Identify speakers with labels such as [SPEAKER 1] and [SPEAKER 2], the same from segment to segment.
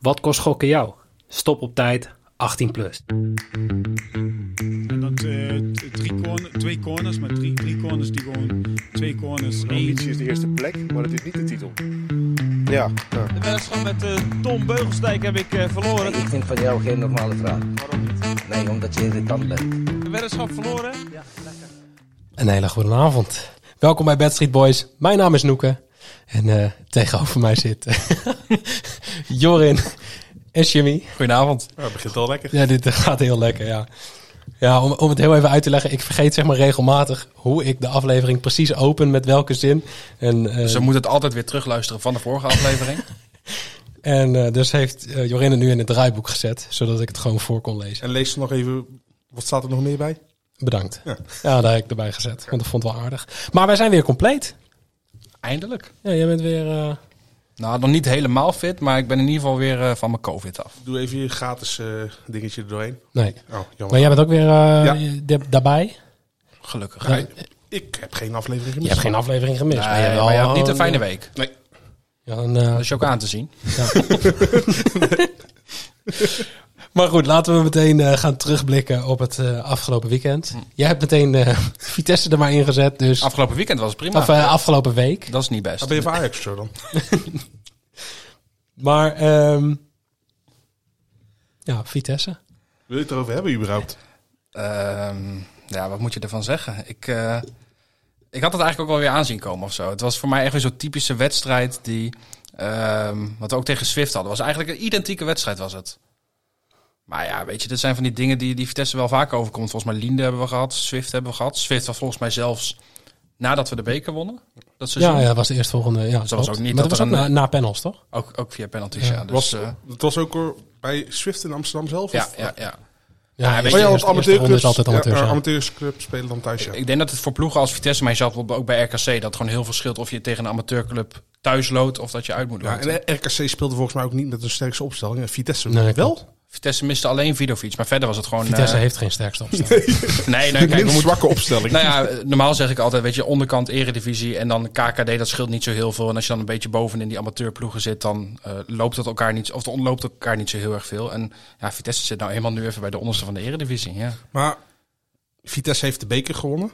[SPEAKER 1] Wat kost gokken jou? Stop op tijd, 18 plus.
[SPEAKER 2] En dat eh, t- drie corner, twee corners, maar drie, drie corners die gewoon twee corners.
[SPEAKER 3] De
[SPEAKER 2] één.
[SPEAKER 3] ambitie is de eerste plek, maar het is niet de titel. Ja, ja.
[SPEAKER 4] De wedstrijd met eh, Tom Beugelsdijk heb ik eh, verloren.
[SPEAKER 5] Ik vind van jou geen normale vraag.
[SPEAKER 4] Waarom niet?
[SPEAKER 5] Nee, omdat je irritant bent.
[SPEAKER 4] De weddenschap verloren.
[SPEAKER 6] Een hele goede avond. Welkom bij Bad Street Boys. Mijn naam is Noeke. En eh, tegenover mij zit eh, Jorin en Jimmy. Goedenavond.
[SPEAKER 7] Ja, het begint al lekker.
[SPEAKER 6] Ja, dit eh, gaat heel lekker, ja. Ja, om, om het heel even uit te leggen. Ik vergeet zeg maar regelmatig hoe ik de aflevering precies open met welke zin. En, eh,
[SPEAKER 8] Ze moeten het altijd weer terugluisteren van de vorige aflevering.
[SPEAKER 6] en eh, dus heeft eh, Jorin het nu in het draaiboek gezet, zodat ik het gewoon voor kon lezen.
[SPEAKER 7] En lees er nog even, wat staat er nog meer bij?
[SPEAKER 6] Bedankt. Ja,
[SPEAKER 7] Ja.
[SPEAKER 6] daar heb ik erbij gezet, want dat vond ik wel aardig. Maar wij zijn weer compleet.
[SPEAKER 8] Eindelijk.
[SPEAKER 6] Ja, jij bent weer... eh,
[SPEAKER 8] Nou, nog niet helemaal fit, maar ik ben in ieder geval weer eh, van mijn COVID af.
[SPEAKER 7] Doe even je gratis eh, dingetje er doorheen.
[SPEAKER 6] Nee.
[SPEAKER 7] Oh,
[SPEAKER 6] Maar
[SPEAKER 7] jammer.
[SPEAKER 6] jij bent ook weer eh,
[SPEAKER 7] Ja.
[SPEAKER 6] da- daarbij?
[SPEAKER 8] Gelukkig.
[SPEAKER 6] Ja,
[SPEAKER 8] Nee,
[SPEAKER 7] Ik heb geen aflevering
[SPEAKER 6] Je
[SPEAKER 7] gemist.
[SPEAKER 6] hebt geen aflevering gemist.
[SPEAKER 7] dus
[SPEAKER 8] maar je
[SPEAKER 6] wel
[SPEAKER 8] hebt niet een fijne week.
[SPEAKER 7] eh,
[SPEAKER 8] Dus
[SPEAKER 7] Nee,
[SPEAKER 6] Ja, een, eh,
[SPEAKER 8] Dat is je ook aan te zien.
[SPEAKER 6] maar goed, laten we meteen eh, gaan terugblikken op het eh, afgelopen weekend. Jij hebt meteen eh, Vitesse er maar in gezet, dus...
[SPEAKER 8] Afgelopen weekend was het prima.
[SPEAKER 6] of eh, afgelopen week.
[SPEAKER 8] dat is niet best.
[SPEAKER 7] dan Ah, ben je van Ajax zo dan.
[SPEAKER 6] Maar, ehm, ja, Vitesse.
[SPEAKER 7] Wil je het erover hebben überhaupt?
[SPEAKER 8] Ehm, ja, wat moet je ervan zeggen? Ik, eh, ik had het eigenlijk ook wel weer aanzien komen of zo. Het was voor mij echt weer zo'n typische wedstrijd die... ehm, wat we ook tegen Swift hadden. was eigenlijk een identieke wedstrijd was het. Maar ja, weet je, dit zijn van die dingen die, die Vitesse wel vaker overkomt. Volgens mij Linde hebben we gehad, Swift hebben we gehad. Swift was volgens mij zelfs nadat we de beker wonnen. Dat seizoen.
[SPEAKER 6] Ja, ja, dat was de eerstvolgende. Ja,
[SPEAKER 8] was
[SPEAKER 6] klopt.
[SPEAKER 8] ook niet
[SPEAKER 6] maar dat was
[SPEAKER 8] dat er
[SPEAKER 6] ook na,
[SPEAKER 8] een-
[SPEAKER 6] na panels, toch?
[SPEAKER 8] Ook, ook via penalties,
[SPEAKER 6] Ja.
[SPEAKER 8] ja. Dus,
[SPEAKER 7] was,
[SPEAKER 8] eh,
[SPEAKER 7] dat was ook hoor, bij Swift in Amsterdam zelf?
[SPEAKER 8] ja,
[SPEAKER 7] of-
[SPEAKER 8] ja, ja.
[SPEAKER 6] Ja,
[SPEAKER 8] weet
[SPEAKER 6] eerst-
[SPEAKER 8] je,
[SPEAKER 7] Oh ja,
[SPEAKER 6] eerst-
[SPEAKER 7] want
[SPEAKER 6] eerste ronde
[SPEAKER 7] amateurclubs,
[SPEAKER 6] is altijd amateurs.
[SPEAKER 7] ja,
[SPEAKER 6] ja.
[SPEAKER 7] eh, amateurclubs spelen dan thuis, ja.
[SPEAKER 8] Ik denk dat het voor ploegen als Vitesse, maar je zag bijvoorbeeld ook bij RKC... dat gewoon heel veel scheelt of je tegen een amateurclub thuis loodt... of dat je uit moet
[SPEAKER 7] Ja,
[SPEAKER 8] loten.
[SPEAKER 7] en RKC speelde volgens mij ook niet met een sterkste opstelling. En Vitesse
[SPEAKER 6] Nee,
[SPEAKER 7] wel.
[SPEAKER 6] klopt.
[SPEAKER 8] Vitesse miste alleen Vidovic, maar verder was het gewoon...
[SPEAKER 6] Vitesse
[SPEAKER 8] eh,
[SPEAKER 6] heeft geen sterkste opstelling.
[SPEAKER 8] Nee, nee,
[SPEAKER 7] De
[SPEAKER 8] kijk, we
[SPEAKER 7] minst
[SPEAKER 8] moeten...
[SPEAKER 7] zwakke opstelling.
[SPEAKER 8] Nou ja, eh, normaal zeg ik altijd, weet je, onderkant eredivisie en dan KKD, dat scheelt niet zo heel veel. En als je dan een beetje bovenin die amateurploegen zit, dan eh, loopt dat elkaar niet, of dan ontloopt elkaar niet zo heel erg veel. En ja, Vitesse zit nou eenmaal nu even bij de onderste van de eredivisie, ja.
[SPEAKER 7] Maar Vitesse heeft de beker gewonnen.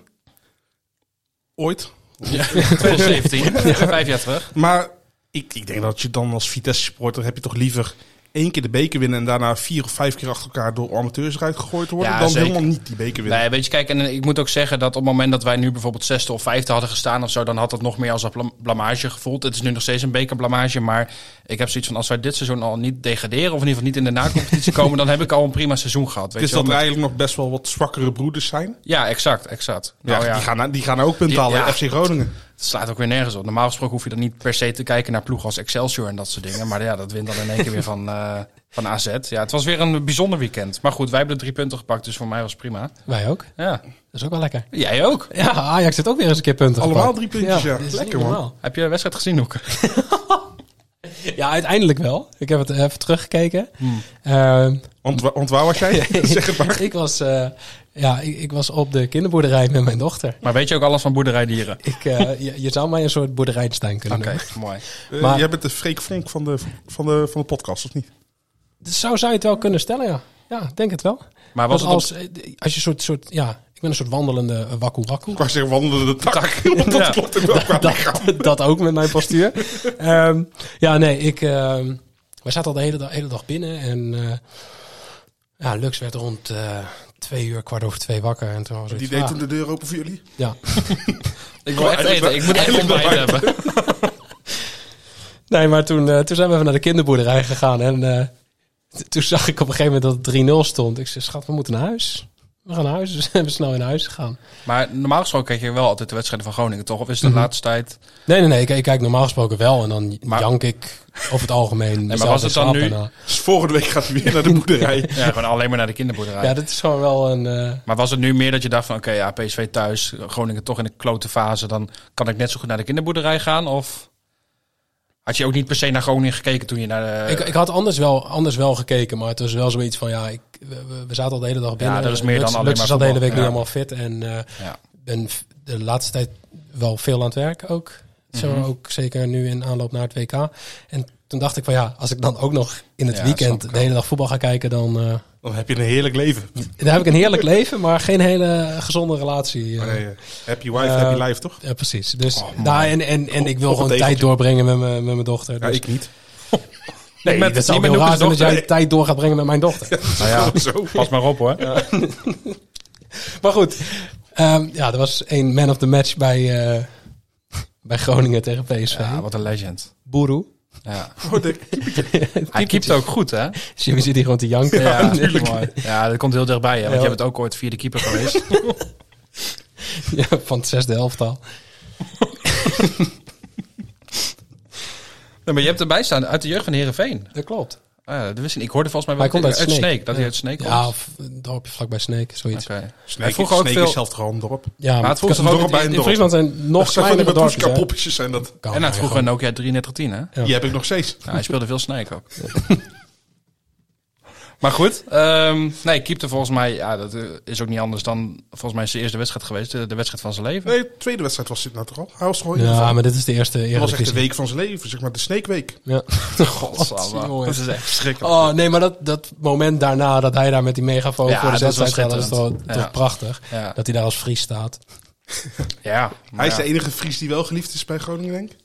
[SPEAKER 7] Ooit.
[SPEAKER 8] ja. 2017, vijf jaar terug.
[SPEAKER 7] Maar ik, ik denk dat je dan als Vitesse-supporter heb je toch liever één keer de beker winnen en daarna vier of vijf keer achter elkaar door amateurs eruit gegooid worden,
[SPEAKER 8] Ja,
[SPEAKER 7] dan
[SPEAKER 8] zeker.
[SPEAKER 7] helemaal niet die beker winnen.
[SPEAKER 8] Nee, weet je, kijk, en eh, ik moet ook zeggen dat op het moment dat wij nu bijvoorbeeld zesde of vijfde hadden gestaan of zo, dan had dat nog meer als een blam- blamage gevoeld. Het is nu nog steeds een bekerblamage, maar ik heb zoiets van als wij dit seizoen al niet degraderen of in ieder geval niet in de nacompetitie komen, dan heb ik al een prima seizoen gehad. Weet
[SPEAKER 7] het is
[SPEAKER 8] je wel.
[SPEAKER 7] dat er eigenlijk nog best wel wat zwakkere broeders zijn.
[SPEAKER 8] Ja, exact, exact. Nou
[SPEAKER 7] ja,
[SPEAKER 8] ja,
[SPEAKER 7] Die, gaan, die gaan ook punten
[SPEAKER 8] Ja,
[SPEAKER 7] halen.
[SPEAKER 8] ja.
[SPEAKER 7] FC Groningen.
[SPEAKER 8] het slaat ook weer nergens op. Normaal gesproken hoef je dan niet per se te kijken naar ploegen als Excelsior en dat soort dingen. Maar ja, dat wint dan in één keer weer van, eh, van AZ. Ja, het was weer een bijzonder weekend. Maar goed, wij hebben de drie punten gepakt, dus voor mij was het prima.
[SPEAKER 6] Wij ook.
[SPEAKER 8] Ja,
[SPEAKER 6] Dat is ook wel lekker.
[SPEAKER 8] jij ook.
[SPEAKER 6] Ja, Ajax heeft ook weer eens een keer punten
[SPEAKER 7] Allemaal
[SPEAKER 6] gepakt.
[SPEAKER 7] drie puntjes, ja.
[SPEAKER 6] dit is
[SPEAKER 7] Lekker,
[SPEAKER 6] niet
[SPEAKER 7] man.
[SPEAKER 6] normaal.
[SPEAKER 8] Heb je de wedstrijd gezien, Hoeken?
[SPEAKER 6] Ja, uiteindelijk wel. Ik heb het even teruggekeken.
[SPEAKER 8] Hmm.
[SPEAKER 6] Ehm,
[SPEAKER 7] Want, wa- want waar was jij? zeg het maar.
[SPEAKER 6] ik, was, eh, ja, ik, ik was op de kinderboerderij met mijn dochter.
[SPEAKER 8] Maar weet je ook alles van boerderijdieren?
[SPEAKER 6] Ik, eh, je, je zou mij een soort boerderijnstein kunnen
[SPEAKER 8] Oké,
[SPEAKER 6] noemen.
[SPEAKER 8] mooi.
[SPEAKER 7] Eh,
[SPEAKER 6] Maar-
[SPEAKER 7] jij bent de Freek Vonk van de, van, de, van de podcast, of niet?
[SPEAKER 6] Dus zo zou je het wel kunnen stellen, ja. Ja, ik denk het wel.
[SPEAKER 8] Maar was
[SPEAKER 6] Want
[SPEAKER 8] het op-
[SPEAKER 6] als, eh, als je een soort, soort, ja, ik ben een soort wandelende eh, wakku-wakku.
[SPEAKER 7] Ik wou zeggen wandelende tak. Want dat
[SPEAKER 8] Ja.
[SPEAKER 7] klopt ook wel qua lichaam.
[SPEAKER 6] dat ook met mijn postuur. Ehm, ja, nee, ik. ehm wij zaten al de hele dag, hele dag binnen. En eh, ja, Lux werd rond eh, twee uur, kwart over twee wakker. En toen was
[SPEAKER 7] Die
[SPEAKER 6] zoiets
[SPEAKER 7] deed
[SPEAKER 6] van,
[SPEAKER 7] toen de deur open voor jullie.
[SPEAKER 6] ah, ja.
[SPEAKER 8] Ik
[SPEAKER 6] Oh,
[SPEAKER 8] wil echt eten. Ik moet echt ontbijt hebben.
[SPEAKER 6] Nee, maar toen, eh, toen zijn we even naar de kinderboerderij gegaan. En eh, t- toen zag ik op een gegeven moment dat het 3-0 stond. Ik zei, schat, we moeten naar huis. We gaan naar huis. Dus zijn we snel in huis gegaan.
[SPEAKER 8] Maar normaal gesproken kijk je wel altijd de wedstrijden van Groningen, toch? Of is het de
[SPEAKER 6] Mhm.
[SPEAKER 8] laatste tijd...
[SPEAKER 6] Nee, nee, nee. Ik, ik kijk normaal gesproken wel. En dan
[SPEAKER 8] Maar-
[SPEAKER 6] jank ik over het algemeen. mezelf
[SPEAKER 8] was
[SPEAKER 6] in
[SPEAKER 8] het dan
[SPEAKER 6] slaap
[SPEAKER 8] nu-
[SPEAKER 6] bijna.
[SPEAKER 7] Dus volgende week gaat hij weer naar de boerderij.
[SPEAKER 8] Ja, gewoon alleen maar naar de kinderboerderij.
[SPEAKER 6] Ja, dat is gewoon wel een... eh,
[SPEAKER 8] Maar was het nu meer dat je dacht van... Oké, ja, PSV thuis, Groningen toch in de klote fase... dan kan ik net zo goed naar de kinderboerderij gaan? Of had je ook niet per se naar Groningen gekeken toen je naar... de-
[SPEAKER 6] Ik, ik had anders wel, anders wel gekeken, maar het was wel zoiets van ja, ik, we- we, we zaten al de hele dag binnen.
[SPEAKER 8] dat is meer dan
[SPEAKER 6] Lux-
[SPEAKER 8] alleen
[SPEAKER 6] Lux
[SPEAKER 8] maar
[SPEAKER 6] is al de hele week
[SPEAKER 8] voetbal.
[SPEAKER 6] weer
[SPEAKER 8] Ja.
[SPEAKER 6] helemaal fit en eh,
[SPEAKER 8] Ja.
[SPEAKER 6] ben f- de laatste
[SPEAKER 8] Mhm.
[SPEAKER 6] tijd wel veel aan het werk ook. Zeg maar ook zeker nu in aanloop naar het WK. En toen dacht ik van ja, als ik dan ook nog in het
[SPEAKER 8] Ja, snap ik
[SPEAKER 6] weekend de hele dag voetbal ga kijken, dan, eh,
[SPEAKER 7] Dan heb je een heerlijk leven.
[SPEAKER 6] dan heb ik een heerlijk leven, maar geen hele gezonde relatie. eh.
[SPEAKER 7] Nee, eh, happy wife, happy
[SPEAKER 6] Eh,
[SPEAKER 7] life, toch?
[SPEAKER 6] Ja, precies. Dus
[SPEAKER 8] Oh,
[SPEAKER 6] daar, en, en, en ik wil
[SPEAKER 7] op een
[SPEAKER 6] gewoon tijd
[SPEAKER 7] tegeltje.
[SPEAKER 6] doorbrengen met mijn, met mijn dochter.
[SPEAKER 7] Ja,
[SPEAKER 6] Dus,
[SPEAKER 7] ik niet.
[SPEAKER 6] nee,
[SPEAKER 8] met-
[SPEAKER 6] dat zou
[SPEAKER 8] niet
[SPEAKER 6] heel
[SPEAKER 8] met
[SPEAKER 6] raar zijn dat
[SPEAKER 8] Noekes
[SPEAKER 6] jij
[SPEAKER 7] dochter.
[SPEAKER 6] tijd door gaat brengen met mijn dochter.
[SPEAKER 8] Nou ja, pas maar op hoor.
[SPEAKER 6] Maar goed, ehm, ja, er was één man of the match bij, eh, bij Groningen tegen PSV.
[SPEAKER 8] Ja, wat een legend.
[SPEAKER 6] Boeroe.
[SPEAKER 8] Ja.
[SPEAKER 7] Oh, de-
[SPEAKER 8] Hij keept ook goed, hè?
[SPEAKER 6] Jimmy zit hier gewoon te janken.
[SPEAKER 8] Ja, mooi. ja dat komt heel dichtbij, hè? Want
[SPEAKER 6] Ja.
[SPEAKER 8] jij bent ook ooit vierde keeper geweest.
[SPEAKER 6] Ja, van het zesde elftal.
[SPEAKER 8] Nee, maar je hebt erbij staan uit de jeugd van Herenveen.
[SPEAKER 6] Dat klopt.
[SPEAKER 8] Ah, dat wist ik. niet. Ik hoorde volgens mij
[SPEAKER 6] Hij
[SPEAKER 8] wel
[SPEAKER 6] komt uit Sneek.
[SPEAKER 8] dat hij uit Sneek komt.
[SPEAKER 6] Ja, of een dorpje vlakbij Sneek, zoiets.
[SPEAKER 8] Oké.
[SPEAKER 7] Sneek,
[SPEAKER 8] vroeg ook
[SPEAKER 7] Sneek
[SPEAKER 8] veel-
[SPEAKER 7] is zelf gewoon een dorp.
[SPEAKER 6] Ja,
[SPEAKER 8] Maar het
[SPEAKER 6] kan-
[SPEAKER 8] voelt toch
[SPEAKER 7] een
[SPEAKER 8] ook...
[SPEAKER 7] dorp bij een
[SPEAKER 6] in
[SPEAKER 7] dorp.
[SPEAKER 6] Friesland zijn nog
[SPEAKER 7] Dat zijn van die
[SPEAKER 6] kleinere dorpjes. hè?
[SPEAKER 7] Batoushka-poppetjes zijn dat.
[SPEAKER 6] Kan
[SPEAKER 8] En hij
[SPEAKER 6] maar
[SPEAKER 8] had vroeger
[SPEAKER 6] gewoon.
[SPEAKER 8] een Nokia 3310, hè?
[SPEAKER 6] Ja.
[SPEAKER 7] Die heb ik nog steeds.
[SPEAKER 8] Ja, hij speelde veel Snake ook. maar goed, ehm nee, keepte volgens mij, ja, dat eh, is ook niet anders dan volgens mij zijn eerste wedstrijd geweest, eh, de, de wedstrijd van zijn leven.
[SPEAKER 7] Nee, de tweede wedstrijd was dit nou toch al? Hij was gewoon in ieder
[SPEAKER 6] Ja,
[SPEAKER 7] geval.
[SPEAKER 6] maar dit is de eerste
[SPEAKER 7] Dat was echt de
[SPEAKER 6] Eredivisie.
[SPEAKER 7] week van zijn leven, zeg maar de Sneekweek.
[SPEAKER 6] Ja.
[SPEAKER 8] Godsamme.
[SPEAKER 6] jongen.
[SPEAKER 8] Dat is echt verschrikkelijk.
[SPEAKER 6] Oh nee, maar dat, dat moment daarna dat hij daar met die megafoon
[SPEAKER 8] Ja,
[SPEAKER 6] voor de
[SPEAKER 8] dat was
[SPEAKER 6] zesheid gaat, dat is toch,
[SPEAKER 8] schitterend. Ja.
[SPEAKER 6] toch prachtig.
[SPEAKER 8] Ja,
[SPEAKER 6] Dat hij daar als Fries staat.
[SPEAKER 8] ja.
[SPEAKER 7] Hij is de enige Fries die wel geliefd is bij Groningen, denk ik.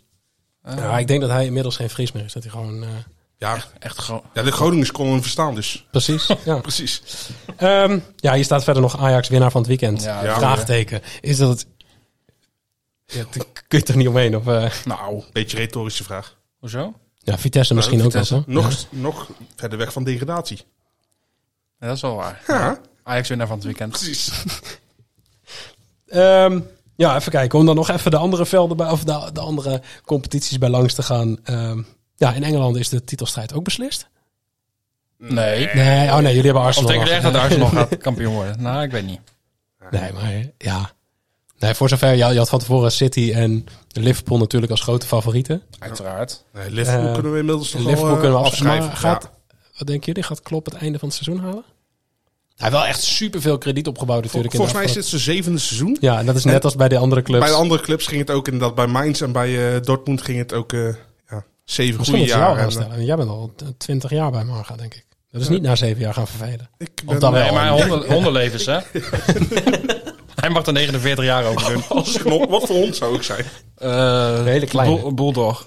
[SPEAKER 8] Ja,
[SPEAKER 6] Ja, ik denk dat hij inmiddels geen Fries meer is. Dat hij gewoon... eh,
[SPEAKER 7] Ja,
[SPEAKER 8] echt gewoon.
[SPEAKER 7] ja de Groningers konden hem verstaan dus.
[SPEAKER 6] Precies, ja.
[SPEAKER 7] Precies.
[SPEAKER 6] Ehm, ja, hier staat verder nog Ajax winnaar van het weekend.
[SPEAKER 8] Ja,
[SPEAKER 7] Ja.
[SPEAKER 6] Vraagteken. Is dat het... Ja, daar kun je toch niet omheen? Of, eh,
[SPEAKER 7] Nou, beetje retorische vraag.
[SPEAKER 8] Hoezo?
[SPEAKER 6] Ja, Vitesse misschien ook wel
[SPEAKER 8] Vitesse.
[SPEAKER 6] zo.
[SPEAKER 7] Nog, nog verder weg van degradatie.
[SPEAKER 8] Ja, dat is wel waar.
[SPEAKER 7] Ja,
[SPEAKER 8] Ajax winnaar van het weekend.
[SPEAKER 7] precies.
[SPEAKER 6] Ehm, ja, even kijken. Om dan nog even de andere velden bij, of de, de andere competities bij langs te gaan. Ehm, ja, in Engeland is de titelstrijd ook beslist.
[SPEAKER 8] Nee.
[SPEAKER 6] Nee, oh nee, jullie hebben
[SPEAKER 8] Of
[SPEAKER 6] Arsenal.
[SPEAKER 8] denk je
[SPEAKER 6] nog.
[SPEAKER 8] echt dat Arsenal gaat kampioen worden? Nou, ik weet niet.
[SPEAKER 6] Nee, maar ja. Nee, voor zover, ja, je had van tevoren City en Liverpool natuurlijk als grote favorieten.
[SPEAKER 8] Uiteraard.
[SPEAKER 7] Nee, Liverpool
[SPEAKER 6] Eh,
[SPEAKER 7] kunnen we inmiddels toch
[SPEAKER 6] Liverpool
[SPEAKER 7] wel eh,
[SPEAKER 6] kunnen we afschrijven. Maar
[SPEAKER 7] afschrijven.
[SPEAKER 6] gaat, Wat denken jullie? Gaat Klopp het einde van het seizoen halen? Hij heeft wel echt superveel krediet opgebouwd
[SPEAKER 7] Vol-
[SPEAKER 6] natuurlijk. in de
[SPEAKER 7] volgens mij is dit
[SPEAKER 6] afgelopen-
[SPEAKER 7] zijn zevende seizoen.
[SPEAKER 6] Ja, en dat is net als bij de andere clubs.
[SPEAKER 7] Bij de andere clubs ging het ook inderdaad. Bij Mainz en bij eh, Dortmund ging het ook eh, ja, zeven
[SPEAKER 6] Misschien
[SPEAKER 7] goede
[SPEAKER 6] moet je jou
[SPEAKER 7] jaren.
[SPEAKER 6] gaan
[SPEAKER 7] En, eh,
[SPEAKER 6] stellen. Jij bent al twintig jaar bij Marga, denk ik. Dat is niet na zeven jaar gaan vervelen.
[SPEAKER 7] ik
[SPEAKER 6] Of
[SPEAKER 7] ben,
[SPEAKER 6] dan
[SPEAKER 8] Nee,
[SPEAKER 6] wel.
[SPEAKER 8] maar honden, hondenlevens, hè? Hij mag er 49 jaar over doen.
[SPEAKER 7] Als knop, wat voor hond zou ik zijn?
[SPEAKER 8] Eh,
[SPEAKER 6] Een hele kleine.
[SPEAKER 8] bull- bulldog.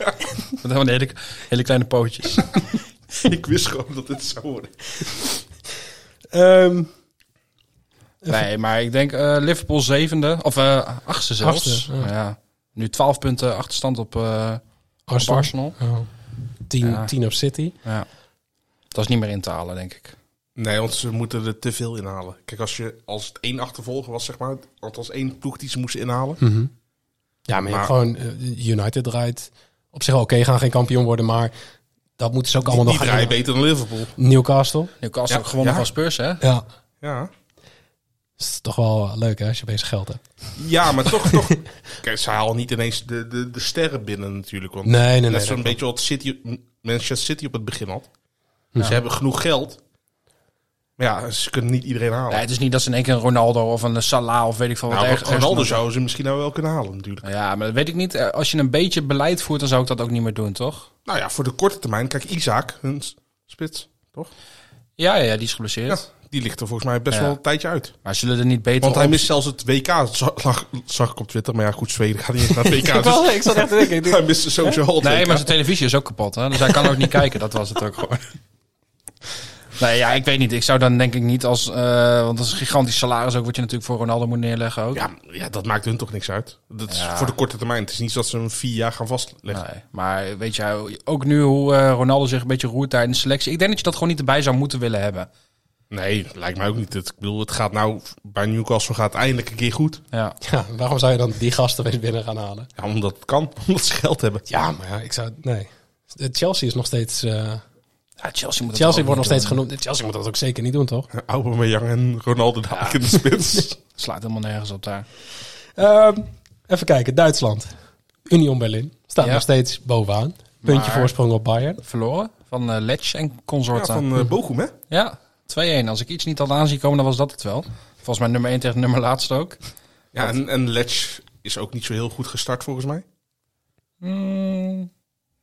[SPEAKER 8] Met gewoon hele, hele kleine pootjes.
[SPEAKER 7] ik wist gewoon dat dit zou worden.
[SPEAKER 6] Ehm,
[SPEAKER 8] Nee, maar ik denk eh, Liverpool zevende. Of eh achtste zelfs.
[SPEAKER 6] Achtste, ja.
[SPEAKER 8] ja. Nu 12 punten achterstand op, eh, op
[SPEAKER 6] Arsenal.
[SPEAKER 8] Arsenal.
[SPEAKER 6] Oh. Tien,
[SPEAKER 8] Ja.
[SPEAKER 6] tien op City.
[SPEAKER 8] Ja. Dat is niet meer in te halen, denk ik.
[SPEAKER 7] Nee, want ze moeten er te veel inhalen. Kijk, als, je, als het één achtervolger was, zeg maar. Althans één ploeg die ze moesten inhalen.
[SPEAKER 6] Mhm. Ja, maar, je
[SPEAKER 7] Maar-
[SPEAKER 6] hebt gewoon eh, United draait. Op zich wel oké, gaan geen kampioen worden, maar dat moeten ze ook allemaal
[SPEAKER 7] die
[SPEAKER 6] nog
[SPEAKER 7] draaien
[SPEAKER 6] gaan
[SPEAKER 7] beter dan Liverpool.
[SPEAKER 6] doen. Newcastle.
[SPEAKER 8] Newcastle
[SPEAKER 7] Ja,
[SPEAKER 8] ook gewonnen
[SPEAKER 7] ja.
[SPEAKER 8] van Spurs, hè?
[SPEAKER 6] Ja.
[SPEAKER 7] Ja,
[SPEAKER 6] is toch wel leuk hè, als je bezig geld hebt.
[SPEAKER 7] ja maar toch, toch. Kijk, ze halen niet ineens de, de, de sterren binnen natuurlijk. Want
[SPEAKER 6] Nee, nee, nee.
[SPEAKER 7] dat is
[SPEAKER 6] dat
[SPEAKER 7] een beetje wat City, Manchester City op het begin had. Ze hebben genoeg geld. Maar ja, ze kunnen niet iedereen halen.
[SPEAKER 8] Nee, het is niet dat ze in één keer een Ronaldo of een Salah of weet ik veel wat.
[SPEAKER 7] nou,
[SPEAKER 8] erg- ergens
[SPEAKER 7] Ronaldo
[SPEAKER 8] nog-
[SPEAKER 7] zouden ze misschien nou wel kunnen halen natuurlijk.
[SPEAKER 8] Ja, maar dat weet ik niet. Eh, Als je een beetje beleid voert, dan zou ik dat ook niet meer doen, toch?
[SPEAKER 7] Nou ja, voor de korte termijn. Kijk, Isaac, hun s- spits, toch?
[SPEAKER 8] Ja, ja, ja, die is
[SPEAKER 7] Ja,
[SPEAKER 8] geblesseerd.
[SPEAKER 7] die ligt er volgens mij best
[SPEAKER 8] Ja.
[SPEAKER 7] wel een tijdje uit.
[SPEAKER 8] Maar zullen er niet beter
[SPEAKER 7] Want hij
[SPEAKER 8] op-
[SPEAKER 7] mist zelfs het WK, zag, zag- zag ik op Twitter. Maar ja, goed, Zweden gaat niet eens naar het WK. dus
[SPEAKER 6] ik zat echt te denken.
[SPEAKER 7] hij miste sowieso al het
[SPEAKER 8] Nee,
[SPEAKER 7] WK.
[SPEAKER 8] maar zijn televisie is ook kapot, hè? dus hij kan ook niet kijken. Dat was het ook gewoon. Nee, ja, ik weet niet. Ik zou dan denk ik niet als... eh, want dat is een gigantisch salaris ook, wat je natuurlijk voor Ronaldo moet neerleggen ook.
[SPEAKER 7] Ja, ja, dat maakt hun toch niks uit. Dat is
[SPEAKER 8] Ja.
[SPEAKER 7] voor de korte termijn. Het is niet dat ze hem vier jaar gaan vastleggen.
[SPEAKER 8] Nee, maar weet je, ook nu hoe eh, Ronaldo zich een beetje roert daar in de selectie. Ik denk dat je dat gewoon niet erbij zou moeten willen hebben.
[SPEAKER 7] Nee, lijkt mij ook niet. Het- Ik bedoel, het gaat nou bij Newcastle gaat het eindelijk een keer goed.
[SPEAKER 8] Ja,
[SPEAKER 6] Ja, waarom zou je dan die gasten weer binnen gaan halen?
[SPEAKER 7] Ja, omdat het kan. Omdat ze geld hebben.
[SPEAKER 6] Ja, maar ja, ik zou... Nee. De Chelsea is nog steeds... eh,
[SPEAKER 8] ja Chelsea moet het
[SPEAKER 6] Chelsea wordt
[SPEAKER 8] ook
[SPEAKER 6] nog
[SPEAKER 8] niet
[SPEAKER 6] steeds
[SPEAKER 8] doen.
[SPEAKER 6] genoemd. Chelsea moet dat ook zeker niet doen, toch?
[SPEAKER 7] Eh, Aubameyang en Ronaldo dadelijk in de spits.
[SPEAKER 8] Slaat helemaal nergens op daar.
[SPEAKER 6] Ehm, even kijken, Duitsland. Union Berlin staat
[SPEAKER 8] Ja.
[SPEAKER 6] nog steeds bovenaan. Puntje
[SPEAKER 8] Maar-
[SPEAKER 6] voorsprong op Bayern.
[SPEAKER 8] Verloren van eh Lech en
[SPEAKER 7] Ja,
[SPEAKER 8] consorten.
[SPEAKER 7] van eh Bochum, hè?
[SPEAKER 8] Ja, 2-1. Als ik iets niet had aanzien komen, dan was dat het wel. Volgens mij nummer 1 tegen nummer laatst ook.
[SPEAKER 7] Ja, en, en Ledge is ook niet zo heel goed gestart volgens mij.
[SPEAKER 8] Mm,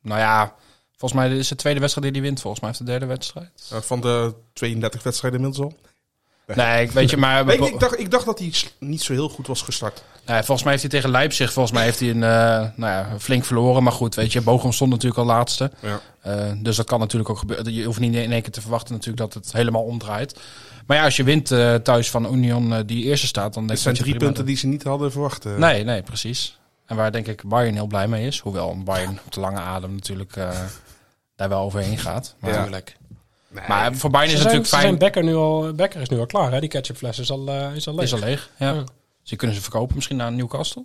[SPEAKER 8] nou ja, Volgens mij is de tweede wedstrijd die hij wint. Volgens mij heeft de derde wedstrijd.
[SPEAKER 7] Eh, van de 32 wedstrijden inmiddels al.
[SPEAKER 8] Nee, ik weet je, maar...
[SPEAKER 7] Nee, ik, ik dacht, ik dacht dat hij s- niet zo heel goed was gestart. Dus
[SPEAKER 8] Nee, volgens mij heeft hij tegen Leipzig volgens mij heeft hij een, eh, nou ja, flink verloren. Maar goed, weet je, Bochum stond natuurlijk al laatste.
[SPEAKER 7] Ja.
[SPEAKER 8] Eh, dus dat kan natuurlijk ook gebeuren. Je hoeft niet in één keer te verwachten natuurlijk dat het helemaal omdraait. Maar ja, als je wint eh, thuis van Union eh, die eerste staat, dan denk
[SPEAKER 7] Het
[SPEAKER 8] ik
[SPEAKER 7] zijn
[SPEAKER 8] dat je
[SPEAKER 7] drie
[SPEAKER 8] prima
[SPEAKER 7] punten die ze niet hadden verwacht. eh.
[SPEAKER 8] Nee, nee, precies. En waar denk ik Bayern heel blij mee is. Hoewel Bayern op de lange adem natuurlijk eh, daar wel overheen gaat. Maar,
[SPEAKER 6] Natuurlijk.
[SPEAKER 8] maar voor Bayern is
[SPEAKER 6] Ze
[SPEAKER 8] het
[SPEAKER 6] zijn,
[SPEAKER 8] natuurlijk
[SPEAKER 6] ze zijn
[SPEAKER 8] fijn.
[SPEAKER 6] Becker, nu al, Becker is nu al klaar, hè? Die ketchupfles is al, eh, is al leeg.
[SPEAKER 8] Is al leeg. Ja.
[SPEAKER 6] Ja.
[SPEAKER 8] Dus die kunnen ze verkopen misschien naar Newcastle.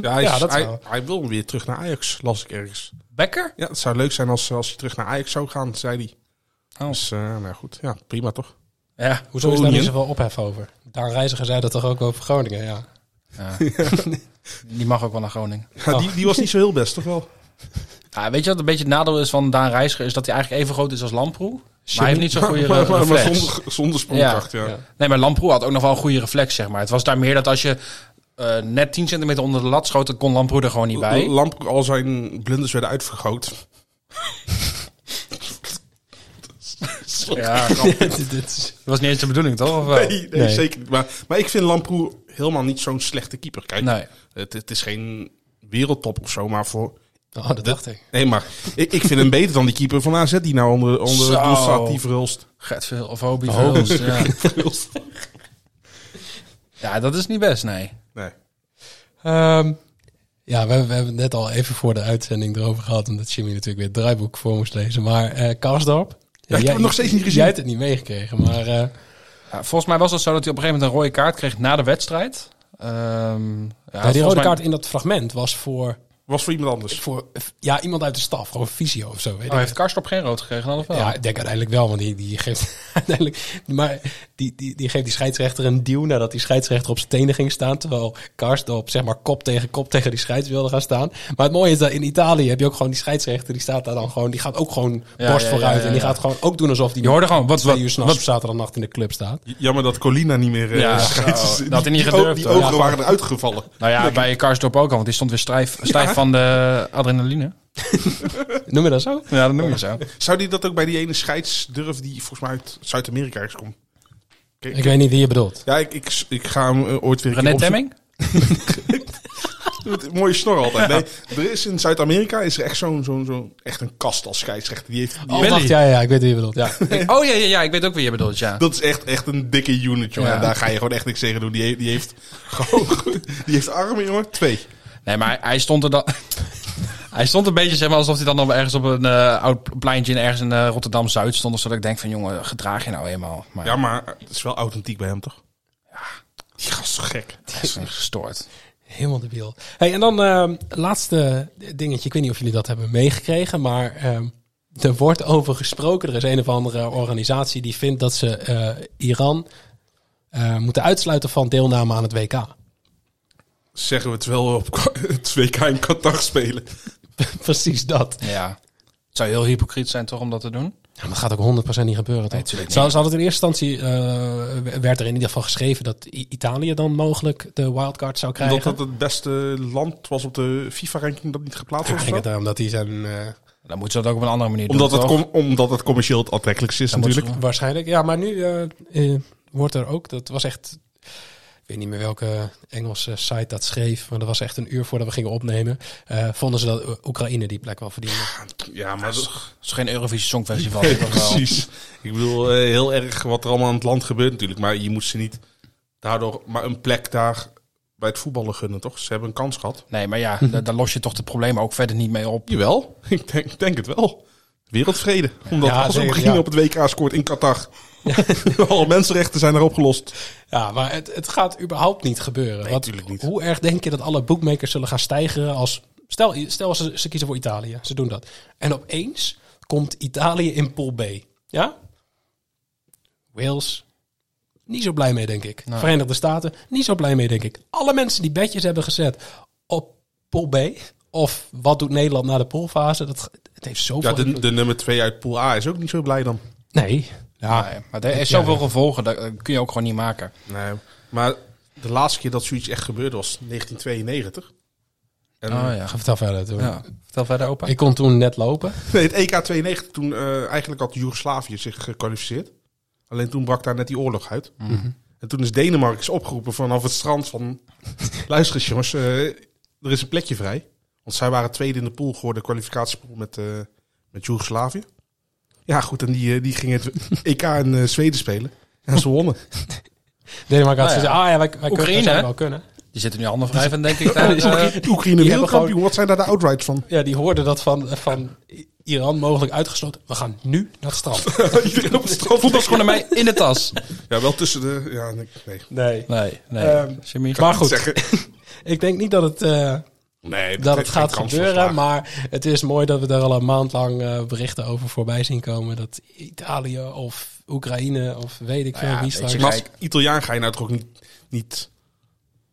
[SPEAKER 7] Ja, hij, is-
[SPEAKER 6] Ja, dat
[SPEAKER 7] hij,
[SPEAKER 6] wel.
[SPEAKER 7] hij wil weer terug naar Ajax, las ik ergens.
[SPEAKER 8] Becker?
[SPEAKER 7] Ja, het zou leuk zijn als, als hij terug naar Ajax zou gaan, zei hij.
[SPEAKER 8] Oh.
[SPEAKER 7] Dus, eh, nou goed, ja, prima toch?
[SPEAKER 8] Ja.
[SPEAKER 6] Hoezo is Dus daar
[SPEAKER 7] Union?
[SPEAKER 6] niet zoveel ophef over? Daan Reiziger zei dat toch ook over Groningen, ja.
[SPEAKER 8] ja. die mag ook wel naar Groningen.
[SPEAKER 7] Ja, die, die was niet zo heel best, toch wel?
[SPEAKER 8] Ja, weet je wat een beetje het nadeel is van Daan Reiziger? Is dat hij eigenlijk even groot is als Lamproe. Maar hij heeft niet zo'n goede
[SPEAKER 7] Maar- maar- maar
[SPEAKER 8] reflex.
[SPEAKER 7] zonder, zonder sprongkracht, ja.
[SPEAKER 6] ja.
[SPEAKER 8] Nee, maar Lamproe had ook nog wel een goede reflex, zeg maar. Het was daar meer dat als je eh, net 10 centimeter onder de lat schoot, dan kon Lamproe er gewoon niet bij.
[SPEAKER 7] Lamp, al zijn blunders werden uitvergroot.
[SPEAKER 8] Ja, grappig. Dat was niet eens de bedoeling, toch? Of wel?
[SPEAKER 7] Nee, nee,
[SPEAKER 6] Nee.
[SPEAKER 7] zeker niet. Maar, maar ik vind Lamproe helemaal niet zo'n slechte keeper. Kijk,
[SPEAKER 8] Nee.
[SPEAKER 7] het, het is geen wereldtop of zo, maar voor...
[SPEAKER 6] Oh, dat dacht ik.
[SPEAKER 7] Nee, maar ik, ik vind hem beter dan die keeper van AZ die nou onder, onder
[SPEAKER 8] Zo.
[SPEAKER 7] het doel staat, die verhulst.
[SPEAKER 8] Gert Verhul- of Hobie Verhulst, ja. ja, dat is niet best, nee.
[SPEAKER 7] Nee.
[SPEAKER 6] Ehm, ja, we, we hebben het net al even voor de uitzending erover gehad. Omdat Jimmy natuurlijk weer het draaiboek voor moest lezen. Maar eh Karsdorp.
[SPEAKER 7] heb hem nog steeds niet gezien.
[SPEAKER 6] Jij hebt het niet meegekregen, maar... eh,
[SPEAKER 8] Ja, volgens mij was het zo dat hij op een gegeven moment een rode kaart kreeg na de wedstrijd. Ehm, ja,
[SPEAKER 6] ja, die rode
[SPEAKER 8] volgens mij-
[SPEAKER 6] kaart in dat fragment was voor,
[SPEAKER 7] Was voor iemand anders.
[SPEAKER 6] voor ja, iemand uit de staf. Gewoon fysio of zo, weet
[SPEAKER 8] Oh,
[SPEAKER 6] ik
[SPEAKER 8] heeft Karstop geen rood gekregen dan of wel?
[SPEAKER 6] Ja, ik denk uiteindelijk wel, want die, die geeft uiteindelijk. Maar die, die, die geeft die scheidsrechter een duw nadat die scheidsrechter op zijn tenen ging staan. Terwijl Karsdorp zeg maar kop tegen kop tegen die scheids wilde gaan staan. Maar het mooie is dat in Italië heb je ook gewoon die scheidsrechter. Die staat daar dan gewoon. Die gaat ook gewoon
[SPEAKER 8] Ja,
[SPEAKER 6] borst
[SPEAKER 8] ja, ja,
[SPEAKER 6] vooruit.
[SPEAKER 8] ja,
[SPEAKER 6] En die
[SPEAKER 8] ja.
[SPEAKER 6] gaat gewoon ook doen alsof die
[SPEAKER 8] Je hoorde gewoon, wat,
[SPEAKER 6] twee
[SPEAKER 8] wat,
[SPEAKER 6] uur s'nachts
[SPEAKER 8] wat,
[SPEAKER 6] op zaterdagnacht in de club staat.
[SPEAKER 7] Jammer dat Colina niet meer... eh,
[SPEAKER 8] Ja,
[SPEAKER 7] scheidt.
[SPEAKER 8] zo.
[SPEAKER 7] Die-
[SPEAKER 8] Dat had hij niet
[SPEAKER 7] die
[SPEAKER 8] gedurfd,
[SPEAKER 7] o- Die
[SPEAKER 8] hoor.
[SPEAKER 7] ogen
[SPEAKER 8] Ja.
[SPEAKER 7] waren eruit gevallen.
[SPEAKER 8] Nou ja, bij Karsdorp ook al, want die stond weer stijf, stijf van de adrenaline.
[SPEAKER 6] Noem je dat zo?
[SPEAKER 8] Ja, dat noem je zo.
[SPEAKER 7] Zou die dat ook bij die ene scheidsdurf die volgens mij uit Zuid-Amerika ergens komt? Ken-
[SPEAKER 6] Ik weet niet wie je bedoelt.
[SPEAKER 7] Ja, ik, ik, ik ga hem eh, ooit weer... een
[SPEAKER 8] René
[SPEAKER 7] keer opzoeken.
[SPEAKER 8] Temming?
[SPEAKER 7] Met een mooie snor altijd. Nee, er is in Zuid-Amerika is er echt zo'n zo'n zo'n echt een kast als scheidsrechter. Die heeft, die-
[SPEAKER 6] Oh,
[SPEAKER 8] Billy.
[SPEAKER 6] wacht, ja, ja, ik weet wie je bedoelt. Ja.
[SPEAKER 8] Oh ja, ja, ja, ik weet ook wie je bedoelt, ja.
[SPEAKER 7] Dat is echt, echt een dikke unit, jongen.
[SPEAKER 8] Ja.
[SPEAKER 7] En daar ga je gewoon echt niks tegen doen. Die, he- die heeft gewoon... Die heeft armen, jongen. Twee.
[SPEAKER 8] Nee, maar hij stond er dan... Hij stond een beetje, zeg maar, alsof hij dan op ergens op een eh, oud pleintje in ergens in eh, Rotterdam-Zuid stond. Of zo, dat ik denk van, jongen, gedraag je nou eenmaal. Maar
[SPEAKER 7] Ja, maar het is wel authentiek bij hem, toch? Ja. Die gast is toch gek?
[SPEAKER 8] hij is gestoord.
[SPEAKER 6] Helemaal debiel. Hey, en dan ehm, laatste dingetje. Ik weet niet of jullie dat hebben meegekregen, maar ehm, er wordt over gesproken. Er is een of andere organisatie die vindt dat ze eh, Iran eh, moeten uitsluiten van deelname aan het WK.
[SPEAKER 7] Zeggen we het wel op Ka- het WK in Qatar spelen.
[SPEAKER 6] Precies dat.
[SPEAKER 8] Ja. Het zou heel hypocriet zijn toch om dat te doen?
[SPEAKER 6] Ja, maar dat gaat ook 100% niet gebeuren. Toch?
[SPEAKER 8] tuurlijk niet.
[SPEAKER 6] Ze hadden het in eerste instantie, eh, werd er in ieder geval geschreven dat I- Italië dan mogelijk de wildcard zou krijgen.
[SPEAKER 7] Omdat dat het beste land was op de FIFA-ranking dat niet geplaatst
[SPEAKER 6] Ja, ik
[SPEAKER 7] was.
[SPEAKER 6] denk het
[SPEAKER 7] of zo?
[SPEAKER 6] daarom dat die zijn eh,
[SPEAKER 8] Dan moeten ze dat ook op een andere manier
[SPEAKER 7] Omdat
[SPEAKER 8] doen,
[SPEAKER 7] het,
[SPEAKER 8] toch?
[SPEAKER 7] com- omdat het commercieel het aantrekkelijkst is
[SPEAKER 8] Dan moeten
[SPEAKER 7] natuurlijk.
[SPEAKER 8] ze-
[SPEAKER 6] Waarschijnlijk. Ja, maar nu eh, eh, wordt er ook. Dat was echt. Ik weet niet meer welke Engelse site dat schreef. Maar dat was echt een uur voordat we gingen opnemen. eh, vonden ze dat O- Oekraïne die plek wel verdiende.
[SPEAKER 7] Ja, maar... dat-
[SPEAKER 8] Het is geen Eurovisie
[SPEAKER 6] Dus
[SPEAKER 8] Songfestival.
[SPEAKER 7] Nee,
[SPEAKER 8] toch wel?
[SPEAKER 7] precies. Ik bedoel, eh, heel erg wat er allemaal aan het land gebeurt natuurlijk. Maar je moet ze niet daardoor maar een plek daar bij het voetballen gunnen, toch? Ze hebben een kans gehad.
[SPEAKER 8] Nee, maar ja, da- daar los je toch de problemen ook verder niet mee op.
[SPEAKER 7] Jawel, ik denk, ik denk het wel. Wereldvrede. Omdat
[SPEAKER 6] Ja,
[SPEAKER 7] als
[SPEAKER 6] zeker,
[SPEAKER 7] Oekraïne
[SPEAKER 6] ja.
[SPEAKER 7] op het WK scoort in Qatar. Alle mensenrechten zijn daar opgelost.
[SPEAKER 6] Ja, maar het, het gaat überhaupt niet gebeuren. Wat-
[SPEAKER 7] tuurlijk niet.
[SPEAKER 6] Hoe erg denk je dat alle boekmakers zullen gaan stijgen als. Stel, stel ze, ze kiezen voor Italië. Ze doen dat. En opeens komt Italië in Pool B. Ja? Wales. Niet zo blij mee, denk ik. Verenigde Staten. Niet zo blij mee, denk ik. Alle mensen die bedjes hebben gezet op Pool B. Of wat doet Nederland na de poolfase? Dat, het heeft zoveel...
[SPEAKER 7] Ja, de,
[SPEAKER 6] invloed.
[SPEAKER 7] de nummer 2 uit pool A is ook niet zo blij dan.
[SPEAKER 6] Nee. Ja.
[SPEAKER 8] Nee, maar er is zoveel gevolgen, dat eh, kun je ook gewoon niet maken.
[SPEAKER 7] Nee, maar de laatste keer dat zoiets echt gebeurde was 1992. En,
[SPEAKER 8] Oh ja.
[SPEAKER 6] Ga vertel verder. Toen.
[SPEAKER 8] ja. Vertel verder, opa.
[SPEAKER 6] Ik kon toen net lopen.
[SPEAKER 7] Nee, het EK 92, toen eh, eigenlijk had Joegoslavië zich gekwalificeerd. Alleen toen brak daar net die oorlog uit.
[SPEAKER 6] Mhm.
[SPEAKER 7] En toen is Denemarken is opgeroepen vanaf het strand van... Luister eens jongens, eh, er is een plekje vrij. Want zij waren tweede in de pool geworden, kwalificatiepool met, eh met Joegoslavië. Ja goed, en die, eh, die gingen het EK in eh, Zweden spelen. En ze wonnen.
[SPEAKER 6] Denemarken had
[SPEAKER 8] Ah, ja.
[SPEAKER 6] gezegd, ah ja, wij, wij kunnen-
[SPEAKER 8] Oekraïne,
[SPEAKER 6] zouden
[SPEAKER 8] hè?
[SPEAKER 6] wel kunnen.
[SPEAKER 8] Die zitten nu allemaal vrij van, denk ik. Daar, eh,
[SPEAKER 7] Oekraïne
[SPEAKER 6] hebben
[SPEAKER 7] wereldkampioen, wat zijn daar de outrights van?
[SPEAKER 6] Ja, die hoorden dat van, van Iran mogelijk uitgesloten. We gaan nu naar het strand.
[SPEAKER 7] Iedereen op het strand.
[SPEAKER 8] voetbalschoenen mee in de tas.
[SPEAKER 7] Ja, wel tussen de... Ja, nee. nee.
[SPEAKER 6] Nee.
[SPEAKER 8] Nee, nee.
[SPEAKER 6] Ehm,
[SPEAKER 8] Jimmy.
[SPEAKER 6] Maar goed,
[SPEAKER 7] Zeggen.
[SPEAKER 6] ik denk niet dat het, eh,
[SPEAKER 7] Nee,
[SPEAKER 6] dat het
[SPEAKER 7] heeft
[SPEAKER 6] gaat
[SPEAKER 7] geen kans van
[SPEAKER 6] gebeuren.
[SPEAKER 7] slagen.
[SPEAKER 6] Maar het is mooi dat we daar al een maand lang eh, berichten over voorbij zien komen. Dat Italië of Oekraïne of weet ik veel
[SPEAKER 8] Nou ja,
[SPEAKER 6] wie
[SPEAKER 8] weet je,
[SPEAKER 6] straks.
[SPEAKER 7] Maar als Italiaan ga je nou toch ook niet, niet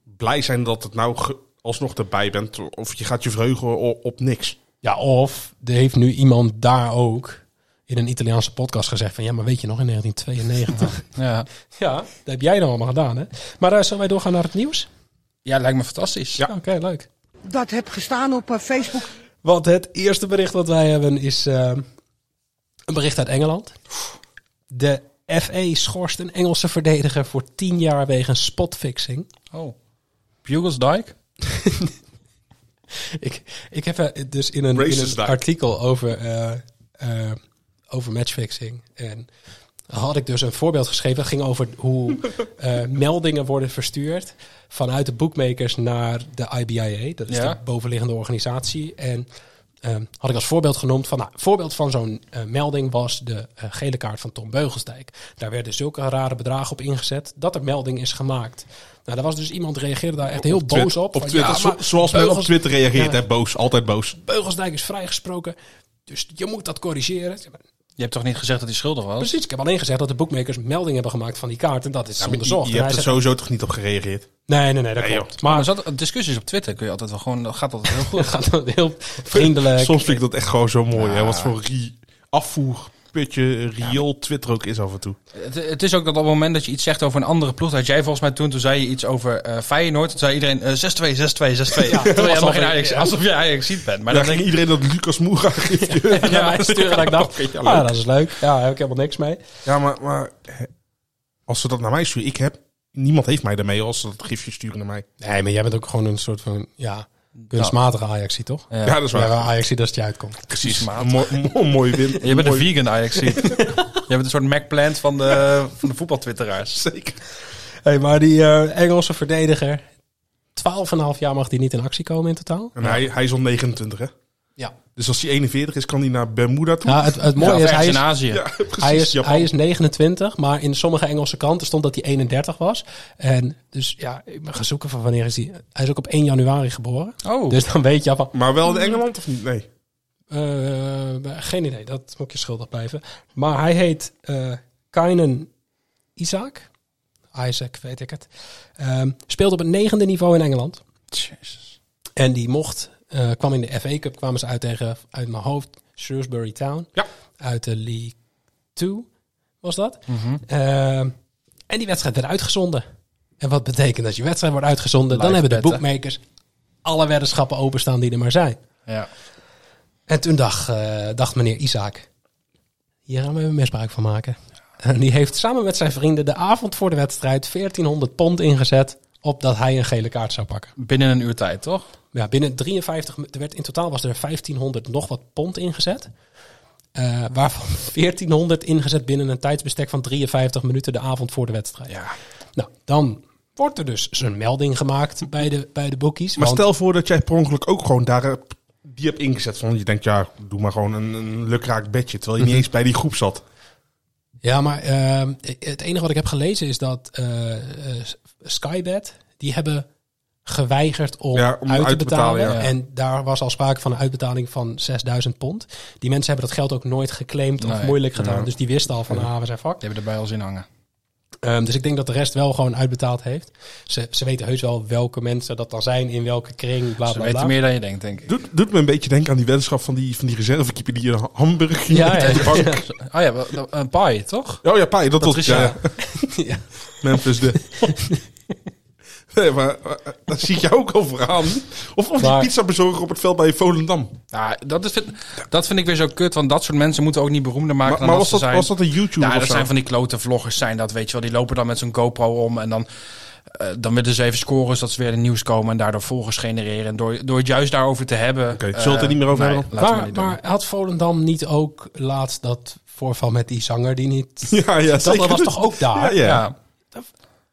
[SPEAKER 7] blij zijn dat het nou ge- alsnog erbij bent. Of je gaat je verheugen o- op, niks.
[SPEAKER 6] Ja, of er heeft nu iemand daar ook in een Italiaanse podcast gezegd van... ja, maar weet je nog, in 1992.
[SPEAKER 8] Ja.
[SPEAKER 6] ja, dat heb jij dan allemaal gedaan, hè? Maar eh, zullen wij doorgaan naar het nieuws?
[SPEAKER 8] ja, lijkt me fantastisch.
[SPEAKER 6] Oké, leuk.
[SPEAKER 9] dat heb gestaan op eh, Facebook.
[SPEAKER 6] Want het eerste bericht wat wij hebben is eh, een bericht uit Engeland. De FA schorst een Engelse verdediger voor 10 jaar wegens spotfixing.
[SPEAKER 8] Oh. Bugelsdijk?
[SPEAKER 6] Ik, ik heb eh, dus in een, in
[SPEAKER 7] Racist
[SPEAKER 6] een
[SPEAKER 7] daar.
[SPEAKER 6] artikel over, eh, eh, over matchfixing en had ik dus een voorbeeld geschreven. Dat ging over hoe eh, meldingen worden verstuurd vanuit de bookmakers naar de IBIA. Dat is
[SPEAKER 8] Ja.
[SPEAKER 6] de bovenliggende organisatie. En ehm, had ik als voorbeeld genoemd van, nou, voorbeeld van zo'n eh, melding was de eh, gele kaart van Tom Beugelsdijk. Daar werden zulke rare bedragen op ingezet dat er melding is gemaakt. Nou, daar was dus iemand reageerde daar echt heel boos op.
[SPEAKER 7] Op
[SPEAKER 6] Van,
[SPEAKER 7] Twitter,
[SPEAKER 6] ja,
[SPEAKER 7] zo-
[SPEAKER 6] maar
[SPEAKER 7] zoals men op
[SPEAKER 6] Beugels-
[SPEAKER 7] Twitter reageert,
[SPEAKER 6] Ja.
[SPEAKER 7] hè, boos. Altijd boos.
[SPEAKER 6] Beugelsdijk is vrijgesproken. Dus je moet dat corrigeren. Ik zeg, maar,
[SPEAKER 8] Je hebt toch niet gezegd dat hij schuldig was?
[SPEAKER 6] Precies, ik heb alleen gezegd dat de boekmakers melding hebben gemaakt van die kaart. En dat is Eh,
[SPEAKER 7] Ja, maar
[SPEAKER 6] onderzocht.
[SPEAKER 7] je,
[SPEAKER 6] En
[SPEAKER 7] je
[SPEAKER 6] hij
[SPEAKER 7] hebt er
[SPEAKER 6] zegt,
[SPEAKER 7] sowieso toch niet op gereageerd?
[SPEAKER 6] Nee, nee, nee, dat
[SPEAKER 7] Nee, joh.
[SPEAKER 6] klopt.
[SPEAKER 8] Maar
[SPEAKER 6] Maar
[SPEAKER 8] er zat- discussies op Twitter kun je altijd wel gewoon... Dat gaat altijd heel goed.
[SPEAKER 6] het gaat wel heel vriendelijk.
[SPEAKER 7] Soms vind ik dat echt gewoon zo mooi. Hè? Wat voor ri- afvoerputje, riool Twitter ook is af en toe.
[SPEAKER 8] Het, het is ook dat op het moment dat je iets zegt over een andere ploeg, dat jij volgens mij toen, toen zei je iets over eh Feyenoord, toen zei iedereen eh 6-2, 6-2, 6-2. terwijl je helemaal geen Ajax, alsof je Ajax ziet bent. Maar
[SPEAKER 7] Maar dan
[SPEAKER 8] dan denk
[SPEAKER 7] ging
[SPEAKER 8] ik,
[SPEAKER 7] iedereen dat Lucas Moura geeft.
[SPEAKER 6] Ja, mij sturen dat ik dacht,
[SPEAKER 7] Ja,
[SPEAKER 6] ah, dat is leuk. Ja, daar heb ik helemaal niks mee.
[SPEAKER 7] ja, maar, maar hè, als ze dat naar mij sturen, ik heb... Niemand heeft mij daarmee als ze dat gifje sturen naar mij.
[SPEAKER 6] Nee, maar jij bent ook gewoon een soort van, ja, kunstmatige Ajaxie, toch?
[SPEAKER 7] Ja,
[SPEAKER 8] Ja.
[SPEAKER 7] dat is
[SPEAKER 6] Ja,
[SPEAKER 7] waar.
[SPEAKER 6] Ajaxie dat het je uitkomt.
[SPEAKER 7] Precies. Een mooi, mooi, mooi win.
[SPEAKER 8] je bent een
[SPEAKER 7] Mooi-
[SPEAKER 8] vegan Ajax ziet. je bent een soort Mac Plant van de, van de voetbaltwitteraars.
[SPEAKER 7] Zeker.
[SPEAKER 6] Hey, maar die eh, Engelse verdediger, 12,5 jaar mag die niet in actie komen in totaal.
[SPEAKER 7] En hij, hij is al 29, hè?
[SPEAKER 6] Ja.
[SPEAKER 7] Dus als hij 41 is, kan hij naar Bermuda toe.
[SPEAKER 6] Ja, het, het mooie
[SPEAKER 8] Ja, of
[SPEAKER 6] is, hij
[SPEAKER 8] ergens
[SPEAKER 6] is,
[SPEAKER 8] in Azië.
[SPEAKER 7] Ja, precies.
[SPEAKER 6] hij, is,
[SPEAKER 7] Japan.
[SPEAKER 6] hij is 29, maar in sommige Engelse kranten stond dat hij 31 was. En dus ja, ik ben gaan zoeken van wanneer is hij. Hij is ook op 1 januari geboren.
[SPEAKER 8] Oh,
[SPEAKER 6] Dus dan weet je al van,
[SPEAKER 7] Maar wel in Engeland of niet? Nee.
[SPEAKER 6] eh, geen idee, dat moet je schuldig blijven. Maar hij heet eh Kainen Isaac. Isaac, weet ik het. Ehm speelde op het negende niveau in Engeland.
[SPEAKER 8] Jezus.
[SPEAKER 6] En die mocht, eh, kwam in de FA Cup, kwamen ze uit tegen, uit mijn hoofd, Shrewsbury Town.
[SPEAKER 7] Ja.
[SPEAKER 6] Uit de League 2 was dat.
[SPEAKER 8] Mhm.
[SPEAKER 6] Ehm, en die wedstrijd werd uitgezonden. En wat betekent dat je wedstrijd wordt uitgezonden?
[SPEAKER 8] Live
[SPEAKER 6] dan hebben de
[SPEAKER 8] betten.
[SPEAKER 6] boekmakers alle weddenschappen openstaan die er maar zijn.
[SPEAKER 8] Ja.
[SPEAKER 6] En toen dacht, eh, dacht meneer Isaac, hier gaan we even misbruik van maken. En die heeft samen met zijn vrienden de avond voor de wedstrijd 1400 pond ingezet op dat hij een gele kaart zou pakken.
[SPEAKER 8] Binnen een uur tijd, toch?
[SPEAKER 6] Ja, binnen 53, mi- er werd in totaal was er 1500 nog wat pond ingezet. Eh, waarvan 1400 ingezet binnen een tijdsbestek van 53 minuten de avond voor de wedstrijd.
[SPEAKER 8] Ja.
[SPEAKER 6] Nou, dan wordt er dus zo'n melding gemaakt bij de, bij de bookies.
[SPEAKER 7] Maar
[SPEAKER 6] want-
[SPEAKER 7] stel voor dat jij per ongeluk ook gewoon daar hebt- die hebt ingezet. Van je denkt, ja, doe maar gewoon een, een lukraak bedje. Terwijl je
[SPEAKER 6] Mhm.
[SPEAKER 7] niet eens bij die groep zat.
[SPEAKER 6] Ja, maar ehm, het enige wat ik heb gelezen is dat eh, eh, Skybet, die hebben geweigerd om,
[SPEAKER 7] Ja, om
[SPEAKER 6] uit te
[SPEAKER 7] uit te
[SPEAKER 6] betalen.
[SPEAKER 7] betalen,
[SPEAKER 8] ja.
[SPEAKER 6] En daar was al sprake van een uitbetaling van 6000 pond. Die mensen hebben dat geld ook nooit geclaimd of
[SPEAKER 8] Nee.
[SPEAKER 6] moeilijk gedaan. Dus die wisten al van, ah, we zijn fucked.
[SPEAKER 8] Die hebben erbij al zin hangen.
[SPEAKER 6] Ehm, dus ik denk dat de rest wel gewoon uitbetaald heeft. Ze, ze weten heus wel welke mensen dat dan zijn, in welke kring, bla
[SPEAKER 8] Ze
[SPEAKER 6] bla
[SPEAKER 8] weten
[SPEAKER 6] bla.
[SPEAKER 8] meer dan je denkt, denk ik.
[SPEAKER 7] Doet, doet me een beetje denken aan die weddenschap van die, van die reservekeeper die in Hamburg ging.
[SPEAKER 6] Ja, ja.
[SPEAKER 7] Op de bank.
[SPEAKER 8] Oh ja, wel- een paai, toch?
[SPEAKER 7] Oh ja, paai, dat, was...
[SPEAKER 8] Patricia.
[SPEAKER 7] Ja, ja. Memphis de... Nee, maar eh, daar zie ik jou ook over aan. Of, of die
[SPEAKER 6] Maar-
[SPEAKER 7] pizza bezorger op het veld bij Volendam.
[SPEAKER 8] Ja, dat, is, vind- dat vind ik weer zo kut, want dat soort mensen moeten ook niet beroemder maken
[SPEAKER 7] Maar,
[SPEAKER 8] dan
[SPEAKER 7] maar
[SPEAKER 8] dat
[SPEAKER 7] was,
[SPEAKER 8] ze
[SPEAKER 7] dat,
[SPEAKER 8] zijn.
[SPEAKER 7] was dat een YouTuber
[SPEAKER 8] ja,
[SPEAKER 7] of
[SPEAKER 8] dat
[SPEAKER 7] zo?
[SPEAKER 8] zijn van die klote vloggers zijn dat, weet je wel. Die lopen dan met zo'n GoPro om en dan, eh, dan willen ze even scoren zodat ze weer in het nieuws komen en daardoor volgers genereren. En door, door het juist daarover te hebben...
[SPEAKER 7] Oké,
[SPEAKER 8] eh,
[SPEAKER 7] zullen we het er niet meer over
[SPEAKER 8] nee,
[SPEAKER 7] hebben?
[SPEAKER 8] laten we maar
[SPEAKER 6] Maar,
[SPEAKER 8] niet doen.
[SPEAKER 6] maar had Volendam niet ook laatst dat voorval met die zanger die niet...
[SPEAKER 7] Ja, ja,
[SPEAKER 6] dat
[SPEAKER 7] zeker.
[SPEAKER 6] was toch ook daar?
[SPEAKER 7] Ja, ja.
[SPEAKER 8] Ja,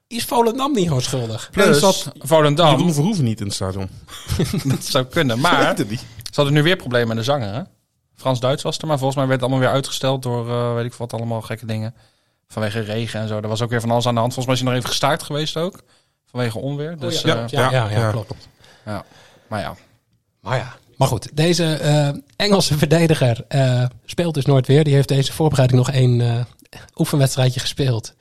[SPEAKER 6] Is Volendam niet gewoon schuldig?
[SPEAKER 7] Plus,
[SPEAKER 8] plus
[SPEAKER 7] dat
[SPEAKER 8] Volendam,
[SPEAKER 7] Jeroen Verhoeven niet in het stadion.
[SPEAKER 8] dat zou kunnen.
[SPEAKER 7] Ik
[SPEAKER 8] Maar
[SPEAKER 7] weet het niet.
[SPEAKER 8] ze hadden nu weer problemen met de zanger, hè? Frans-Duits was er, maar volgens mij werd het allemaal weer uitgesteld door, eh, weet ik wat, allemaal gekke dingen. Vanwege regen en zo. Er was ook weer van alles aan de hand. Volgens mij is hij nog even gestaakt geweest ook. Vanwege onweer. Dus,
[SPEAKER 6] ja,
[SPEAKER 8] eh,
[SPEAKER 6] ja, ja,
[SPEAKER 7] ja, ja.
[SPEAKER 6] klopt.
[SPEAKER 8] Maar ja,
[SPEAKER 6] Maar ja. Maar goed, deze eh, Engelse verdediger eh, speelt dus nooit weer. Die heeft deze voorbereiding nog één eh, oefenwedstrijdje gespeeld.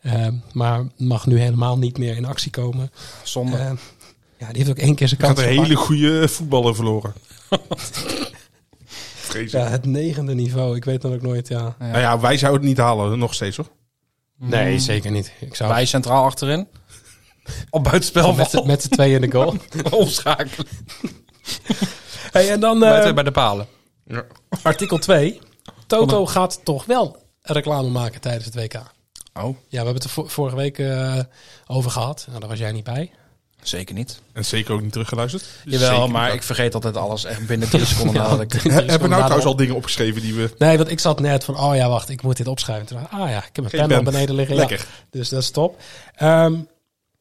[SPEAKER 6] Eh, maar mag nu helemaal niet meer in actie komen.
[SPEAKER 8] zonde.
[SPEAKER 6] Eh, ja, die heeft ook één keer zijn
[SPEAKER 7] Ik
[SPEAKER 6] kans
[SPEAKER 7] had een
[SPEAKER 6] gepakt.
[SPEAKER 7] hele goede voetballer verloren. Vreselijk.
[SPEAKER 6] Ja, het negende niveau. Ik weet dan ook nooit, ja.
[SPEAKER 7] Nou ja, wij zouden het niet halen, nog steeds hoor.
[SPEAKER 6] Nee, zeker niet. Ik zou
[SPEAKER 8] Wij centraal achterin. Op buitenspel
[SPEAKER 6] met,
[SPEAKER 8] met
[SPEAKER 6] z'n- met z'n tweeën in de goal.
[SPEAKER 8] omschakelen.
[SPEAKER 6] hey, en dan eh,
[SPEAKER 8] Buiten bij de palen.
[SPEAKER 6] artikel 2. Toto gaat toch wel reclame maken tijdens het WK.
[SPEAKER 8] Oh,
[SPEAKER 6] Ja, we hebben het er vo- vorige week eh, over gehad. Nou, daar was jij niet bij.
[SPEAKER 8] zeker niet.
[SPEAKER 7] En zeker ook niet teruggeluisterd.
[SPEAKER 8] Jawel,
[SPEAKER 7] Zeker
[SPEAKER 8] maar
[SPEAKER 7] niet.
[SPEAKER 8] ik vergeet altijd alles echt binnen drie seconden nadat ik...
[SPEAKER 7] He- Hebben we nou trouwens al dingen opgeschreven die we...
[SPEAKER 6] Nee, want ik zat net van, oh ja, wacht, ik moet dit opschrijven. Toen dacht ik, ah ja, ik heb
[SPEAKER 7] Geen
[SPEAKER 6] mijn pen al
[SPEAKER 7] pen.
[SPEAKER 6] beneden liggen. ja.
[SPEAKER 7] Lekker.
[SPEAKER 6] dus dat is top. Ehm,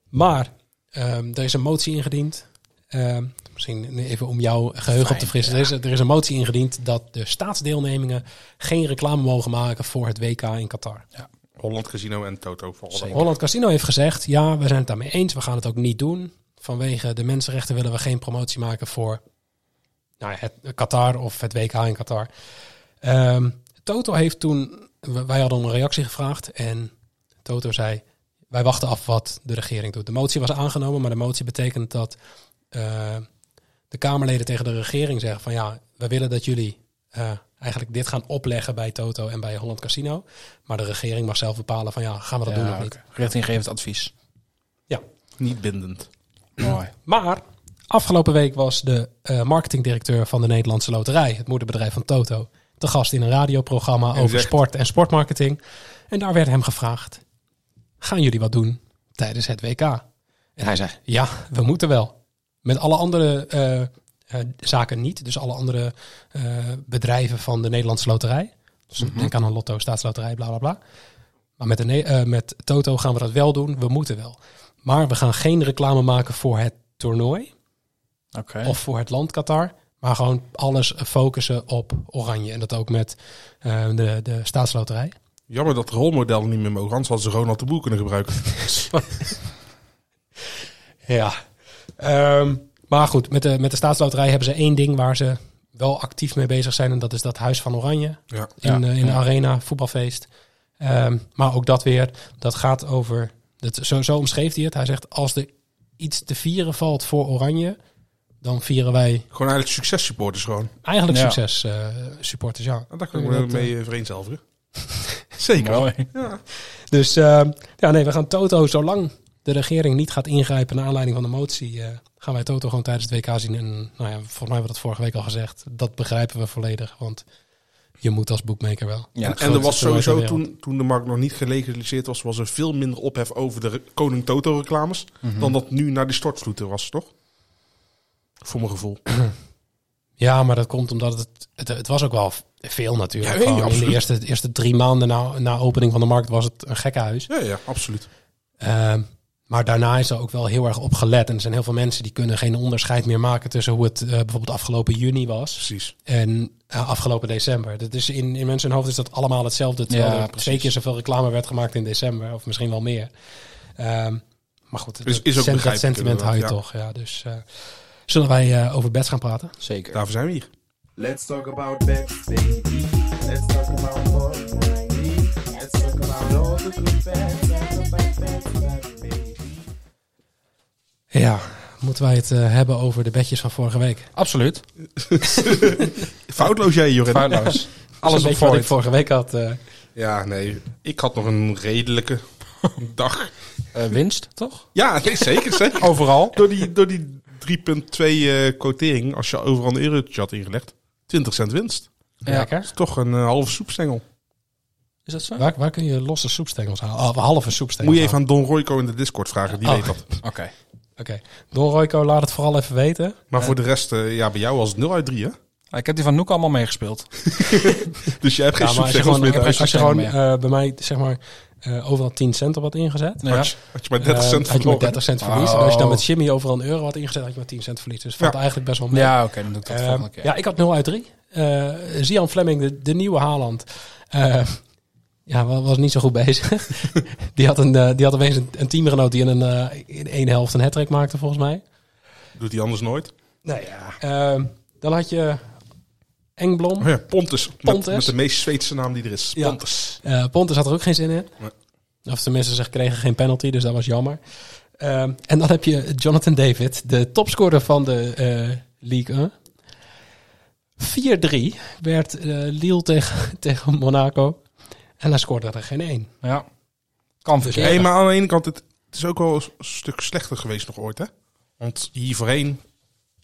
[SPEAKER 6] maar, ehm, er is een motie ingediend. Ehm, misschien even om jouw geheugen op te frissen. Er, is, er is een motie ingediend dat de staatsdeelnemingen geen reclame mogen maken voor het WK in Qatar.
[SPEAKER 7] Holland Casino en Toto. voor allebei.
[SPEAKER 6] Holland Casino heeft gezegd, ja, we zijn het daarmee eens. We gaan het ook niet doen. Vanwege de mensenrechten willen we geen promotie maken voor nou, ja, het Qatar of het WK in Qatar. Ehm, Toto heeft toen, w- wij hadden om een reactie gevraagd en Toto zei, wij wachten af wat de regering doet. De motie was aangenomen, maar de motie betekent dat eh, de Kamerleden tegen de regering zeggen van ja, we willen dat jullie eh, eigenlijk dit gaan opleggen bij Toto en bij Holland Casino. Maar de regering mag zelf bepalen van ja, gaan we dat doen of niet.
[SPEAKER 8] Richtinggevend advies.
[SPEAKER 7] Niet bindend.
[SPEAKER 8] Mooi.
[SPEAKER 6] Maar afgelopen week was de eh, marketingdirecteur van de Nederlandse Loterij, het moederbedrijf van Toto, te gast in een radioprogramma over
[SPEAKER 7] zegt-
[SPEAKER 6] sport en sportmarketing. En daar werd hem gevraagd: gaan jullie wat doen tijdens het WK? En hij zei: ja, we moeten wel. Met alle andere eh, eh, zaken niet, dus alle andere eh, bedrijven van de Nederlandse Loterij. Dus denk aan een lotto, staatsloterij, bla bla bla. Maar met, de, ne- eh, met Toto gaan we dat wel doen. We moeten wel. Maar we gaan geen reclame maken voor het toernooi
[SPEAKER 8] Oké.
[SPEAKER 6] of voor het land Qatar. Maar gewoon alles focussen op Oranje. En dat ook met eh, de, de staatsloterij.
[SPEAKER 7] Jammer dat rolmodellen niet meer mogen. Anders hadden ze Ronald de Boer kunnen gebruiken.
[SPEAKER 6] Ja. Ehm, maar goed, met de, met de staatsloterij hebben ze één ding waar ze wel actief mee bezig zijn. En dat is dat Huis van Oranje.
[SPEAKER 7] Ja.
[SPEAKER 6] in,
[SPEAKER 8] Ja,
[SPEAKER 6] eh, in de
[SPEAKER 8] ja.
[SPEAKER 6] arena, voetbalfeest. Ehm, maar ook dat weer, dat gaat over. Dat, zo, zo omschreef hij het. Hij zegt: als er iets te vieren valt voor Oranje, dan vieren wij
[SPEAKER 7] Gewoon eigenlijk successupporters gewoon.
[SPEAKER 6] eigenlijk
[SPEAKER 8] Ja.
[SPEAKER 6] succes, eh, supporters. Ja.
[SPEAKER 7] Nou, daar kan ik
[SPEAKER 6] Dat,
[SPEAKER 7] me
[SPEAKER 6] eh,
[SPEAKER 7] mee eh, vereenzelvigen. Zeker.
[SPEAKER 8] Mooi.
[SPEAKER 6] Dus ehm, ja, nee, we gaan Toto, zolang de regering niet gaat ingrijpen naar aanleiding van de motie, eh, gaan wij Toto gewoon tijdens het WK zien. En nou ja, volgens mij hebben we dat vorige week al gezegd. Dat begrijpen we volledig, want je moet als boekmaker wel.
[SPEAKER 8] Ja,
[SPEAKER 7] en,
[SPEAKER 8] het
[SPEAKER 7] en er was
[SPEAKER 6] grootste toernooi ter
[SPEAKER 7] sowieso,
[SPEAKER 6] wereld.
[SPEAKER 7] toen, toen de markt nog niet gelegaliseerd was, was er veel minder ophef over de re- Koning Toto reclames. Dan dat nu naar de stortvloeten was, toch? Voor mijn gevoel.
[SPEAKER 6] Ja, maar dat komt omdat het... Het, het was ook wel veel natuurlijk.
[SPEAKER 7] Ja, nee,
[SPEAKER 6] Gewoon in de
[SPEAKER 7] absoluut.
[SPEAKER 6] eerste, de eerste drie maanden na, na opening van de markt was het een gekkenhuis.
[SPEAKER 7] Ja, ja, absoluut.
[SPEAKER 6] Ehm, maar daarna is er ook wel heel erg op gelet. En er zijn heel veel mensen die kunnen geen onderscheid meer maken... tussen hoe het eh, bijvoorbeeld afgelopen juni was
[SPEAKER 7] Precies.
[SPEAKER 6] en eh, afgelopen december. Dat is in, in mensen hun hoofd is dat allemaal hetzelfde. Terwijl
[SPEAKER 8] Ja,
[SPEAKER 6] er twee
[SPEAKER 8] precies.
[SPEAKER 6] keer zoveel reclame werd gemaakt in december. Of misschien wel meer. Ehm, maar goed, het
[SPEAKER 7] Is- is ook
[SPEAKER 6] dat
[SPEAKER 7] begrijpelijk
[SPEAKER 6] sentiment hou je
[SPEAKER 7] inderdaad,
[SPEAKER 6] toch. Ja, dus eh, zullen wij eh, over bets gaan praten?
[SPEAKER 8] Zeker.
[SPEAKER 7] Daarvoor zijn we hier.
[SPEAKER 10] Let's talk about bets, baby. Let's talk about money. Let's talk about all the good bets and the bad bets, that, baby.
[SPEAKER 6] Ja, moeten wij het eh, hebben over de bedjes van vorige week?
[SPEAKER 8] Absoluut.
[SPEAKER 7] Foutloos jij, Jorrit.
[SPEAKER 8] Foutloos.
[SPEAKER 6] Alles
[SPEAKER 8] Alles op
[SPEAKER 6] beetje wat ik
[SPEAKER 8] Voigt.
[SPEAKER 6] vorige week had. eh,
[SPEAKER 7] Ja, nee. Ik had nog een redelijke. Dag.
[SPEAKER 8] Eh, winst, toch?
[SPEAKER 7] Ja, nee, zeker, zeker.
[SPEAKER 8] Overal.
[SPEAKER 7] Door die, door die 3.2 eh quotering, als je overal een eurotje had ingelegd, 20 cent winst.
[SPEAKER 8] Ja.
[SPEAKER 7] Dat is toch een eh, halve soepstengel.
[SPEAKER 8] Is dat zo?
[SPEAKER 6] Waar, waar kun je losse soepstengels halen? Oh, halve soepstengels
[SPEAKER 7] Moet je even aan Don Royco in de Discord vragen, die
[SPEAKER 6] Oh.
[SPEAKER 7] weet dat.
[SPEAKER 8] Oké.
[SPEAKER 6] halen. Oké. Don Royco, laat het vooral even weten.
[SPEAKER 7] Maar voor de rest, eh, ja, bij jou was het 0 uit 3, hè?
[SPEAKER 8] Ah, Ik heb die van Noek allemaal meegespeeld.
[SPEAKER 7] Dus jij hebt geen
[SPEAKER 6] Ja, maar als je
[SPEAKER 7] soepstengels
[SPEAKER 6] gewoon,
[SPEAKER 7] meer
[SPEAKER 8] heb
[SPEAKER 7] thuis.
[SPEAKER 8] thuis.
[SPEAKER 6] als je gewoon
[SPEAKER 8] Ja.
[SPEAKER 6] eh, bij mij zeg maar, eh, overal 10 cent op had ingezet.
[SPEAKER 8] Ja.
[SPEAKER 7] Had, je, had je maar 30
[SPEAKER 6] eh,
[SPEAKER 7] cent
[SPEAKER 6] had je maar
[SPEAKER 7] verloren.
[SPEAKER 6] 30 cent verlies.
[SPEAKER 8] Oh.
[SPEAKER 6] En als je dan met Jimmy overal een euro had ingezet, had je maar 10 cent verlies. Dus valt
[SPEAKER 7] Ja.
[SPEAKER 6] eigenlijk best wel mee.
[SPEAKER 8] Ja, oké, dan doe ik dat de
[SPEAKER 6] Ehm,
[SPEAKER 8] volgende keer.
[SPEAKER 6] ja, ik had 0 uit 3. Eh Zian Fleming, de, de nieuwe Haaland. eh, ja, wa- was niet zo goed bezig. die, had een, eh, die had opeens een, een teamgenoot die in, een, eh, in één helft een hat maakte, volgens mij.
[SPEAKER 7] Doet hij anders nooit.
[SPEAKER 6] Nou ja. Ehm, dan had je Engblom.
[SPEAKER 7] Oh ja, Pontus. Met-
[SPEAKER 6] Pontus.
[SPEAKER 7] Met, de meest Zweedse naam die er is.
[SPEAKER 6] Ja.
[SPEAKER 7] Pontus.
[SPEAKER 6] Eh, Pontus had er ook geen zin in.
[SPEAKER 7] Nee.
[SPEAKER 6] Of tenminste, ze kregen geen penalty, dus dat was jammer. Ehm, en dan heb je Jonathan David, de topscorer van de eh, League 1. 4-3 werd eh, Lille tegen, tegen Monaco. En hij scoorde er geen één.
[SPEAKER 8] Ja. Kan
[SPEAKER 6] Dus
[SPEAKER 8] dus
[SPEAKER 6] Ja.
[SPEAKER 7] Hey, maar aan de ene kant, het, het is ook wel een stuk slechter geweest nog ooit, hè? Want hier voorheen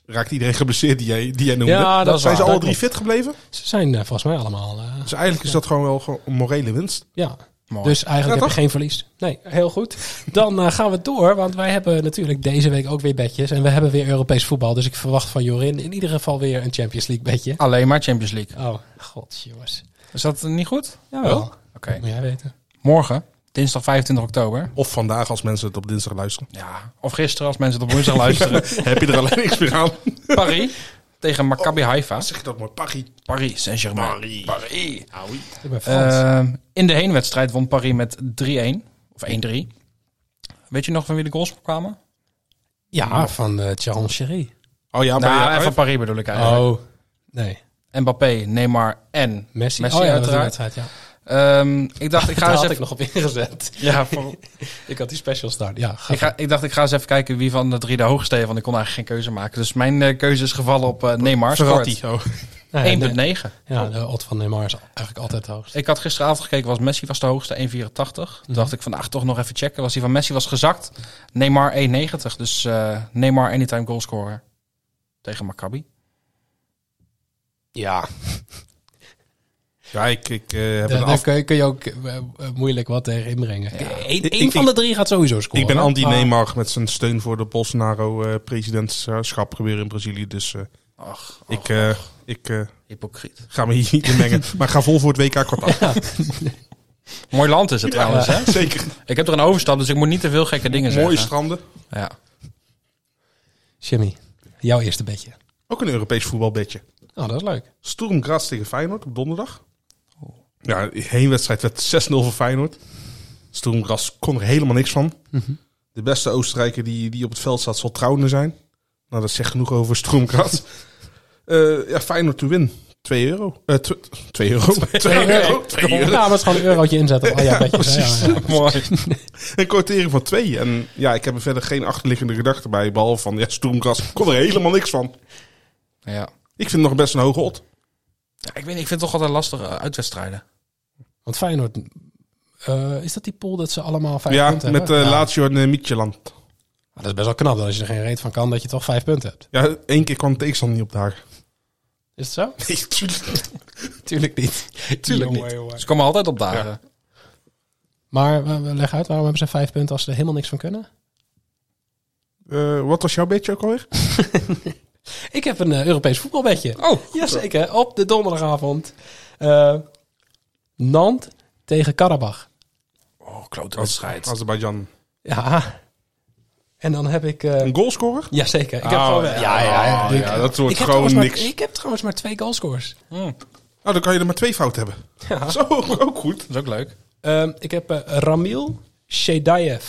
[SPEAKER 7] raakt iedereen geblesseerd die jij, die jij noemde.
[SPEAKER 6] Ja, dat is
[SPEAKER 7] Zijn ze
[SPEAKER 6] waar,
[SPEAKER 7] alle
[SPEAKER 6] dat
[SPEAKER 7] drie fit gebleven?
[SPEAKER 6] Ze zijn eh, volgens mij allemaal... eh,
[SPEAKER 7] Dus eigenlijk is dat gewoon wel gewoon een morele winst.
[SPEAKER 6] ja,
[SPEAKER 8] Mooi.
[SPEAKER 6] dus eigenlijk
[SPEAKER 7] Ja,
[SPEAKER 6] heb je geen verlies. Nee, heel goed. Dan eh, gaan we door, want wij hebben natuurlijk deze week ook weer bedjes. En we hebben weer Europees voetbal. Dus ik verwacht van Jorin in ieder geval weer een Champions League bedje.
[SPEAKER 8] Alleen maar Champions League.
[SPEAKER 6] Oh, god jongens.
[SPEAKER 8] Is dat niet goed?
[SPEAKER 6] Jawel.
[SPEAKER 8] Oké.
[SPEAKER 6] Moet jij weten.
[SPEAKER 8] Morgen, dinsdag 25 oktober.
[SPEAKER 7] Of vandaag als mensen het op dinsdag luisteren.
[SPEAKER 8] Ja. Of gisteren, als mensen het op woensdag luisteren.
[SPEAKER 7] Heb je er alleen niks meer aan?
[SPEAKER 8] Paris tegen Maccabi Haifa.
[SPEAKER 7] Zeg je dat maar, Paggy?
[SPEAKER 8] Paris Saint-Germain.
[SPEAKER 7] Paris.
[SPEAKER 8] Oh. Paris.
[SPEAKER 6] Ik ben Frans.
[SPEAKER 8] Ehm, in de heenwedstrijd won Paris met 3-1. Of 1-3. Weet je nog van wie de goals kwamen?
[SPEAKER 6] ja, van eh Charles Sherry.
[SPEAKER 7] Oh ja, maar
[SPEAKER 8] nou,
[SPEAKER 7] ja,
[SPEAKER 8] en van
[SPEAKER 7] uit-
[SPEAKER 8] Paris bedoel ik eigenlijk.
[SPEAKER 6] Oh. nee.
[SPEAKER 8] Mbappé, Neymar en
[SPEAKER 6] Messi.
[SPEAKER 8] Messi
[SPEAKER 6] oh ja, dat was die
[SPEAKER 8] uiteraard.
[SPEAKER 6] wedstrijd, ja.
[SPEAKER 8] Ehm, ik dacht, ik
[SPEAKER 6] Daar
[SPEAKER 8] ga eens
[SPEAKER 6] had ik
[SPEAKER 8] even...
[SPEAKER 6] nog op ingezet.
[SPEAKER 8] Ja, voor-
[SPEAKER 6] ik had die special start. Ja, ga
[SPEAKER 8] ik, ga, ik dacht, ik ga eens even kijken wie van de drie de hoogste heeft. Want ik kon eigenlijk geen keuze maken. Dus mijn eh, keuze is gevallen op eh, Neymar.
[SPEAKER 7] Verratti.
[SPEAKER 8] Scoort.
[SPEAKER 7] Oh.
[SPEAKER 6] Nee, nee.
[SPEAKER 8] 1,9.
[SPEAKER 6] Ja, de odd van Neymar is eigenlijk altijd het hoogst.
[SPEAKER 8] Ik had gisteravond gekeken, was Messi was de hoogste, 1,84. Toen dacht ik van, ach, toch nog even checken. Was die van Messi was gezakt. Neymar 1,90. Dus eh, Neymar anytime goalscorer tegen Maccabi.
[SPEAKER 6] Ja,
[SPEAKER 7] Ja, ik, ik eh, heb
[SPEAKER 6] daar,
[SPEAKER 7] een
[SPEAKER 6] daar
[SPEAKER 7] af...
[SPEAKER 6] kun, je, kun je ook eh, eh, moeilijk wat tegen inbrengen. Eén
[SPEAKER 7] Ik-
[SPEAKER 6] één
[SPEAKER 7] ik-
[SPEAKER 6] van de drie gaat sowieso scoren.
[SPEAKER 7] Ik ben
[SPEAKER 6] hè?
[SPEAKER 7] anti-Neymar met zijn steun voor de Bolsonaro-presidentschap gebeuren in Brazilië. Dus eh,
[SPEAKER 8] Ach, ach,
[SPEAKER 7] ik, eh, ik eh,
[SPEAKER 8] hypocriet.
[SPEAKER 7] ga me hier niet in mengen. Maar ik ga vol voor het WK kwartaal.
[SPEAKER 8] Mooi land is het trouwens, hè?
[SPEAKER 7] Zeker.
[SPEAKER 8] Ik heb er een overstap, dus ik moet niet te veel gekke dingen
[SPEAKER 7] Mooie
[SPEAKER 8] zeggen.
[SPEAKER 7] stranden.
[SPEAKER 8] Ja.
[SPEAKER 6] Ah. Jimmy, jouw eerste bedje.
[SPEAKER 7] Ook een Europees voetbalbedje.
[SPEAKER 6] Oh, dat is leuk.
[SPEAKER 7] Sturm Graz tegen Feyenoord op donderdag.
[SPEAKER 6] Oh.
[SPEAKER 7] Ja, de heenwedstrijd werd 6-0 voor Feyenoord. Sturm Graz kon er helemaal niks van.
[SPEAKER 6] Mhm.
[SPEAKER 7] De beste Oostenrijker die, die op het veld staat zal Trouwner zijn. Nou, dat zegt genoeg over Sturm Graz. Eh, ja, Feyenoord to win. 2 euro. 2 euro. 2 euro. 2 euro.
[SPEAKER 6] Ja, maar het is gewoon een eurotje inzetten. Oh, ja, bedjes, hè? Ja, ja.
[SPEAKER 8] Mooi.
[SPEAKER 7] Een kwartering van 2. En ja, ik heb er verder geen achterliggende gedachte bij. Behalve van, ja, Sturm Graz kon er helemaal niks van.
[SPEAKER 8] Ja.
[SPEAKER 7] Ik vind het nog best een hoge odd.
[SPEAKER 8] Ja, ik weet niet, ik vind het toch altijd lastig eh, uitwedstrijden.
[SPEAKER 6] Want Feyenoord, eh, is dat die pool dat ze allemaal vijf
[SPEAKER 7] Ja,
[SPEAKER 6] punten
[SPEAKER 7] met
[SPEAKER 6] hebben? Nou,
[SPEAKER 7] eh Lazio en eh, Midtjylland.
[SPEAKER 6] Maar dat is best wel knap dat als je er geen reet van kan, dat je toch vijf punten hebt.
[SPEAKER 7] Ja, één keer kwam de tegenstander niet op de haak.
[SPEAKER 6] Is het zo?
[SPEAKER 7] Nee, tuurlijk.
[SPEAKER 6] Tuurlijk niet. Tuurlijk niet.
[SPEAKER 8] Ze komen altijd op dagen.
[SPEAKER 6] Maar eh, we, we leggen uit, waarom hebben ze vijf punten als ze er helemaal niks van kunnen?
[SPEAKER 7] Eh, wat was jouw beetje ook alweer?
[SPEAKER 6] Ik heb een eh, Europees voetbalbedje.
[SPEAKER 8] Oh,
[SPEAKER 6] Jazeker, op de donderdagavond. Eh Nant tegen Karabach.
[SPEAKER 8] Oh, klote wedstrijd.
[SPEAKER 7] Azerbeidzjan.
[SPEAKER 6] Ja. En dan heb ik... eh
[SPEAKER 7] Een goalscorer?
[SPEAKER 6] jazeker, ik heb gewoon... eh,
[SPEAKER 7] Oh, ja, ja, ja,
[SPEAKER 6] ik-
[SPEAKER 7] dat wordt
[SPEAKER 6] ik heb
[SPEAKER 7] gewoon
[SPEAKER 6] trouwens maar-
[SPEAKER 7] niks.
[SPEAKER 6] ik heb trouwens maar twee goalscores.
[SPEAKER 7] Oh, dan kan je er maar twee fout hebben.
[SPEAKER 6] Ja.
[SPEAKER 7] Zo, ook goed.
[SPEAKER 8] Dat is ook leuk.
[SPEAKER 6] Ehm, ik heb eh, Ramil Shedayev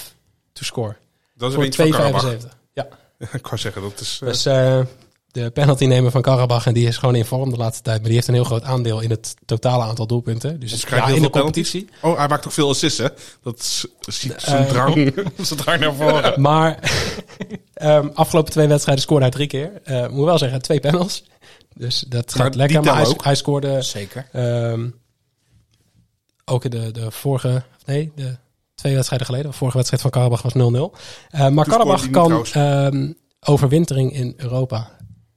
[SPEAKER 6] to score.
[SPEAKER 7] Dat is
[SPEAKER 6] Voor
[SPEAKER 7] een beetje van Karabach.
[SPEAKER 6] 2,75. Ja.
[SPEAKER 7] Ik kan zeggen, dat is... eh,
[SPEAKER 6] Dus eh, de penaltynemer van Karabach. En die is gewoon in vorm de laatste tijd. Maar die heeft een heel groot aandeel in het totale aantal doelpunten. Dus
[SPEAKER 7] ze
[SPEAKER 6] ja,
[SPEAKER 7] krijgen heel
[SPEAKER 6] in de
[SPEAKER 7] veel
[SPEAKER 6] competitie.
[SPEAKER 7] penalties. Oh, hij maakt ook veel assists, hè? Dat is ziet zijn
[SPEAKER 6] eh,
[SPEAKER 7] drang.
[SPEAKER 8] Ze draaien naar voren.
[SPEAKER 6] Maar ehm, afgelopen twee wedstrijden scoorde hij drie keer. Eh moet wel zeggen, twee panels. Dus dat
[SPEAKER 7] Maar
[SPEAKER 6] gaat
[SPEAKER 7] die
[SPEAKER 6] lekker. Maar hij,
[SPEAKER 7] tellen
[SPEAKER 6] hij scoorde
[SPEAKER 8] Zeker.
[SPEAKER 6] ehm, ook in de, de vorige... Nee, de Twee wedstrijden geleden. De vorige wedstrijd van Karabach was 0-0. Eh, maar Karabach
[SPEAKER 7] niet
[SPEAKER 6] kan
[SPEAKER 7] trouwens.
[SPEAKER 6] ehm, overwintering in Europa,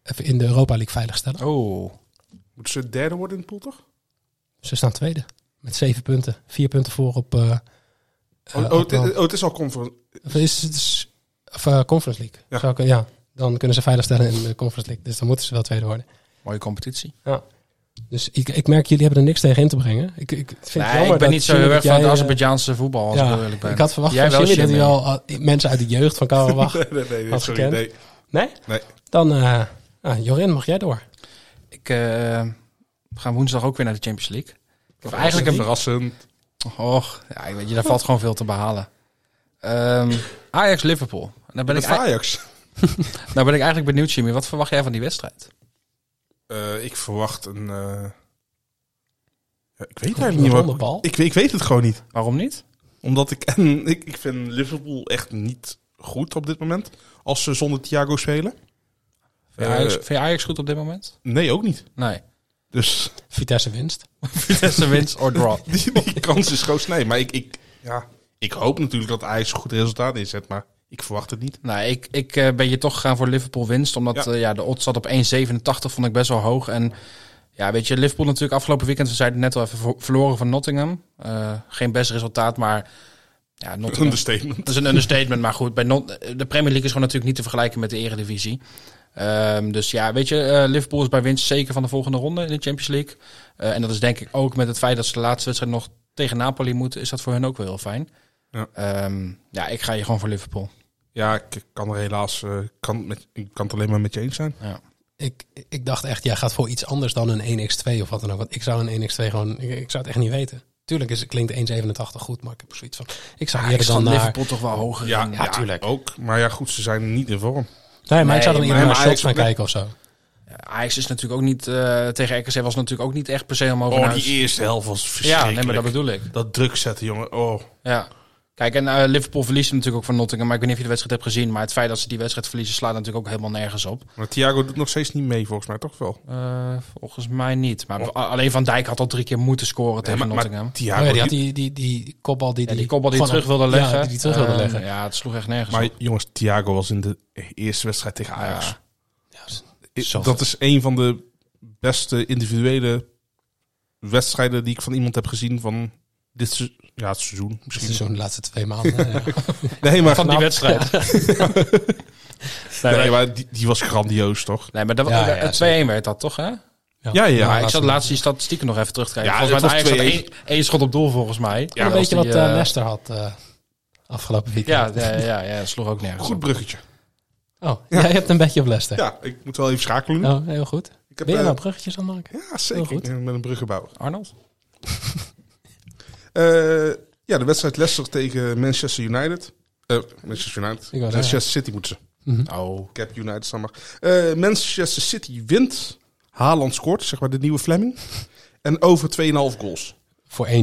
[SPEAKER 6] of in de Europa League veiligstellen.
[SPEAKER 8] Oh.
[SPEAKER 7] Moeten ze derde worden in de pool, toch?
[SPEAKER 6] Ze staan tweede. Met zeven punten. Vier punten voor op... eh,
[SPEAKER 7] Oh,
[SPEAKER 6] eh,
[SPEAKER 7] oh,
[SPEAKER 6] op
[SPEAKER 7] het,
[SPEAKER 6] land.
[SPEAKER 7] oh, het is al conference.
[SPEAKER 6] Of is het is- of, eh, Conference League.
[SPEAKER 7] Ja.
[SPEAKER 6] Zou ik- ja. Dan kunnen ze veiligstellen in de Conference League. Dus dan moeten ze wel tweede worden.
[SPEAKER 8] Mooie competitie.
[SPEAKER 6] Dus ik, ik merk, jullie hebben er niks tegen in te brengen. Ik, ik vind het
[SPEAKER 8] Nee,
[SPEAKER 6] jammer
[SPEAKER 8] ik ben
[SPEAKER 6] dat
[SPEAKER 8] niet zo
[SPEAKER 6] Jimmy
[SPEAKER 8] heel erg
[SPEAKER 6] dat
[SPEAKER 8] van het
[SPEAKER 6] jij, eh,
[SPEAKER 8] Azerbeidjaanse voetbal, als ik heel eerlijk ben.
[SPEAKER 6] ik had verwacht
[SPEAKER 8] Jij
[SPEAKER 6] van
[SPEAKER 8] wel,
[SPEAKER 6] Jimmy dat hij
[SPEAKER 8] Jimmy.
[SPEAKER 6] wel al- die mensen uit de jeugd van Karabach...
[SPEAKER 7] Nee, nee, nee, nee,
[SPEAKER 6] Als
[SPEAKER 7] sorry,
[SPEAKER 6] Oh, gekend.
[SPEAKER 7] nee.
[SPEAKER 6] nee?
[SPEAKER 7] Nee.
[SPEAKER 6] Dan, eh ah, Jorin, mag jij door?
[SPEAKER 8] Ik eh, we gaan woensdag ook weer naar de Champions League. Ik heb eigenlijk een
[SPEAKER 7] verrassend.
[SPEAKER 8] Och, ja, ik weet je, daar valt gewoon veel te behalen. Ehm, Ajax-Liverpool. Nou ben, ik,
[SPEAKER 7] Met
[SPEAKER 8] ei-
[SPEAKER 7] Ajax.
[SPEAKER 8] nou ben ik eigenlijk benieuwd, Jimmy. Wat verwacht jij van die wedstrijd?
[SPEAKER 7] Eh, ik verwacht een. eh, ja, ik weet
[SPEAKER 6] Een
[SPEAKER 7] eigenlijk niet
[SPEAKER 6] ronde
[SPEAKER 7] wat.
[SPEAKER 6] bal.
[SPEAKER 7] Ik, weet- ik weet het gewoon niet.
[SPEAKER 8] Waarom niet?
[SPEAKER 7] Omdat ik. En ik, ik vind Liverpool echt niet goed op dit moment. Als ze zonder Thiago spelen.
[SPEAKER 8] Vind je Ajax,
[SPEAKER 7] Eh,
[SPEAKER 8] vind je Ajax goed op dit moment?
[SPEAKER 7] Nee, ook niet.
[SPEAKER 8] Nee.
[SPEAKER 7] Dus
[SPEAKER 6] Vitesse winst.
[SPEAKER 8] Vitesse wins or draw.
[SPEAKER 7] die, die kans is gewoon snij. Maar ik, ik, ja, ik hoop natuurlijk dat Ajax een goed resultaat inzet. Maar ik verwacht het niet.
[SPEAKER 8] Nou, ik, ik eh, ben je toch gegaan voor Liverpool winst. Omdat
[SPEAKER 7] Ja.
[SPEAKER 8] eh, ja, de odds zat op 1,87. Vond ik best wel hoog. En ja, weet je, Liverpool natuurlijk afgelopen weekend. We zeiden het net al even vo- verloren van Nottingham. Eh, geen best resultaat, maar ja, Nottingham.
[SPEAKER 7] Understatement.
[SPEAKER 8] Dat is een understatement, maar goed. Bij non- de Premier League is gewoon natuurlijk niet te vergelijken met de Eredivisie. Ehm, dus ja, weet je, eh, Liverpool is bij winst zeker van de volgende ronde in de Champions League. Eh, en dat is denk ik ook met het feit dat ze de laatste wedstrijd nog tegen Napoli moeten, is dat voor hun ook wel heel fijn.
[SPEAKER 7] Ja.
[SPEAKER 8] Ehm, ja ik ga hier gewoon voor Liverpool.
[SPEAKER 7] Ja, ik kan er helaas. eh, kan met, ik kan het alleen maar met je eens zijn.
[SPEAKER 6] Ik, ik dacht echt, jij gaat voor iets anders dan een 1x2 of wat dan ook. Want ik zou een 1x2 gewoon... Ik, ik zou het echt niet weten. Tuurlijk is, klinkt 1,87 goed, maar ik heb er zoiets van... Ik zou
[SPEAKER 8] Ah, ik
[SPEAKER 6] eerder
[SPEAKER 8] sta
[SPEAKER 6] dan naar...
[SPEAKER 8] Liverpool toch wel hoger
[SPEAKER 7] Ja,
[SPEAKER 8] in.
[SPEAKER 7] ja, Ook. Maar ja, goed, ze zijn niet in vorm.
[SPEAKER 6] Nee, maar ik zou dan
[SPEAKER 8] Nee,
[SPEAKER 6] eerder naar
[SPEAKER 7] maar- maar
[SPEAKER 6] shots gaan
[SPEAKER 7] Ajax-
[SPEAKER 6] kijken of zo. Oh
[SPEAKER 8] Ajax is natuurlijk ook niet, eh, tegen RKC was natuurlijk ook niet echt per se om over
[SPEAKER 7] Oh,
[SPEAKER 8] naar
[SPEAKER 7] die
[SPEAKER 8] huis.
[SPEAKER 7] eerste helft was verschrikkelijk.
[SPEAKER 8] Ja, nee, maar dat bedoel ik.
[SPEAKER 7] Dat druk zetten, jongen. Oh.
[SPEAKER 8] Ja. Kijk, en eh, Liverpool verliest natuurlijk ook van Nottingham. Maar ik weet niet of je de wedstrijd hebt gezien. Maar het feit dat ze die wedstrijd verliezen slaat natuurlijk ook helemaal nergens op.
[SPEAKER 7] Maar Thiago doet nog steeds niet mee, volgens mij, toch wel?
[SPEAKER 8] Eh, volgens mij niet. Maar a- alleen Van Dijk had al drie keer moeten scoren tegen
[SPEAKER 7] Oh. maar, maar
[SPEAKER 8] Nottingham.
[SPEAKER 7] Thiago,
[SPEAKER 6] oh ja, die had
[SPEAKER 7] die-
[SPEAKER 6] die, die, die kopbal die...
[SPEAKER 8] ja, die kopbal die hij terug wilde
[SPEAKER 6] Ja,
[SPEAKER 8] leggen.
[SPEAKER 6] die die terug wilde
[SPEAKER 8] Eh,
[SPEAKER 6] leggen.
[SPEAKER 8] Ja, het sloeg echt nergens
[SPEAKER 7] maar
[SPEAKER 8] op.
[SPEAKER 7] jongens, Thiago was in de eerste wedstrijd tegen Ajax.
[SPEAKER 8] Ja.
[SPEAKER 7] Ik-
[SPEAKER 6] Zat.
[SPEAKER 7] Dat is een van de beste individuele wedstrijden die ik van iemand heb gezien van dit se- ja, het seizoen.
[SPEAKER 6] Het
[SPEAKER 7] Misschien
[SPEAKER 6] is zo'n laatste twee maanden. ja.
[SPEAKER 7] Nee, maar,
[SPEAKER 8] Van
[SPEAKER 6] Nou,
[SPEAKER 8] die wedstrijd.
[SPEAKER 7] nee, maar die, die was grandioos, toch?
[SPEAKER 8] Nee, maar dat,
[SPEAKER 6] Ja, ja,
[SPEAKER 8] eh, 2-1 werd dat toch, hè? Ja,
[SPEAKER 7] Ja, ja.
[SPEAKER 8] maar ik
[SPEAKER 6] laatste
[SPEAKER 8] zat laatst die statistieken nog even terugkijken.
[SPEAKER 7] Ja,
[SPEAKER 8] volgens mij
[SPEAKER 7] het
[SPEAKER 8] had
[SPEAKER 7] was
[SPEAKER 8] Ajax had één, één schot op doel, volgens mij.
[SPEAKER 7] Ja,
[SPEAKER 6] een
[SPEAKER 8] Als
[SPEAKER 6] beetje
[SPEAKER 8] die,
[SPEAKER 6] wat eh,
[SPEAKER 8] eh,
[SPEAKER 6] Leicester had eh, afgelopen weekend.
[SPEAKER 8] Ja, ja, ja, ja, het sloeg ook nergens
[SPEAKER 7] Goed
[SPEAKER 8] op.
[SPEAKER 7] bruggetje.
[SPEAKER 6] Oh, jij hebt een beetje op Leicester.
[SPEAKER 7] Ja, ik moet wel even schakelen nu.
[SPEAKER 6] Oh, heel goed.
[SPEAKER 7] Ik heb,
[SPEAKER 6] ben je
[SPEAKER 7] eh,
[SPEAKER 6] nou bruggetjes aan het maken?
[SPEAKER 7] ja,
[SPEAKER 6] heel
[SPEAKER 7] zeker.
[SPEAKER 6] goed.
[SPEAKER 7] Ik ben Met een bruggenbouwer.
[SPEAKER 8] Arnold?
[SPEAKER 7] Eh, ja, de wedstrijd Leicester tegen Manchester United. Eh, Manchester United.
[SPEAKER 6] zeggen.
[SPEAKER 7] Manchester City moeten ze.
[SPEAKER 8] Oh.
[SPEAKER 7] Cap United staan maar. Eh, Manchester City wint. Haaland scoort, zeg maar de nieuwe Fleming. En over 2,5 goals.
[SPEAKER 6] Voor 1,30.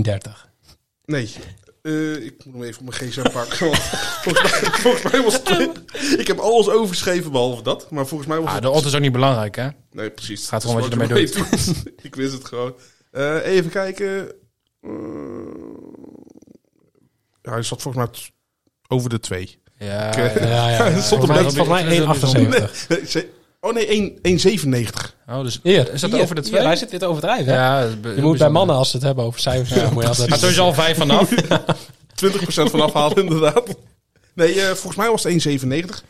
[SPEAKER 7] Nee. Eh, ik moet hem even op mijn gsm pakken. want volgens, mij, volgens mij was het... twee- Ik heb alles overgeschreven behalve dat. Maar volgens mij was
[SPEAKER 8] Ah,
[SPEAKER 7] het...
[SPEAKER 8] de odd is ook niet belangrijk, hè?
[SPEAKER 7] Nee, precies.
[SPEAKER 8] Gaat
[SPEAKER 7] Dat is
[SPEAKER 8] gewoon wat je
[SPEAKER 7] je ermee doet. ik wist het gewoon. Eh, even kijken. Eh, ja, hij zat volgens mij t- over de twee.
[SPEAKER 8] Ja,
[SPEAKER 7] Ik, eh,
[SPEAKER 8] ja.
[SPEAKER 6] Ja, ja.
[SPEAKER 7] Stond
[SPEAKER 6] Volgens
[SPEAKER 7] op
[SPEAKER 6] mij,
[SPEAKER 7] Leicester.
[SPEAKER 6] volgens mij 1,78.
[SPEAKER 7] Nee, ze- oh nee, één- 1,97.
[SPEAKER 8] Oh, dus
[SPEAKER 6] Hier,
[SPEAKER 8] is dat
[SPEAKER 6] hier,
[SPEAKER 8] over de twee?
[SPEAKER 6] Hier, wij zitten dit overdrijven. hè?
[SPEAKER 8] ja,
[SPEAKER 6] Je moet bij mannen, als ze het hebben over cijfers, ja, moet je altijd...
[SPEAKER 8] Gaat sowieso al vijf vanaf.
[SPEAKER 7] 20% van afhalen, inderdaad. Nee, eh, volgens mij was het 1,97.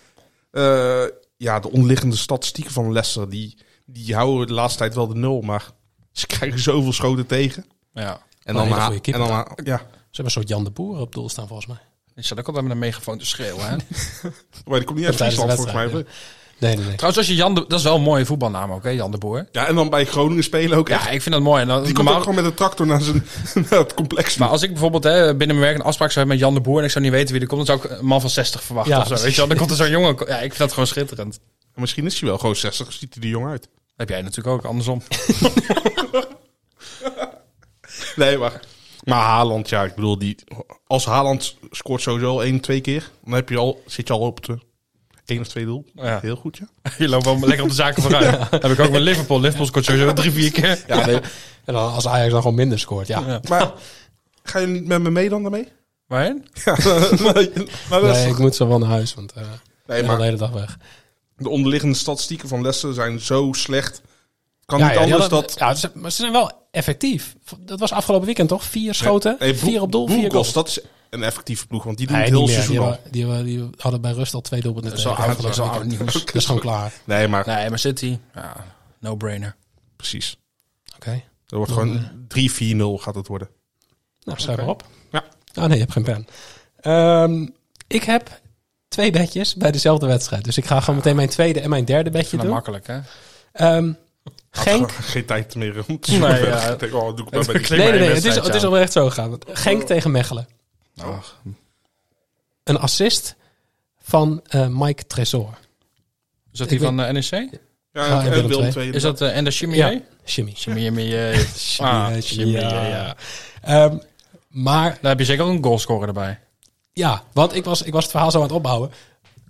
[SPEAKER 7] Eh, ja, de onderliggende statistieken van Leicester, die, die houden de laatste tijd wel de nul, maar ze krijgen zoveel schoten tegen.
[SPEAKER 8] ja.
[SPEAKER 7] En
[SPEAKER 6] Oh,
[SPEAKER 7] dan,
[SPEAKER 6] hele
[SPEAKER 7] ha-
[SPEAKER 6] goede
[SPEAKER 7] en
[SPEAKER 6] keeper
[SPEAKER 7] dan ha- ja,
[SPEAKER 6] Ze hebben een soort Jan de Boer op doel staan, volgens mij.
[SPEAKER 8] Ik zat ook altijd met een megafoon te schreeuwen. Hè?
[SPEAKER 7] maar die komt niet
[SPEAKER 6] Tijdens
[SPEAKER 7] uit
[SPEAKER 6] de
[SPEAKER 7] Friesland volgens mij.
[SPEAKER 6] wedstrijd, Nee, nee, nee.
[SPEAKER 8] Trouwens, als je Jan de, dat is wel een mooie voetbalnaam ook, hè, Jan de Boer.
[SPEAKER 7] Ja, en dan bij Groningen spelen ook
[SPEAKER 8] Ja,
[SPEAKER 7] echt.
[SPEAKER 8] ik vind dat mooi. En dan,
[SPEAKER 7] Die komt
[SPEAKER 8] normaal-
[SPEAKER 7] ook gewoon met een tractor naar, zijn, naar het complex. toe.
[SPEAKER 8] maar als ik bijvoorbeeld hè, binnen mijn werk een afspraak zou hebben met Jan de Boer en ik zou niet weten wie er komt, dan zou ik een man van 60 verwachten
[SPEAKER 6] Ja,
[SPEAKER 8] of zo. Weet je, wel. dan komt er zo'n jongen. Ja, ik vind dat gewoon schitterend.
[SPEAKER 7] En misschien is hij wel gewoon 60, ziet hij er jong uit.
[SPEAKER 8] Heb jij natuurlijk ook, andersom.
[SPEAKER 7] Nee, maar... Maar Haaland, ja, ik bedoel, die, als Haaland scoort sowieso al één, twee keer, dan heb je al, zit je al op de één of twee doel.
[SPEAKER 8] Ja.
[SPEAKER 7] Heel goed, ja.
[SPEAKER 8] Je loopt wel lekker op de zaken vooruit. Heb ik ook met Liverpool. Liverpool scoort sowieso drie, vier keer.
[SPEAKER 6] En dan, als Ajax dan gewoon minder scoort, ja.
[SPEAKER 7] Maar gaan jullie niet met me mee dan daarmee?
[SPEAKER 8] Waarheen?
[SPEAKER 7] Maar dat is
[SPEAKER 6] Nee, ik
[SPEAKER 7] toch-
[SPEAKER 6] moet zo wel naar huis, want eh, ik
[SPEAKER 7] nee,
[SPEAKER 6] ben al de
[SPEAKER 7] maar
[SPEAKER 6] hele dag weg.
[SPEAKER 7] de onderliggende statistieken van Leicester zijn zo slecht. Kan niet
[SPEAKER 6] die
[SPEAKER 7] anders
[SPEAKER 6] hadden-
[SPEAKER 7] dat...
[SPEAKER 6] Ja, ze, maar ze zijn wel effectief. Dat was afgelopen weekend, toch? Vier schoten,
[SPEAKER 7] Nee, Bo-
[SPEAKER 6] vier op doel, vier
[SPEAKER 7] Bourgos,
[SPEAKER 6] goals.
[SPEAKER 7] dat is een effectieve ploeg, want die doen
[SPEAKER 6] Nee,
[SPEAKER 7] het
[SPEAKER 6] niet
[SPEAKER 7] heel
[SPEAKER 6] meer. Die,
[SPEAKER 7] seizoen al.
[SPEAKER 6] hebben- die, hebben- die hadden bij rust al twee doelpunten.
[SPEAKER 8] Dat is wel
[SPEAKER 6] tegen
[SPEAKER 8] oud, dat is wel
[SPEAKER 6] afgelopen
[SPEAKER 8] oud
[SPEAKER 6] weekend.
[SPEAKER 8] nieuws.
[SPEAKER 6] Dat is gewoon klaar. Oké.
[SPEAKER 7] Nee, maar
[SPEAKER 8] Nee, maar City. Ja, no-brainer.
[SPEAKER 7] precies. Er wordt gewoon 3-4-0 gaat het worden.
[SPEAKER 6] Nou, schrijf maar op.
[SPEAKER 7] Ja.
[SPEAKER 6] Ah nee, je hebt geen pen. Ehm, ik heb twee bedjes bij dezelfde wedstrijd. Dus ik ga gewoon meteen mijn tweede en mijn derde bedje
[SPEAKER 8] Vind dat
[SPEAKER 6] doen.
[SPEAKER 8] makkelijk, hè?
[SPEAKER 6] Ehm
[SPEAKER 7] Had gewoon
[SPEAKER 6] Genk.
[SPEAKER 7] Geen tijd meer om te
[SPEAKER 8] Nee,
[SPEAKER 7] zoeken.
[SPEAKER 8] ja.
[SPEAKER 7] Ik denk, oh, doe ik maar bij die-
[SPEAKER 6] Nee, nee, nee. Het
[SPEAKER 8] wedstrijd,
[SPEAKER 6] is, het is
[SPEAKER 8] ja.
[SPEAKER 6] alweer echt zo gegaan. Genk tegen Mechelen.
[SPEAKER 8] Ach,
[SPEAKER 6] Een assist van eh, Mike Tresor.
[SPEAKER 8] Is dat
[SPEAKER 6] Ik
[SPEAKER 8] die van eh, NEC?
[SPEAKER 7] Ja,
[SPEAKER 6] Ah,
[SPEAKER 7] en
[SPEAKER 6] Willem
[SPEAKER 7] Willem
[SPEAKER 6] II.
[SPEAKER 7] II.
[SPEAKER 8] Is dat eh Enda
[SPEAKER 6] Ja.
[SPEAKER 8] Chimier?
[SPEAKER 6] Jimmy.
[SPEAKER 8] Chimier, Chimier. Ah,
[SPEAKER 6] Jimmy,
[SPEAKER 8] Chimier,
[SPEAKER 6] eh, ja.
[SPEAKER 8] ja.
[SPEAKER 6] Ehm, maar
[SPEAKER 8] Daar heb je zeker ook een goalscorer erbij.
[SPEAKER 6] ja, want ik was, ik was het verhaal zo aan het opbouwen.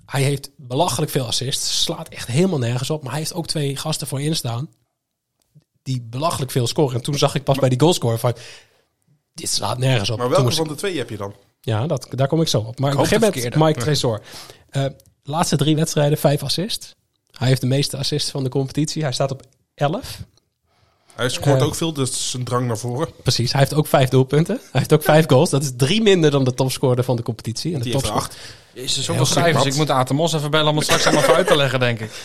[SPEAKER 6] Hij heeft belachelijk veel assists. Slaat echt helemaal nergens op. Maar hij heeft ook twee gasten voor in staan. Die belachelijk veel scoren. En toen zag ik pas bij die goalscorer van... Dit slaat nergens op.
[SPEAKER 7] Maar
[SPEAKER 6] Toen
[SPEAKER 7] welke
[SPEAKER 6] moest
[SPEAKER 7] van de twee heb je dan?
[SPEAKER 6] Ja, dat, daar kom ik zo op. Maar ik
[SPEAKER 8] hoop
[SPEAKER 6] begin
[SPEAKER 8] het
[SPEAKER 6] met
[SPEAKER 8] verkeerde.
[SPEAKER 6] Mike Tresor. Eh, laatste drie wedstrijden, vijf assists. Hij heeft de meeste assists van de competitie. Hij staat op 11.
[SPEAKER 7] Hij scoort
[SPEAKER 6] Eh.
[SPEAKER 7] ook veel, dus zijn drang naar voren.
[SPEAKER 6] Precies, hij heeft ook vijf doelpunten. Hij heeft ook vijf goals. Dat is drie minder dan de topscorer van de competitie. En de
[SPEAKER 7] Die heeft er
[SPEAKER 6] topscorer-
[SPEAKER 7] acht.
[SPEAKER 8] Jezus,
[SPEAKER 6] Heel
[SPEAKER 8] zoveel
[SPEAKER 6] gek,
[SPEAKER 8] schrijvers.
[SPEAKER 6] Mats.
[SPEAKER 8] Ik moet Atemos even bellen om het straks allemaal even uit te leggen, denk ik.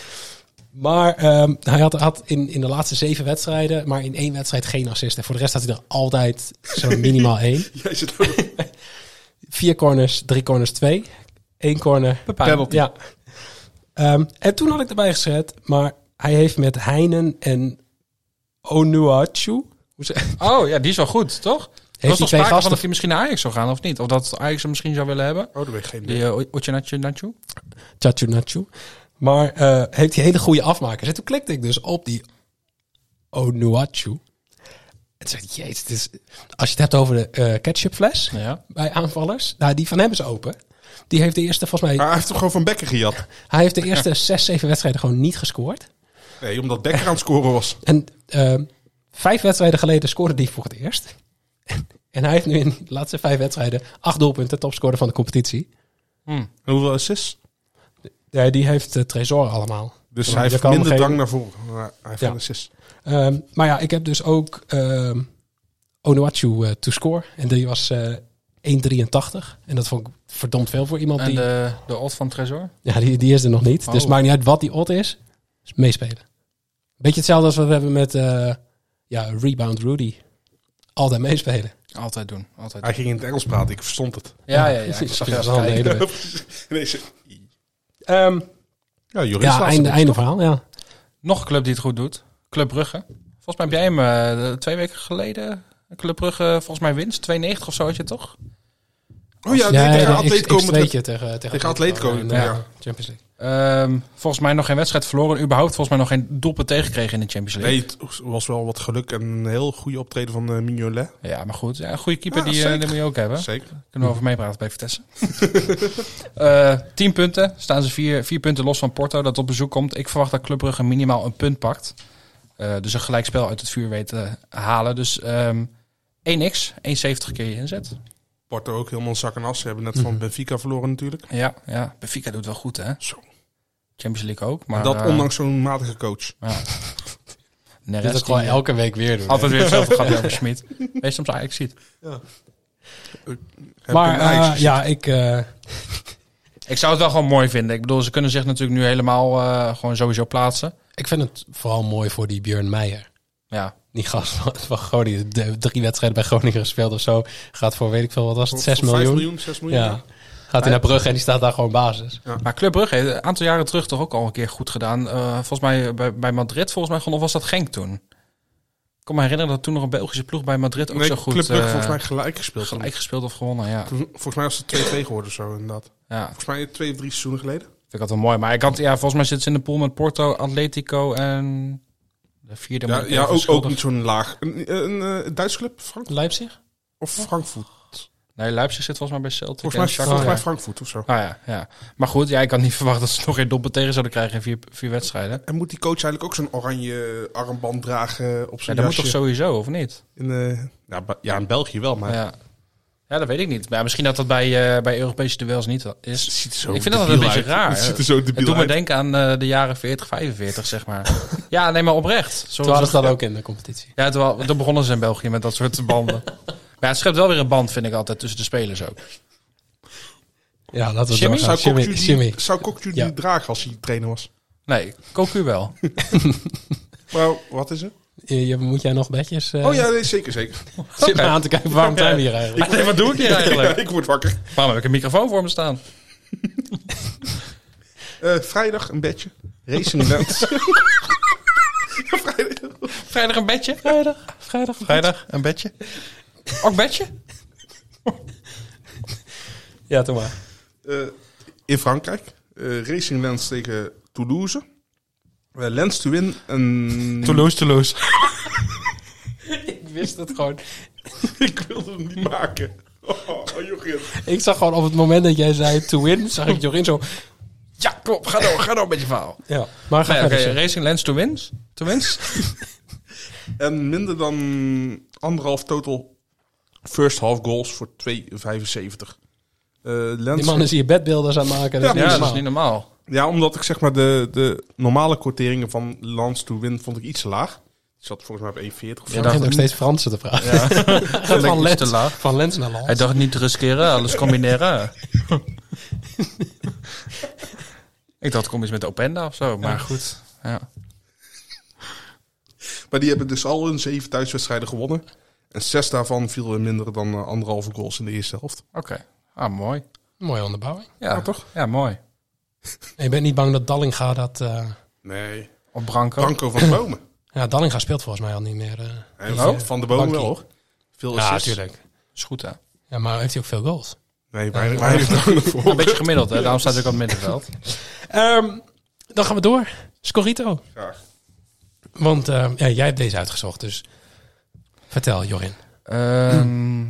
[SPEAKER 6] Maar ehm, hij had, had in, in de laatste zeven wedstrijden, maar in één wedstrijd geen assist. En voor de rest had hij er altijd zo minimaal één.
[SPEAKER 7] Jij zit ook-
[SPEAKER 6] Vier corners, drie corners, twee. Eén corner.
[SPEAKER 8] Penalty.
[SPEAKER 6] Ja. Ehm, en toen had ik erbij gezet, maar hij heeft met Heinen en Onuachu... Hoe ze-
[SPEAKER 8] Oh, ja, die is wel goed, toch? Er
[SPEAKER 6] die
[SPEAKER 8] was toch
[SPEAKER 6] twee
[SPEAKER 8] sprake van
[SPEAKER 6] gasten-
[SPEAKER 8] of hij misschien naar Ajax zou gaan, of niet? Of dat Ajax hem misschien zou willen hebben?
[SPEAKER 7] Oh, dat weet ik geen idee.
[SPEAKER 8] Die uh, Ochinachu?
[SPEAKER 6] Chachunachu. Maar eh, heeft hij hele goede afmakers. En toen klikte ik dus op die Onuachu. En toen zei ik, jezus, dit is- als je het hebt over de eh, ketchupfles
[SPEAKER 8] Ja.
[SPEAKER 6] bij aanvallers. Nou, die van hem is open. Die heeft de eerste, volgens mij,
[SPEAKER 7] Maar hij heeft hem gewoon van Becker gejat.
[SPEAKER 6] hij heeft de eerste zes, zeven wedstrijden gewoon niet gescoord.
[SPEAKER 7] Nee, omdat Becker aan het scoren was.
[SPEAKER 6] En ehm, vijf wedstrijden geleden scoorde die voor het eerst. En hij heeft nu in de laatste vijf wedstrijden acht doelpunten, topscorer van de competitie.
[SPEAKER 7] En hoeveel assists?
[SPEAKER 6] Ja, die heeft eh, Tresor allemaal.
[SPEAKER 7] Dus
[SPEAKER 6] Ja,
[SPEAKER 7] hij
[SPEAKER 6] dat
[SPEAKER 7] heeft
[SPEAKER 6] kan
[SPEAKER 7] minder
[SPEAKER 6] geen-
[SPEAKER 7] drang naar voren. Maar hij heeft
[SPEAKER 6] Ja.
[SPEAKER 7] een assist.
[SPEAKER 6] Ehm, maar ja, ik heb dus ook ehm Onuachu eh, to score. En die was eh 1,83. En dat vond ik verdomd veel voor iemand
[SPEAKER 8] En
[SPEAKER 6] die...
[SPEAKER 8] de, de odd van Tresor?
[SPEAKER 6] Ja, die, die is er nog niet. Dus
[SPEAKER 8] Oh.
[SPEAKER 6] het maakt niet uit wat die odd is. Dus meespelen. Beetje hetzelfde als wat we hebben met eh, ja, Rebound Rudy. Altijd meespelen.
[SPEAKER 8] Altijd doen, altijd doen.
[SPEAKER 7] Hij ging in het Engels praten, ik verstond het.
[SPEAKER 8] Ja, ja, ja. Ik
[SPEAKER 6] Precies,
[SPEAKER 8] zag
[SPEAKER 6] dat
[SPEAKER 8] je
[SPEAKER 6] is wel een
[SPEAKER 8] even
[SPEAKER 6] hele-
[SPEAKER 7] Deze.
[SPEAKER 6] Ehm,
[SPEAKER 7] Ja, Joris
[SPEAKER 6] ja,
[SPEAKER 7] laatste
[SPEAKER 6] einde,
[SPEAKER 7] beetje.
[SPEAKER 6] einde verhaal. Ja.
[SPEAKER 8] Nog een club die het goed doet. Club Brugge. Volgens mij heb jij hem eh, twee weken geleden. Club Brugge, volgens mij winst. 290 of zo had je het toch?
[SPEAKER 7] Oh ja, nee,
[SPEAKER 6] Ja,
[SPEAKER 7] tegen
[SPEAKER 6] ja,
[SPEAKER 7] Atletico.
[SPEAKER 6] X- X2'tje
[SPEAKER 7] met-
[SPEAKER 6] tegen, tegen,
[SPEAKER 7] tegen Atletico,
[SPEAKER 6] in de
[SPEAKER 7] ja.
[SPEAKER 6] Champions League.
[SPEAKER 8] Ehm, volgens mij nog geen wedstrijd verloren. Überhaupt volgens mij nog geen doelpunt tegengekregen in de Champions
[SPEAKER 7] Nee,
[SPEAKER 8] League.
[SPEAKER 7] het was wel wat geluk en een heel goede optreden van eh, Mignolet.
[SPEAKER 8] Ja, maar goed. Ja, een goede keeper
[SPEAKER 7] Ja,
[SPEAKER 8] die, eh,
[SPEAKER 7] Ah,
[SPEAKER 8] die
[SPEAKER 7] zeker.
[SPEAKER 8] moet je ook hebben.
[SPEAKER 7] Zeker.
[SPEAKER 8] Kunnen we over meepraten bij Vitesse. Eh 10 punten. Staan ze vier, vier punten los van Porto dat op bezoek komt. Ik verwacht dat Club Brugge minimaal een punt pakt. Eh, dus een gelijkspel uit het vuur weten halen. Dus ehm 1x, 1,70 keer je inzet.
[SPEAKER 7] Porto ook helemaal zak en as. Ze hebben net
[SPEAKER 8] Mhm.
[SPEAKER 7] van Benfica verloren natuurlijk.
[SPEAKER 8] Ja, ja. Benfica doet wel goed, hè?
[SPEAKER 7] Zo.
[SPEAKER 8] Champions League ook, maar...
[SPEAKER 7] dat
[SPEAKER 8] eh,
[SPEAKER 7] ondanks zo'n matige coach.
[SPEAKER 8] Neres
[SPEAKER 6] Dit is ook gewoon
[SPEAKER 8] die- eh,
[SPEAKER 6] elke week weer doen.
[SPEAKER 8] Altijd weer hetzelfde gaat over Schmid. Wees soms Ajax ziet.
[SPEAKER 7] Heb
[SPEAKER 6] Maar
[SPEAKER 7] een ijs
[SPEAKER 6] eh,
[SPEAKER 7] gezien.
[SPEAKER 6] ja, ik... eh,
[SPEAKER 8] Ik zou het wel gewoon mooi vinden. Ik bedoel, ze kunnen zich natuurlijk nu helemaal eh, gewoon sowieso plaatsen.
[SPEAKER 6] Ik vind het vooral mooi voor die Björn Meijer.
[SPEAKER 8] Ja,
[SPEAKER 6] Die gast van, van Groningen, de, drie wedstrijden bij Groningen gespeeld of zo. Gaat voor, weet ik veel, wat was het,
[SPEAKER 7] Voor-
[SPEAKER 6] 6
[SPEAKER 7] voor vijf
[SPEAKER 6] miljoen?
[SPEAKER 7] miljoen, 6 miljoen.
[SPEAKER 6] Ja. Gaat hij naar Brugge en die staat daar gewoon basis.
[SPEAKER 8] maar Club Brugge heeft een aantal jaren terug toch ook al een keer goed gedaan. Eh, volgens mij bij, bij Madrid, volgens mij gewoon, of was dat Genk toen? Ik kan me herinneren dat toen nog een Belgische ploeg bij Madrid ook
[SPEAKER 7] Nee,
[SPEAKER 8] zo goed
[SPEAKER 7] Club Brugge
[SPEAKER 8] eh,
[SPEAKER 7] volgens mij gelijk gespeeld.
[SPEAKER 8] gelijk gespeeld of gewonnen. Ja.
[SPEAKER 7] Toen- Volgens mij was het 2-2 geworden of zo inderdaad.
[SPEAKER 8] ja,
[SPEAKER 7] Volgens mij twee of drie seizoenen geleden.
[SPEAKER 8] vind ik dat wel mooi. Maar ik had, ja, volgens mij zitten ze in de pool met Porto, Atletico en de vierde.
[SPEAKER 7] Ja,
[SPEAKER 8] moet ik
[SPEAKER 7] ja
[SPEAKER 8] even
[SPEAKER 7] ook, ook
[SPEAKER 8] schuldig-
[SPEAKER 7] niet zo'n laag. Een, een, eh, Duitse club? Frank
[SPEAKER 6] Leipzig?
[SPEAKER 7] of Frankfurt?
[SPEAKER 8] Nee, Leipzig zit volgens mij bij Celtic.
[SPEAKER 7] Volgens
[SPEAKER 8] en
[SPEAKER 7] mij,
[SPEAKER 8] Shakhtar.
[SPEAKER 7] volgens mij
[SPEAKER 6] ja.
[SPEAKER 7] Frankfurt of zo.
[SPEAKER 8] Ah ja, ja. Maar goed, ja, ik had niet verwacht dat ze nog geen doelpunt tegen zouden krijgen in vier, vier wedstrijden.
[SPEAKER 7] En moet die coach eigenlijk ook zo'n oranje armband dragen op
[SPEAKER 8] Ja,
[SPEAKER 7] zijn
[SPEAKER 8] dat moet
[SPEAKER 7] jasje?
[SPEAKER 8] toch sowieso, of niet?
[SPEAKER 7] In, eh, ja, Ba- ja, in België wel, maar
[SPEAKER 8] ja. Ja, dat weet ik niet. Maar ja, misschien dat dat bij, eh, bij Europese duels niet is.
[SPEAKER 7] ziet er zo
[SPEAKER 8] ik vind dat
[SPEAKER 7] debiel
[SPEAKER 8] een beetje
[SPEAKER 7] uit.
[SPEAKER 8] raar.
[SPEAKER 7] Het ziet er zo debiel
[SPEAKER 8] Het doet me
[SPEAKER 7] uit.
[SPEAKER 8] denken aan eh, de jaren 40, 45, zeg maar. ja, nee, maar oprecht. Zo,
[SPEAKER 6] Toen hadden ze
[SPEAKER 8] zo-
[SPEAKER 6] dat ook in de competitie.
[SPEAKER 8] Ja, terwijl, toen begonnen ze in België met dat soort banden. maar het schept wel weer een band, vind ik altijd, tussen de spelers ook.
[SPEAKER 6] Ja, laten we
[SPEAKER 8] Jimmy?
[SPEAKER 6] doorgaan.
[SPEAKER 7] Zou
[SPEAKER 6] Jimmy,
[SPEAKER 7] Kokju
[SPEAKER 6] Jimmy.
[SPEAKER 7] die, zou Kokju die
[SPEAKER 6] Ja.
[SPEAKER 7] dragen als hij trainer was?
[SPEAKER 8] Nee, Cocu wel.
[SPEAKER 7] Maar wat is er?
[SPEAKER 6] Je, je- moet jij nog bedjes? eh,
[SPEAKER 7] Oh ja, nee, zeker, zeker.
[SPEAKER 6] Zit me aan te kijken, waarom zijn we hier eigenlijk?
[SPEAKER 8] nee, wat doe ik hier eigenlijk?
[SPEAKER 7] Ja, ik word wakker.
[SPEAKER 8] Waarom heb ik een microfoon voor me staan?
[SPEAKER 7] Eh, vrijdag een bedje. Racing events. Ja, vrijdag.
[SPEAKER 8] Vrijdag een bedje? Vrijdag. Vrijdag een Vrijdag bedje. een bedje. Ook bedje?
[SPEAKER 6] Ja, doe maar.
[SPEAKER 7] Eh, in Frankrijk. Eh, Racing Lens tegen Toulouse. Eh, Lens to win. En...
[SPEAKER 8] Toulouse, Toulouse.
[SPEAKER 6] Ik wist het gewoon.
[SPEAKER 7] ik wilde hem niet maken. Oh, Jochie.
[SPEAKER 6] Ik zag gewoon op het moment dat jij zei to win, zag ik Jorin zo...
[SPEAKER 8] Ja, klopt. Ga door, ga door met je verhaal.
[SPEAKER 6] Ja, maar ga
[SPEAKER 8] Nee, oké,
[SPEAKER 6] verder. Jim.
[SPEAKER 8] Racing Lens to wins. To wins.
[SPEAKER 7] En minder dan anderhalf total first half goals voor 2,75. Eh, Lens...
[SPEAKER 6] Die man is hier bedbeelders aan het maken. Dat is
[SPEAKER 7] Ja,
[SPEAKER 8] Ja,
[SPEAKER 6] niet normaal.
[SPEAKER 8] dat is niet normaal.
[SPEAKER 7] Ja, omdat ik zeg maar de, de normale quoteringen van Lance to Win vond ik iets te laag. Die zat volgens mij op 1,40 of zo.
[SPEAKER 6] Je begint ook steeds Fransen te vragen. van,
[SPEAKER 8] Lekker is
[SPEAKER 6] Lens,
[SPEAKER 8] te laag.
[SPEAKER 6] van Lens naar Lens.
[SPEAKER 8] Hij dacht niet te riskeren, alles combineren. ik dacht, kom eens met Openda of zo. Maar goed. Ja.
[SPEAKER 7] Maar die hebben dus al hun zeven thuiswedstrijden gewonnen. En zes daarvan vielen minder dan eh, anderhalve goals in de eerste helft.
[SPEAKER 8] Oké. Ah, mooi.
[SPEAKER 6] Mooie onderbouwing.
[SPEAKER 8] Ja, Oh, toch? Ja, mooi.
[SPEAKER 6] En je bent niet bang dat Dallinga dat... eh,
[SPEAKER 7] Nee.
[SPEAKER 8] Op Branco.
[SPEAKER 7] Branco van de Bomen.
[SPEAKER 6] ja, Dallinga speelt volgens mij al niet meer. eh.
[SPEAKER 7] En
[SPEAKER 8] Oh.
[SPEAKER 7] van de Bomen wel
[SPEAKER 6] Bankie.
[SPEAKER 7] hoor. Veel
[SPEAKER 6] ja,
[SPEAKER 7] assists.
[SPEAKER 6] natuurlijk.
[SPEAKER 8] Is goed, hè?
[SPEAKER 6] Ja, maar heeft hij ook veel goals?
[SPEAKER 7] Nee, weinig weinig doelen voor.
[SPEAKER 8] Een beetje gemiddeld, hè? Daarom staat hij ook op het middenveld.
[SPEAKER 6] Ehm, dan gaan we door. Scorito.
[SPEAKER 7] Graag.
[SPEAKER 6] Want eh, ja, jij hebt deze uitgezocht, dus vertel Jorin.
[SPEAKER 8] Ehm,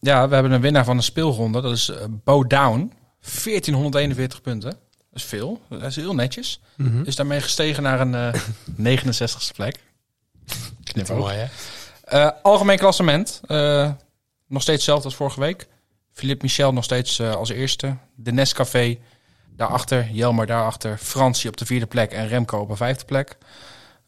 [SPEAKER 8] ja, we hebben een winnaar van een speelronde. Dat is eh, Bo Down. 1441 punten. Dat is veel. Dat is heel netjes. Is daarmee gestegen naar een eh, 69ste plek. Knipoog.
[SPEAKER 6] Mooi, hè?
[SPEAKER 8] Eh, algemeen klassement. eh, nog steeds hetzelfde als vorige week. Philippe Michel nog steeds eh, als eerste. De Nescafé daarachter. Jelmer daarachter. Fransie op de vierde plek. En Remco op de vijfde plek.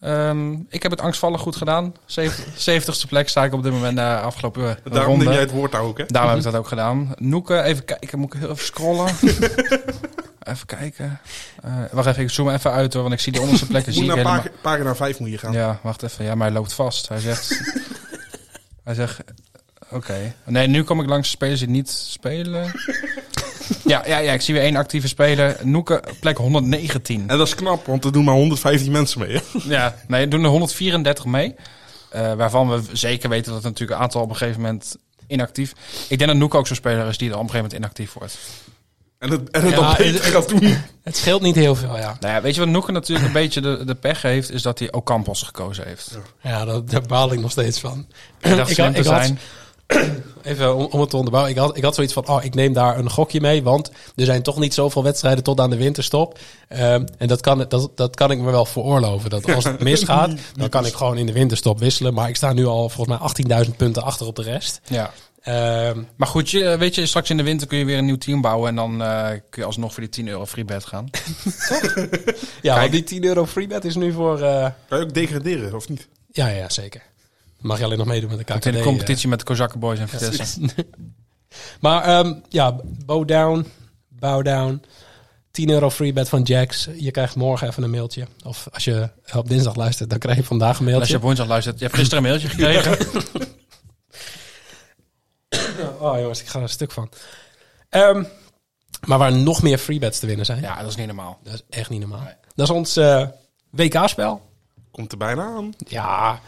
[SPEAKER 8] Ehm, ik heb het angstvallig goed gedaan. Zeven- 70ste plek sta ik op dit moment na afgelopen eh,
[SPEAKER 7] Daarom
[SPEAKER 8] ronde.
[SPEAKER 7] neem jij het woord daar ook, hè?
[SPEAKER 8] Daarom heb ik dat ook gedaan. Noeke, even kijken. Moet ik heel even scrollen? even kijken. Eh, wacht even, ik zoom even uit hoor. Want ik zie die onderste plekken.
[SPEAKER 7] Je
[SPEAKER 8] zie
[SPEAKER 7] moet
[SPEAKER 8] ik
[SPEAKER 7] naar
[SPEAKER 8] helemaal...
[SPEAKER 7] pag- pagina 5 moet je gaan.
[SPEAKER 8] Ja, wacht even. Ja, maar hij loopt vast. Hij zegt... hij zegt... Oké. Nee, nu kom ik langs de spelers die niet spelen. ja, ja, ja, ik zie weer één actieve speler. Noeke, plek 119.
[SPEAKER 7] En dat is knap, want er doen maar 115 mensen mee. Hè?
[SPEAKER 8] ja, nee, er doen er 134 mee. Eh, waarvan we zeker weten dat er natuurlijk een aantal op een gegeven moment inactief... Ik denk dat Noeke ook zo'n speler is die er op een gegeven moment inactief wordt.
[SPEAKER 7] En het, en het
[SPEAKER 6] Ja,
[SPEAKER 7] dan beter
[SPEAKER 6] het-
[SPEAKER 7] gaat doen.
[SPEAKER 6] Het scheelt niet heel veel, ja.
[SPEAKER 8] Nou ja, weet je wat Noeke natuurlijk een beetje de, de pech heeft? Is dat hij Ocampos gekozen heeft.
[SPEAKER 6] Ja, dat, daar baal ik nog steeds van.
[SPEAKER 8] Ik dacht
[SPEAKER 6] Ik
[SPEAKER 8] slim
[SPEAKER 6] had-
[SPEAKER 8] te
[SPEAKER 6] ik had-
[SPEAKER 8] zijn.
[SPEAKER 6] Even om, om het te onderbouwen. Ik had, ik had zoiets van, oh, ik neem daar een gokje mee. Want er zijn toch niet zoveel wedstrijden tot aan de winterstop. Ehm, en dat kan, dat, dat kan ik me wel veroorloven. Dat als het misgaat, dan
[SPEAKER 8] dus.
[SPEAKER 6] kan ik gewoon in de winterstop wisselen. Maar ik sta nu al volgens mij 18.000 punten achter op de rest.
[SPEAKER 8] Ja.
[SPEAKER 6] Ehm,
[SPEAKER 8] Maar goed, je, eh, weet je, straks in de winter kun je weer een nieuw team bouwen. En dan eh, kun je alsnog voor die 10 euro freebet gaan.
[SPEAKER 6] ja, want die 10 euro freebet is nu voor... eh,
[SPEAKER 7] Kan je ook degraderen, of niet?
[SPEAKER 6] ja, ja, zeker. Dan mag je alleen nog meedoen met de KKD.
[SPEAKER 8] in de
[SPEAKER 6] eh.
[SPEAKER 8] competitie met de Kozakken Boys en Vitesse.
[SPEAKER 6] Maar ehm, ja, bow down, bow down. 10 euro freebet van Jax. Je krijgt morgen even een mailtje. Of als je op dinsdag luistert, dan krijg je vandaag een
[SPEAKER 8] En Als
[SPEAKER 6] mailtje.
[SPEAKER 8] je op woensdag luistert, je hebt gisteren een mailtje gekregen.
[SPEAKER 6] Oh jongens, ik ga er een stuk van. Ehm, maar waar nog meer freebets te winnen zijn.
[SPEAKER 8] Ja, dat is niet normaal.
[SPEAKER 6] Dat is echt niet normaal. Dat is ons eh, WK-spel.
[SPEAKER 7] Komt er bijna aan.
[SPEAKER 6] Ja,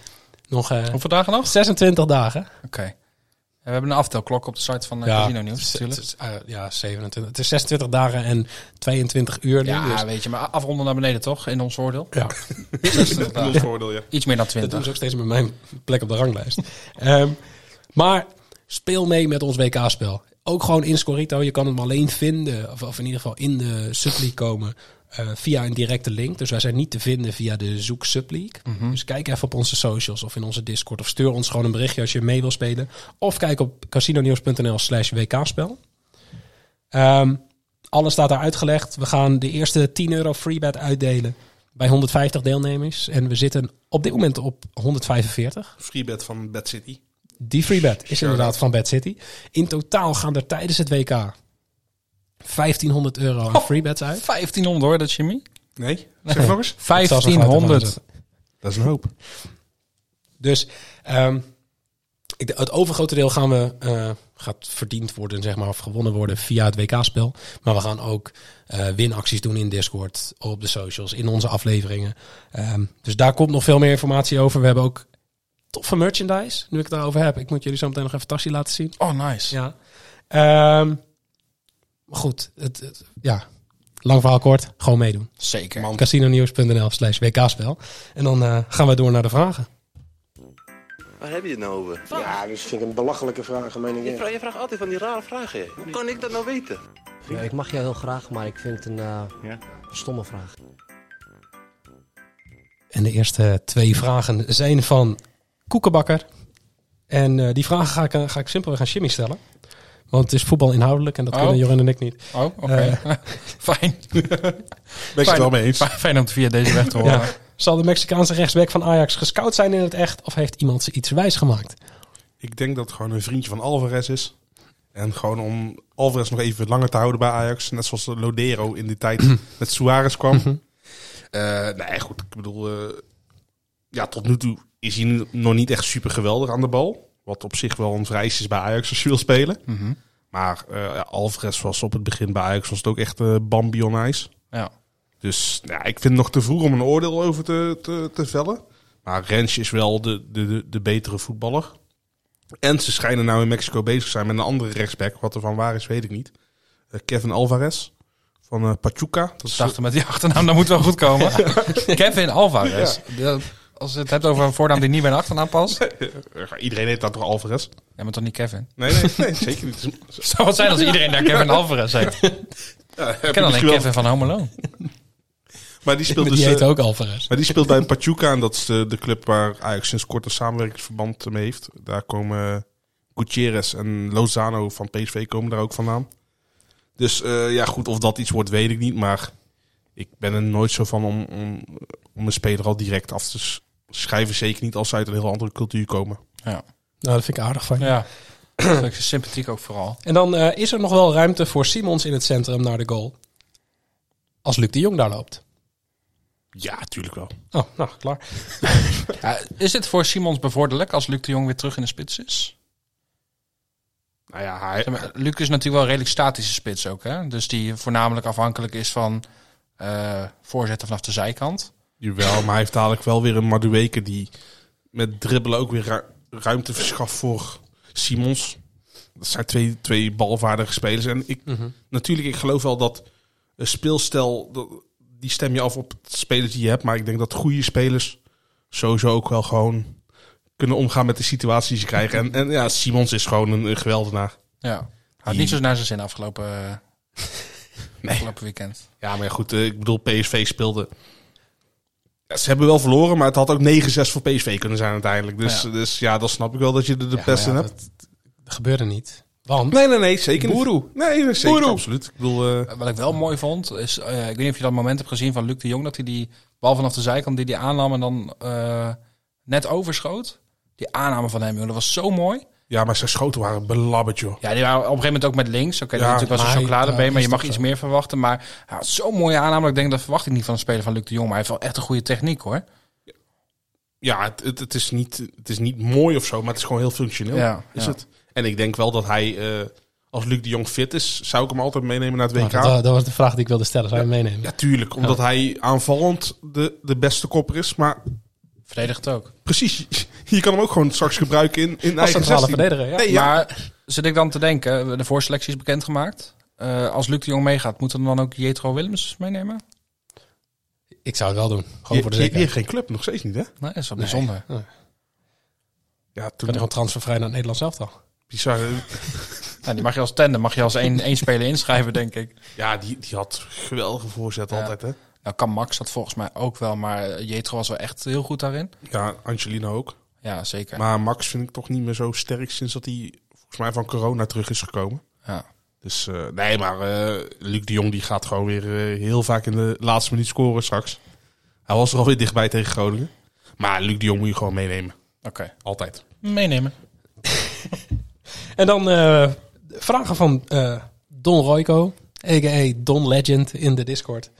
[SPEAKER 6] nog eh,
[SPEAKER 8] Hoeveel dagen nog?
[SPEAKER 6] 26 dagen.
[SPEAKER 8] Oké. En We hebben een aftelklok op de site van eh, Casino Nieuws
[SPEAKER 6] het is-
[SPEAKER 8] natuurlijk.
[SPEAKER 6] het is, eh, ja, 27. Het is 26 dagen en 22 uur nu. dus-
[SPEAKER 8] Ja, weet je, maar afronden naar beneden toch? In ons oordeel.
[SPEAKER 6] ja.
[SPEAKER 7] Dat is voordeel, ja.
[SPEAKER 8] Iets meer dan
[SPEAKER 6] Dat doen
[SPEAKER 8] 20.
[SPEAKER 6] ze ook steeds met mijn plek op de ranglijst. Ehm, maar speel mee met ons WK-spel. Ook gewoon in Scorito. Je kan hem alleen vinden. Of, of in ieder geval in de Subleague komen. eh, via een directe link. Dus wij zijn niet te vinden via de Zoek Subleague.
[SPEAKER 8] Mhm.
[SPEAKER 6] Dus kijk even op onze socials of in onze Discord. Of stuur ons gewoon een berichtje als je mee wil spelen. Of kijk op casinonews.nl slash wkspel. Ehm, alles staat daar uitgelegd. We gaan de eerste 10 euro freebet uitdelen bij 150 deelnemers. En we zitten op dit moment op 145.
[SPEAKER 7] Freebet van Bad City.
[SPEAKER 6] Die freebet is inderdaad van Bad City. In totaal gaan er tijdens het WK 1500 euro aan freebets uit.
[SPEAKER 8] 1500 hoor, dat Jimmy.
[SPEAKER 7] Nee? Zeg nog eens.
[SPEAKER 6] Ik zal ze nog uit de hand
[SPEAKER 8] 1500.
[SPEAKER 6] zetten.
[SPEAKER 7] Dat is een hoop.
[SPEAKER 6] Dus ehm, ik, d- het overgrote deel gaan we, eh, gaat verdiend worden, zeg maar, of gewonnen worden via het WK-spel. Maar we gaan ook eh, winacties doen in Discord, op de socials, in onze afleveringen. Ehm, dus daar komt nog veel meer informatie over. We hebben ook toffe merchandise, nu ik het daarover heb. Ik moet jullie zo meteen nog even tasje laten zien.
[SPEAKER 8] Oh, nice.
[SPEAKER 6] Ja. Ehm, maar goed, het, het- ja. lang verhaal kort, gewoon meedoen.
[SPEAKER 8] Zeker.
[SPEAKER 6] Casinonews.nl slash wkspel. En dan eh, gaan we door naar de vragen.
[SPEAKER 11] Waar heb je het nou over?
[SPEAKER 3] Ja, dus vind ik een belachelijke vraag, meen
[SPEAKER 11] Je
[SPEAKER 3] ik.
[SPEAKER 11] vraagt, je vraagt altijd van die rare vragen. hè. Hoe kan ik dat nou weten?
[SPEAKER 12] Ja, ik mag jou heel graag, maar ik vind het een eh, stomme vraag.
[SPEAKER 6] En de eerste twee vragen zijn van Koekenbakker. En eh, die vragen ga ik, eh, ga ik simpelweg aan Jimmy stellen. Want het is voetbal inhoudelijk en dat
[SPEAKER 8] Oh.
[SPEAKER 6] kunnen Jorin en ik niet.
[SPEAKER 8] Oh, oké.
[SPEAKER 6] Eh.
[SPEAKER 8] Fijn.
[SPEAKER 7] Ben ik het wel mee eens.
[SPEAKER 8] Fijn, fijn om het via deze weg te horen.
[SPEAKER 6] Ja. Zal de Mexicaanse rechtsback van Ajax gescout zijn in het echt? Of heeft iemand ze iets wijs gemaakt?
[SPEAKER 7] Ik denk dat het gewoon een vriendje van Alvarez is. En gewoon om Alvarez nog even langer te houden bij Ajax. Net zoals Lodero in die tijd met Suarez kwam. Eh, nee, goed. Ik bedoel, eh, ja, tot nu toe is hij nu nog niet echt super geweldig aan de bal. Wat op zich wel een vereis is bij Ajax als je wil spelen.
[SPEAKER 8] Mhm.
[SPEAKER 7] Maar eh, ja, Alvarez was op het begin bij Ajax was het ook echt eh Bambi on ijs.
[SPEAKER 8] Ja.
[SPEAKER 7] Dus ja, ik vind het nog te vroeg om een oordeel over te, te, te vellen. Maar Rens is wel de, de, de, de betere voetballer. En ze schijnen nou in Mexico bezig te zijn met een andere rechtsback. Wat er van waar is, weet ik niet. Eh, Kevin Alvarez van eh, Pachuca. Dat
[SPEAKER 8] Ik
[SPEAKER 7] is,
[SPEAKER 8] dacht met die achternaam, dat moet wel goed komen. Kevin Alvarez. De- Als je het hebt over een voornaam die niet bij een achternaam past.
[SPEAKER 7] eh, iedereen heet dat toch Alvarez?
[SPEAKER 8] Ja, maar toch niet Kevin.
[SPEAKER 7] Nee, nee, nee zeker niet.
[SPEAKER 8] Het zou wat zijn als iedereen daar Kevin Alvarez heet. Ik
[SPEAKER 7] Ja, eh, heb je
[SPEAKER 8] ken alleen
[SPEAKER 7] misschien wel-
[SPEAKER 8] Kevin van Home Alone.
[SPEAKER 7] Maar die speelt
[SPEAKER 6] Die
[SPEAKER 7] dus...
[SPEAKER 6] heet
[SPEAKER 7] eh,
[SPEAKER 6] ook Alvarez.
[SPEAKER 7] Maar die speelt bij Pachuca en dat is de, de club waar Ajax sinds kort een samenwerkingsverband mee heeft. Daar komen Gutierrez en Lozano van PSV komen daar ook vandaan. Dus eh, ja, goed, of dat iets wordt weet ik niet, maar ik ben er nooit zo van om, om, om een speler al direct af te s- schrijven. Zeker niet als ze uit een heel andere cultuur komen.
[SPEAKER 6] Nou, dat vind ik aardig van je.
[SPEAKER 8] Ja. Dat vind ik sympathiek ook vooral.
[SPEAKER 6] En dan eh, is er nog wel ruimte voor Simons in het centrum naar de goal. Als Luc de Jong daar loopt.
[SPEAKER 7] Ja, tuurlijk wel.
[SPEAKER 6] Oh, nou, klaar.
[SPEAKER 8] Ja, is het voor Simons bevorderlijk als Luc de Jong weer terug in de spits is?
[SPEAKER 7] Nou ja, hij,
[SPEAKER 8] Zeg maar, Luc is natuurlijk wel een redelijk statische spits ook. Hè? Dus die voornamelijk afhankelijk is van eh, voorzetten vanaf de zijkant.
[SPEAKER 7] Jawel, maar hij heeft dadelijk wel weer een Madueke die met dribbelen ook weer ru- ruimte verschaft voor Simons. Dat zijn twee, twee balvaardige spelers. En ik, natuurlijk, ik geloof wel dat een speelstijl, dat- die stem je af op de spelers die je hebt. Maar ik denk dat goede spelers sowieso ook wel gewoon kunnen omgaan met de situaties die ze krijgen. En, en ja, Simons is gewoon een, een geweldenaar.
[SPEAKER 8] Ja. Had niet zo naar zijn zin afgelopen, afgelopen weekend.
[SPEAKER 7] Ja, maar ja, goed, eh, ik bedoel, PSV speelde... Ja, ze hebben wel verloren, maar het had ook 9-6 voor PSV kunnen zijn uiteindelijk. Dus
[SPEAKER 8] Ja.
[SPEAKER 7] ja, dus, ja dan snap ik wel dat je er de
[SPEAKER 6] Ja,
[SPEAKER 7] beste in
[SPEAKER 6] maar
[SPEAKER 7] hebt.
[SPEAKER 6] ja, dat, dat gebeurde niet. Want
[SPEAKER 7] Nee, nee, nee, zeker niet. Nee, nee, zeker absoluut. Ik bedoel, eh,
[SPEAKER 8] Wat ik wel mooi vond, is, eh, ik weet niet of je dat moment hebt gezien van Luc de Jong, dat hij die bal vanaf de zijkant die hij aannam en dan eh, net overschoot. Die aanname van hem, joh, dat was zo mooi.
[SPEAKER 7] ja, maar zijn schoten waren belabberd, joh.
[SPEAKER 8] Ja, die waren op een gegeven moment ook met links. Oké, dat
[SPEAKER 7] Ja,
[SPEAKER 8] is natuurlijk wel zo'n
[SPEAKER 6] maar,
[SPEAKER 8] chocoladebeen,
[SPEAKER 6] eh,
[SPEAKER 8] maar
[SPEAKER 6] is
[SPEAKER 8] je mag
[SPEAKER 6] dat
[SPEAKER 8] iets
[SPEAKER 6] zo?
[SPEAKER 8] meer verwachten. Maar hij had zo'n mooie aanname, ik denk dat verwacht ik niet van een speler van Luc de Jong. Maar hij heeft wel echt een goede techniek hoor.
[SPEAKER 7] Ja, het, het, het is niet, het is niet mooi of zo, maar het is gewoon heel functioneel.
[SPEAKER 8] Ja,
[SPEAKER 7] is
[SPEAKER 8] ja.
[SPEAKER 7] het. En ik denk wel dat hij, eh, als Luc de Jong fit is, zou ik hem altijd meenemen naar het
[SPEAKER 6] Nou,
[SPEAKER 7] WK.
[SPEAKER 6] dat, wa- dat was de vraag die ik wilde stellen. Zou je hem meenemen?
[SPEAKER 7] ja, tuurlijk. Omdat hij aanvallend de, de beste kopper is. Maar
[SPEAKER 8] Verdedigt ook.
[SPEAKER 7] precies, je kan hem ook gewoon straks gebruiken in,
[SPEAKER 6] Als
[SPEAKER 7] in eigen
[SPEAKER 6] centrale
[SPEAKER 7] 16.
[SPEAKER 6] verdediger, ja.
[SPEAKER 7] Nee, ja.
[SPEAKER 8] Maar zit ik dan te denken, de voorselectie is bekendgemaakt. Eh, als Luc de Jong meegaat, moeten we dan ook Jetro Willems meenemen?
[SPEAKER 6] Ik zou het wel doen. Gewoon
[SPEAKER 7] Je,
[SPEAKER 6] voor
[SPEAKER 7] je,
[SPEAKER 6] de
[SPEAKER 7] je
[SPEAKER 6] zekerheid.
[SPEAKER 7] hebt geen club, nog steeds niet, hè?
[SPEAKER 8] Nee, dat is wel bijzonder.
[SPEAKER 7] Ja,
[SPEAKER 6] Ik ben
[SPEAKER 7] toen
[SPEAKER 6] gewoon transfervrij naar het Nederlands elftal.
[SPEAKER 7] bizar.
[SPEAKER 8] Ja, Nou, die mag je als tandem, mag je als één, één speler inschrijven, denk ik.
[SPEAKER 7] Ja, die, die had geweldige voorzet altijd, hè?
[SPEAKER 8] Nou kan Max dat volgens mij ook wel, maar Jetro was wel echt heel goed daarin.
[SPEAKER 7] Ja, Angelina ook.
[SPEAKER 8] Ja, zeker.
[SPEAKER 7] Maar Max vind ik toch niet meer zo sterk sinds dat hij volgens mij van corona terug is gekomen.
[SPEAKER 8] Ja.
[SPEAKER 7] Dus eh, nee, maar eh, Luc de Jong die gaat gewoon weer eh, heel vaak in de laatste minuut scoren straks. Hij was er alweer dichtbij tegen Groningen. Maar Luc de Jong moet je gewoon meenemen.
[SPEAKER 8] Oké.
[SPEAKER 7] Altijd.
[SPEAKER 8] Meenemen.
[SPEAKER 6] En dan eh, vragen van eh, Don Royco, a.k.a. Don Legend in de Discord.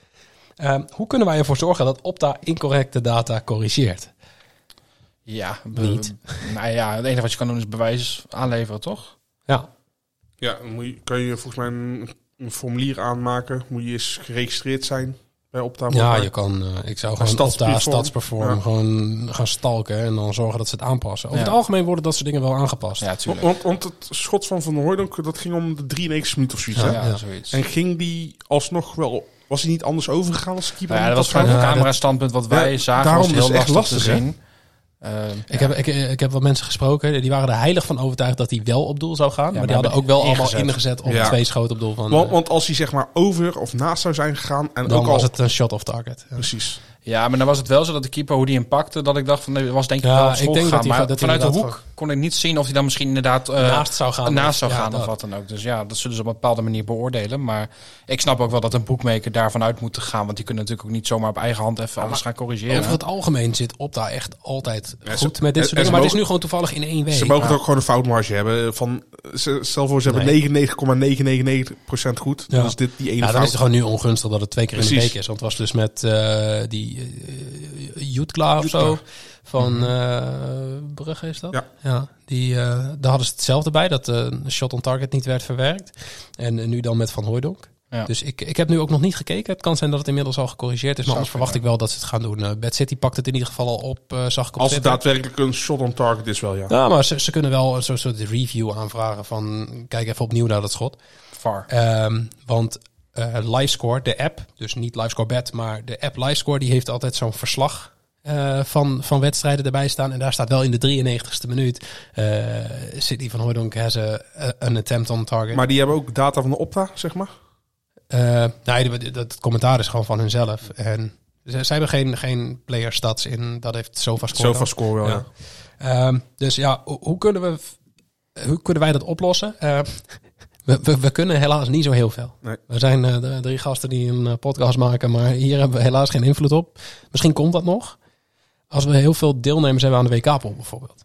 [SPEAKER 6] Eh, hoe kunnen wij ervoor zorgen dat Opta incorrecte data corrigeert?
[SPEAKER 8] Ja,
[SPEAKER 6] Niet.
[SPEAKER 8] Nou ja, het enige wat je kan doen is bewijs aanleveren, toch?
[SPEAKER 7] Ja, dan moet je, kan je volgens mij een, een formulier aanmaken. Moet je eens geregistreerd zijn bij Opta.
[SPEAKER 6] Ja, je kan, eh, ik zou
[SPEAKER 7] Bij
[SPEAKER 6] gewoon Opta,
[SPEAKER 7] Stadsperform.
[SPEAKER 6] Stadsperform,
[SPEAKER 7] Ja.
[SPEAKER 6] gewoon gaan stalken en dan zorgen dat ze het aanpassen. Over
[SPEAKER 8] Ja.
[SPEAKER 6] het algemeen worden dat soort dingen wel aangepast.
[SPEAKER 8] Ja,
[SPEAKER 7] Want,
[SPEAKER 8] tuurlijk.
[SPEAKER 7] want, want het schot van Van Hooydonk, dat ging om de 93 minuten of zoiets,
[SPEAKER 8] Ja,
[SPEAKER 7] hè?
[SPEAKER 6] ja.
[SPEAKER 8] zoiets.
[SPEAKER 7] oh. En ging die alsnog wel... Was hij niet anders overgegaan als keeper?
[SPEAKER 8] Nou ja, dat was vanuit
[SPEAKER 7] Ja,
[SPEAKER 8] het
[SPEAKER 7] dat-
[SPEAKER 8] camera-standpunt wat wij
[SPEAKER 7] Ja,
[SPEAKER 8] zagen.
[SPEAKER 7] daarom
[SPEAKER 8] was het heel
[SPEAKER 7] is het echt
[SPEAKER 8] lastig, te
[SPEAKER 7] lastig, hè?
[SPEAKER 8] zien. Ehm,
[SPEAKER 6] Ik, heb, ik, ik heb wat mensen gesproken, die waren er heilig van overtuigd dat hij wel op doel zou gaan. maar, die
[SPEAKER 8] maar
[SPEAKER 6] hadden ook
[SPEAKER 8] hebben
[SPEAKER 6] wel allemaal
[SPEAKER 8] ingezet.
[SPEAKER 6] ingezet op
[SPEAKER 7] Ja.
[SPEAKER 6] twee schoten op doel van...
[SPEAKER 7] Want,
[SPEAKER 6] eh,
[SPEAKER 7] want als hij zeg maar over of naast zou zijn gegaan... En
[SPEAKER 6] dan
[SPEAKER 7] ook al,
[SPEAKER 6] was het een shot off target. Ja.
[SPEAKER 7] Precies.
[SPEAKER 8] Ja, maar dan was het wel zo dat de keeper, hoe die hem pakte, dat ik dacht van, nee, was denk ik
[SPEAKER 6] Ja,
[SPEAKER 8] wel op
[SPEAKER 6] ik
[SPEAKER 8] school
[SPEAKER 6] denk
[SPEAKER 8] gegaan.
[SPEAKER 6] dat hij
[SPEAKER 8] maar
[SPEAKER 6] gaat- dat hij
[SPEAKER 8] vanuit de hoek
[SPEAKER 6] inderdaad
[SPEAKER 8] kon ik niet zien of hij dan misschien inderdaad eh,
[SPEAKER 6] Naast zou gaan.
[SPEAKER 8] naast zou
[SPEAKER 6] Ja,
[SPEAKER 8] gaan of
[SPEAKER 6] dat.
[SPEAKER 8] wat dan ook. Dus ja, dat zullen ze op een bepaalde manier beoordelen. Maar ik snap ook wel dat een boekmaker daarvan uit moet gaan. Want die kunnen natuurlijk ook niet zomaar op eigen hand even alles gaan corrigeren.
[SPEAKER 6] Over het algemeen zit Opta echt altijd
[SPEAKER 7] Ja, ze-
[SPEAKER 6] goed met dit
[SPEAKER 7] en-
[SPEAKER 6] soort
[SPEAKER 7] en
[SPEAKER 6] dingen.
[SPEAKER 7] ze
[SPEAKER 6] Maar het is
[SPEAKER 7] mogen-
[SPEAKER 6] nu gewoon toevallig in één week.
[SPEAKER 7] Ze mogen
[SPEAKER 6] Ja.
[SPEAKER 7] toch ook gewoon een foutmarge hebben. Van, ze- stel voor, ze hebben 99,999% goed.
[SPEAKER 6] Ja.
[SPEAKER 7] Dus dit die ene
[SPEAKER 6] Ja, dan
[SPEAKER 7] fout.
[SPEAKER 6] is het gewoon nu ongunstig dat het twee keer in de
[SPEAKER 7] Precies.
[SPEAKER 6] week is. Want het was dus met eh, die eh, Jutkla of zo. Van eh, Brugge is dat?
[SPEAKER 7] Mhm. Ja.
[SPEAKER 6] die, eh, daar hadden ze hetzelfde bij. Dat eh, een shot on target niet werd verwerkt. En eh, nu dan met Van Hooijdonk.
[SPEAKER 8] Ja.
[SPEAKER 6] Dus ik, ik heb nu ook nog niet gekeken. Het kan zijn dat het inmiddels al gecorrigeerd is. Maar
[SPEAKER 8] Zou
[SPEAKER 6] anders verwacht ik wel dat ze het gaan doen. Eh, Bad City pakt het in ieder geval al op, eh, zag ik op
[SPEAKER 7] Als het
[SPEAKER 6] Twitter.
[SPEAKER 7] daadwerkelijk een shot on target is wel, ja.
[SPEAKER 6] Ja, maar ze, ze kunnen wel een soort, soort review aanvragen van... Kijk even opnieuw naar dat schot.
[SPEAKER 8] VAR.
[SPEAKER 6] Ehm, want eh LiveScore, de app, dus niet LiveScore Bet, maar de app LiveScore, die heeft altijd zo'n verslag eh, van, van wedstrijden erbij staan. En daar staat wel in de 93ste minuut, eh, City van Hooijdonk has a, a- an attempt on target.
[SPEAKER 7] Maar die hebben ook data van de Opta, zeg maar.
[SPEAKER 6] Eh, nee, dat, dat commentaar is gewoon van hunzelf. En ze, ze hebben geen, geen player stats in, dat heeft SofaScore.
[SPEAKER 7] Zo
[SPEAKER 6] dan.
[SPEAKER 7] van score wel, ja.
[SPEAKER 6] Ehm, dus ja, ho- hoe kunnen, we, hoe kunnen wij dat oplossen? Ehm, we, we, we kunnen helaas niet zo heel veel.
[SPEAKER 7] Nee.
[SPEAKER 6] We zijn eh, d- drie gasten die een eh, podcast maken, maar hier hebben we helaas geen invloed op. Misschien komt dat nog. Als we heel veel deelnemers hebben aan de WK-pool bijvoorbeeld.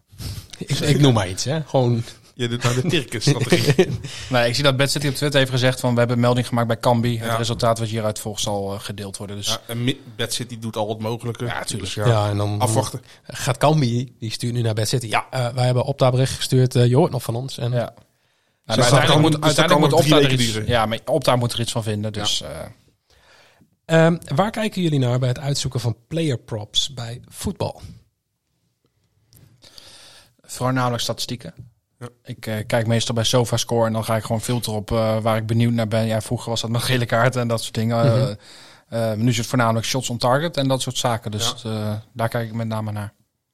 [SPEAKER 6] ik, ik noem maar iets, hè. Gewoon...
[SPEAKER 7] Je doet naar de Tirkes-strategie.
[SPEAKER 8] Nee, Nou, ik zie dat Bad City op Twitter heeft gezegd van, we hebben een melding gemaakt bij Cambi.
[SPEAKER 7] Ja.
[SPEAKER 8] Het resultaat wat hieruit volgt zal eh, gedeeld worden. Dus
[SPEAKER 7] ja, en Mi- Bad City doet al het mogelijke. Dus Ja, natuurlijk.
[SPEAKER 6] ja. en dan
[SPEAKER 7] Afwachten. Dus
[SPEAKER 6] gaat Kambi, die stuurt nu naar Bed City. Ja, eh, wij hebben Opta bericht gestuurd, eh, je hoort nog van ons. En
[SPEAKER 8] ja. Nou,
[SPEAKER 7] dat
[SPEAKER 8] maar uiteindelijk
[SPEAKER 7] kan- dus
[SPEAKER 8] moet,
[SPEAKER 7] dat kan
[SPEAKER 8] uiteindelijk
[SPEAKER 7] nog
[SPEAKER 8] moet
[SPEAKER 7] drie
[SPEAKER 8] Opta er
[SPEAKER 7] weken
[SPEAKER 8] iets,
[SPEAKER 7] duren.
[SPEAKER 8] ja, maar Opta moet er iets van vinden. Dus eh,
[SPEAKER 6] Ehm, waar kijken jullie naar bij het uitzoeken van player props bij voetbal?
[SPEAKER 8] Voornamelijk statistieken.
[SPEAKER 7] Ja.
[SPEAKER 8] Ik eh, kijk meestal bij SofaScore en dan ga ik gewoon filteren op eh, waar ik benieuwd naar ben. Ja, vroeger was dat met gele kaarten en dat soort dingen. Eh,
[SPEAKER 6] Mhm.
[SPEAKER 8] eh, nu is het voornamelijk shots on target en dat soort zaken. Dus eh, daar kijk ik met name naar.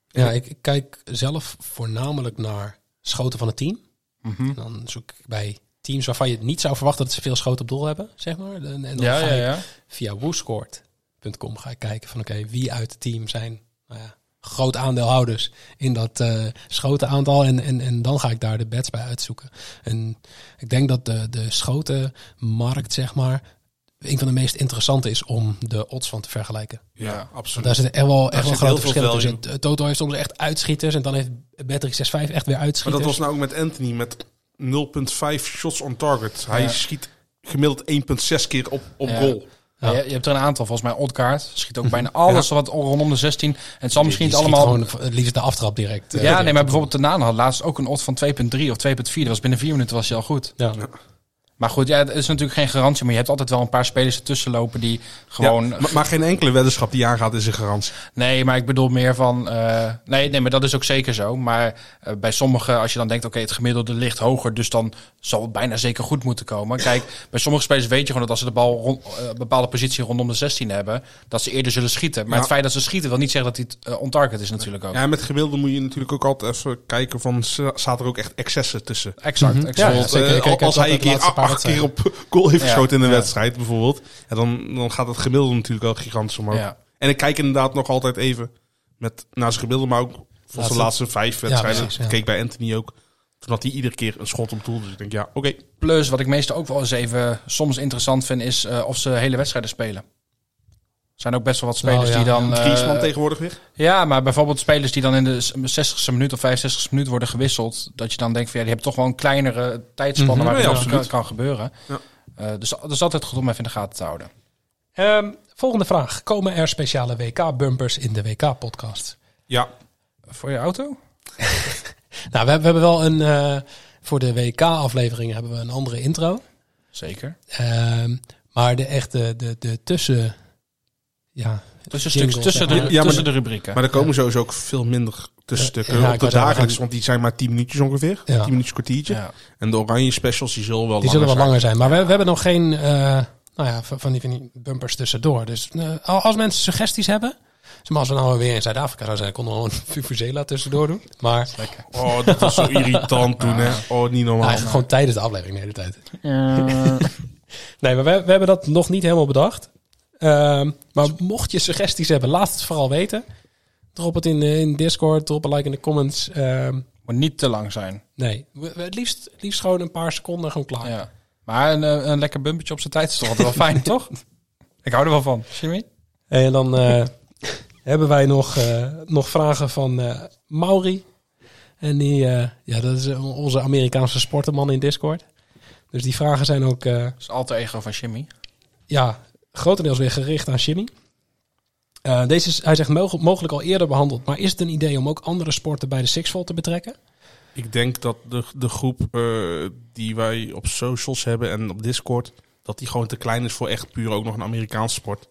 [SPEAKER 6] Ja, ik, ik kijk zelf voornamelijk naar schoten van het team. En dan zoek ik bij teams waarvan je niet zou verwachten dat ze veel schoten op doel hebben, zeg maar. En, en dan ga ik via wooscoort.com ga ik kijken van oké, wie uit het team zijn nou ja, groot aandeelhouders in dat eh schotenaantal. En, en, en dan ga ik daar de bets bij uitzoeken. En ik denk dat de, de schotenmarkt, zeg maar, een van de meest interessante is om de odds van te vergelijken.
[SPEAKER 7] Ja, absoluut.
[SPEAKER 6] Daar zitten echt wel, echt wel
[SPEAKER 7] zit
[SPEAKER 6] grote
[SPEAKER 7] heel veel
[SPEAKER 6] verschillen tussen. Toto heeft soms echt uitschieters en dan heeft Patrick 6-5 echt weer
[SPEAKER 7] Maar
[SPEAKER 6] uitschieters.
[SPEAKER 7] dat was nou ook met Anthony met 0,5 shots on target. Hij
[SPEAKER 8] Ja.
[SPEAKER 7] schiet gemiddeld 1,6 keer op, op
[SPEAKER 8] Ja.
[SPEAKER 7] goal.
[SPEAKER 8] Ja, je, je hebt er een aantal, volgens mij Odkaart. Schiet ook bijna alles wat rondom de 16. En het zal misschien
[SPEAKER 6] Mhm. Die
[SPEAKER 8] niet
[SPEAKER 6] schiet
[SPEAKER 8] allemaal...
[SPEAKER 6] gewoon het liefst de aftrap direct. eh,
[SPEAKER 8] ja, nee,
[SPEAKER 6] direct.
[SPEAKER 8] maar bijvoorbeeld Tenaan had laatst ook een odd van 2.3 of 2.4. Dat was binnen vier minuten was hij al goed.
[SPEAKER 6] Ja.
[SPEAKER 8] Maar goed, ja, het is natuurlijk geen garantie. Maar je hebt altijd wel een paar spelers ertussen lopen die gewoon...
[SPEAKER 7] maar, maar geen enkele weddenschap die aangaat is een garantie.
[SPEAKER 8] Nee, maar ik bedoel meer van... eh, nee, nee, maar dat is ook zeker zo. Maar eh, bij sommigen, als je dan denkt... Oké, het gemiddelde ligt hoger, dus dan zal het bijna zeker goed moeten komen. Kijk, bij sommige spelers weet je gewoon dat als ze de bal rond, eh, een bepaalde positie rondom de 16 hebben... dat ze eerder zullen schieten. Maar
[SPEAKER 7] Ja.
[SPEAKER 8] het feit dat ze schieten wil niet zeggen dat hij on ontarget is natuurlijk ook.
[SPEAKER 7] Ja, en met gemiddelde moet je natuurlijk ook altijd even kijken van, za- zaten er ook echt excessen tussen?
[SPEAKER 8] Exact, Mhm. exact.
[SPEAKER 7] Bijvoorbeeld,
[SPEAKER 8] Ja, zeker.
[SPEAKER 7] eh,
[SPEAKER 8] Ik kijk
[SPEAKER 7] als
[SPEAKER 8] ook
[SPEAKER 7] hij
[SPEAKER 8] altijd
[SPEAKER 7] een
[SPEAKER 8] de
[SPEAKER 7] keer
[SPEAKER 8] laatste
[SPEAKER 7] a-
[SPEAKER 8] paar
[SPEAKER 7] acht keer
[SPEAKER 8] wedstrijden.
[SPEAKER 7] op goal heeft
[SPEAKER 8] Ja,
[SPEAKER 7] geschoten in een
[SPEAKER 8] ja.
[SPEAKER 7] wedstrijd bijvoorbeeld, ja, dan, dan gaat het gemiddelde natuurlijk wel gigantisch omhoog.
[SPEAKER 8] Ja.
[SPEAKER 7] En ik kijk inderdaad nog altijd even met, naar zijn gemiddelde, maar ook voor
[SPEAKER 6] Laatste-
[SPEAKER 7] zijn laatste vijf
[SPEAKER 6] Ja,
[SPEAKER 7] wedstrijden.
[SPEAKER 6] precies, ja.
[SPEAKER 7] Ik keek bij Anthony ook. Toen had hij iedere keer een schot op doel. Dus ik denk, ja, oké.
[SPEAKER 8] Plus, wat ik meestal ook wel eens even soms interessant vind... is eh, of ze hele wedstrijden spelen. Er zijn ook best wel wat spelers
[SPEAKER 7] Oh, ja.
[SPEAKER 8] die dan... eh,
[SPEAKER 7] Griezmann tegenwoordig weer?
[SPEAKER 8] Ja, maar bijvoorbeeld spelers die dan in de 60ste minuut of 65ste minuut worden gewisseld. Dat je dan denkt van ja, die hebben toch wel een kleinere tijdspanne
[SPEAKER 6] Mhm.
[SPEAKER 8] waarin
[SPEAKER 6] Ja,
[SPEAKER 8] dat
[SPEAKER 6] absoluut.
[SPEAKER 8] kan, kan gebeuren.
[SPEAKER 7] Ja.
[SPEAKER 8] Eh, dus dat is altijd goed om even in de gaten te houden.
[SPEAKER 6] Ehm, volgende vraag. Komen er speciale WK-bumpers in de WK-podcast?
[SPEAKER 7] Ja.
[SPEAKER 8] Voor je auto?
[SPEAKER 6] Nou, we, hebben- we hebben wel een... eh, voor de WK-aflevering hebben we een andere intro.
[SPEAKER 8] Zeker.
[SPEAKER 6] Ehm, maar de echte de, de tussen... Ja,
[SPEAKER 8] Tussenstuks,
[SPEAKER 6] jingles,
[SPEAKER 8] tussen
[SPEAKER 6] zeg maar.
[SPEAKER 8] de- Ja, tussen maar- de rubrieken.
[SPEAKER 7] Maar er komen
[SPEAKER 6] Ja.
[SPEAKER 7] sowieso ook veel minder tussenstukken
[SPEAKER 6] Ja, ik
[SPEAKER 7] op de
[SPEAKER 6] wou zeggen,
[SPEAKER 7] dagelijks.
[SPEAKER 6] en-
[SPEAKER 7] Want die zijn maar 10 minuutjes ongeveer.
[SPEAKER 6] Ja.
[SPEAKER 7] 10 minuutjes kwartiertje. En de oranje specials die zullen wel
[SPEAKER 6] Die
[SPEAKER 7] langer
[SPEAKER 6] zullen wel langer zijn. Maar we, we hebben nog geen eh, nou ja, van, van die, van die bumpers tussendoor. Dus eh, al- als mensen suggesties hebben... zeg maar als we nou weer in Zuid-Afrika zouden zijn... konden we gewoon een Vuvuzela tussendoor doen. Maar...
[SPEAKER 7] Oh, dat was zo irritant toen, hè. Oh, niet normaal.
[SPEAKER 6] Eigenlijk nou gewoon tijdens de aflevering de hele tijd. nee, maar we, we hebben dat nog niet helemaal bedacht. Ehm, maar mocht je suggesties hebben, laat het vooral weten. Drop het in, eh, in Discord, drop een like in de comments. Ehm,
[SPEAKER 8] Maar niet te lang zijn.
[SPEAKER 6] nee, we, we- het liefst, het liefst gewoon een paar seconden gewoon klaar.
[SPEAKER 8] Ja. Maar een, eh, een lekker bumpetje op zijn tijd is toch altijd wel fijn, toch? Ik hou er wel van. Jimmy?
[SPEAKER 6] En dan eh, hebben wij nog, eh, nog vragen van eh, Mauri. En die, eh, ja, dat is eh, onze Amerikaanse sportenman in Discord. Dus die vragen zijn ook eh,
[SPEAKER 8] Dat is altijd ego van Jimmy.
[SPEAKER 6] ja, grotendeels weer gericht aan Jimmy. Eh, deze is, hij zegt, mogel- mogelijk al eerder behandeld. Maar is het een idee om ook andere sporten bij de Sixfold te betrekken?
[SPEAKER 7] Ik denk dat de, de groep eh, die wij op socials hebben en op Discord... dat die gewoon te klein is voor echt puur ook nog een Amerikaanse sport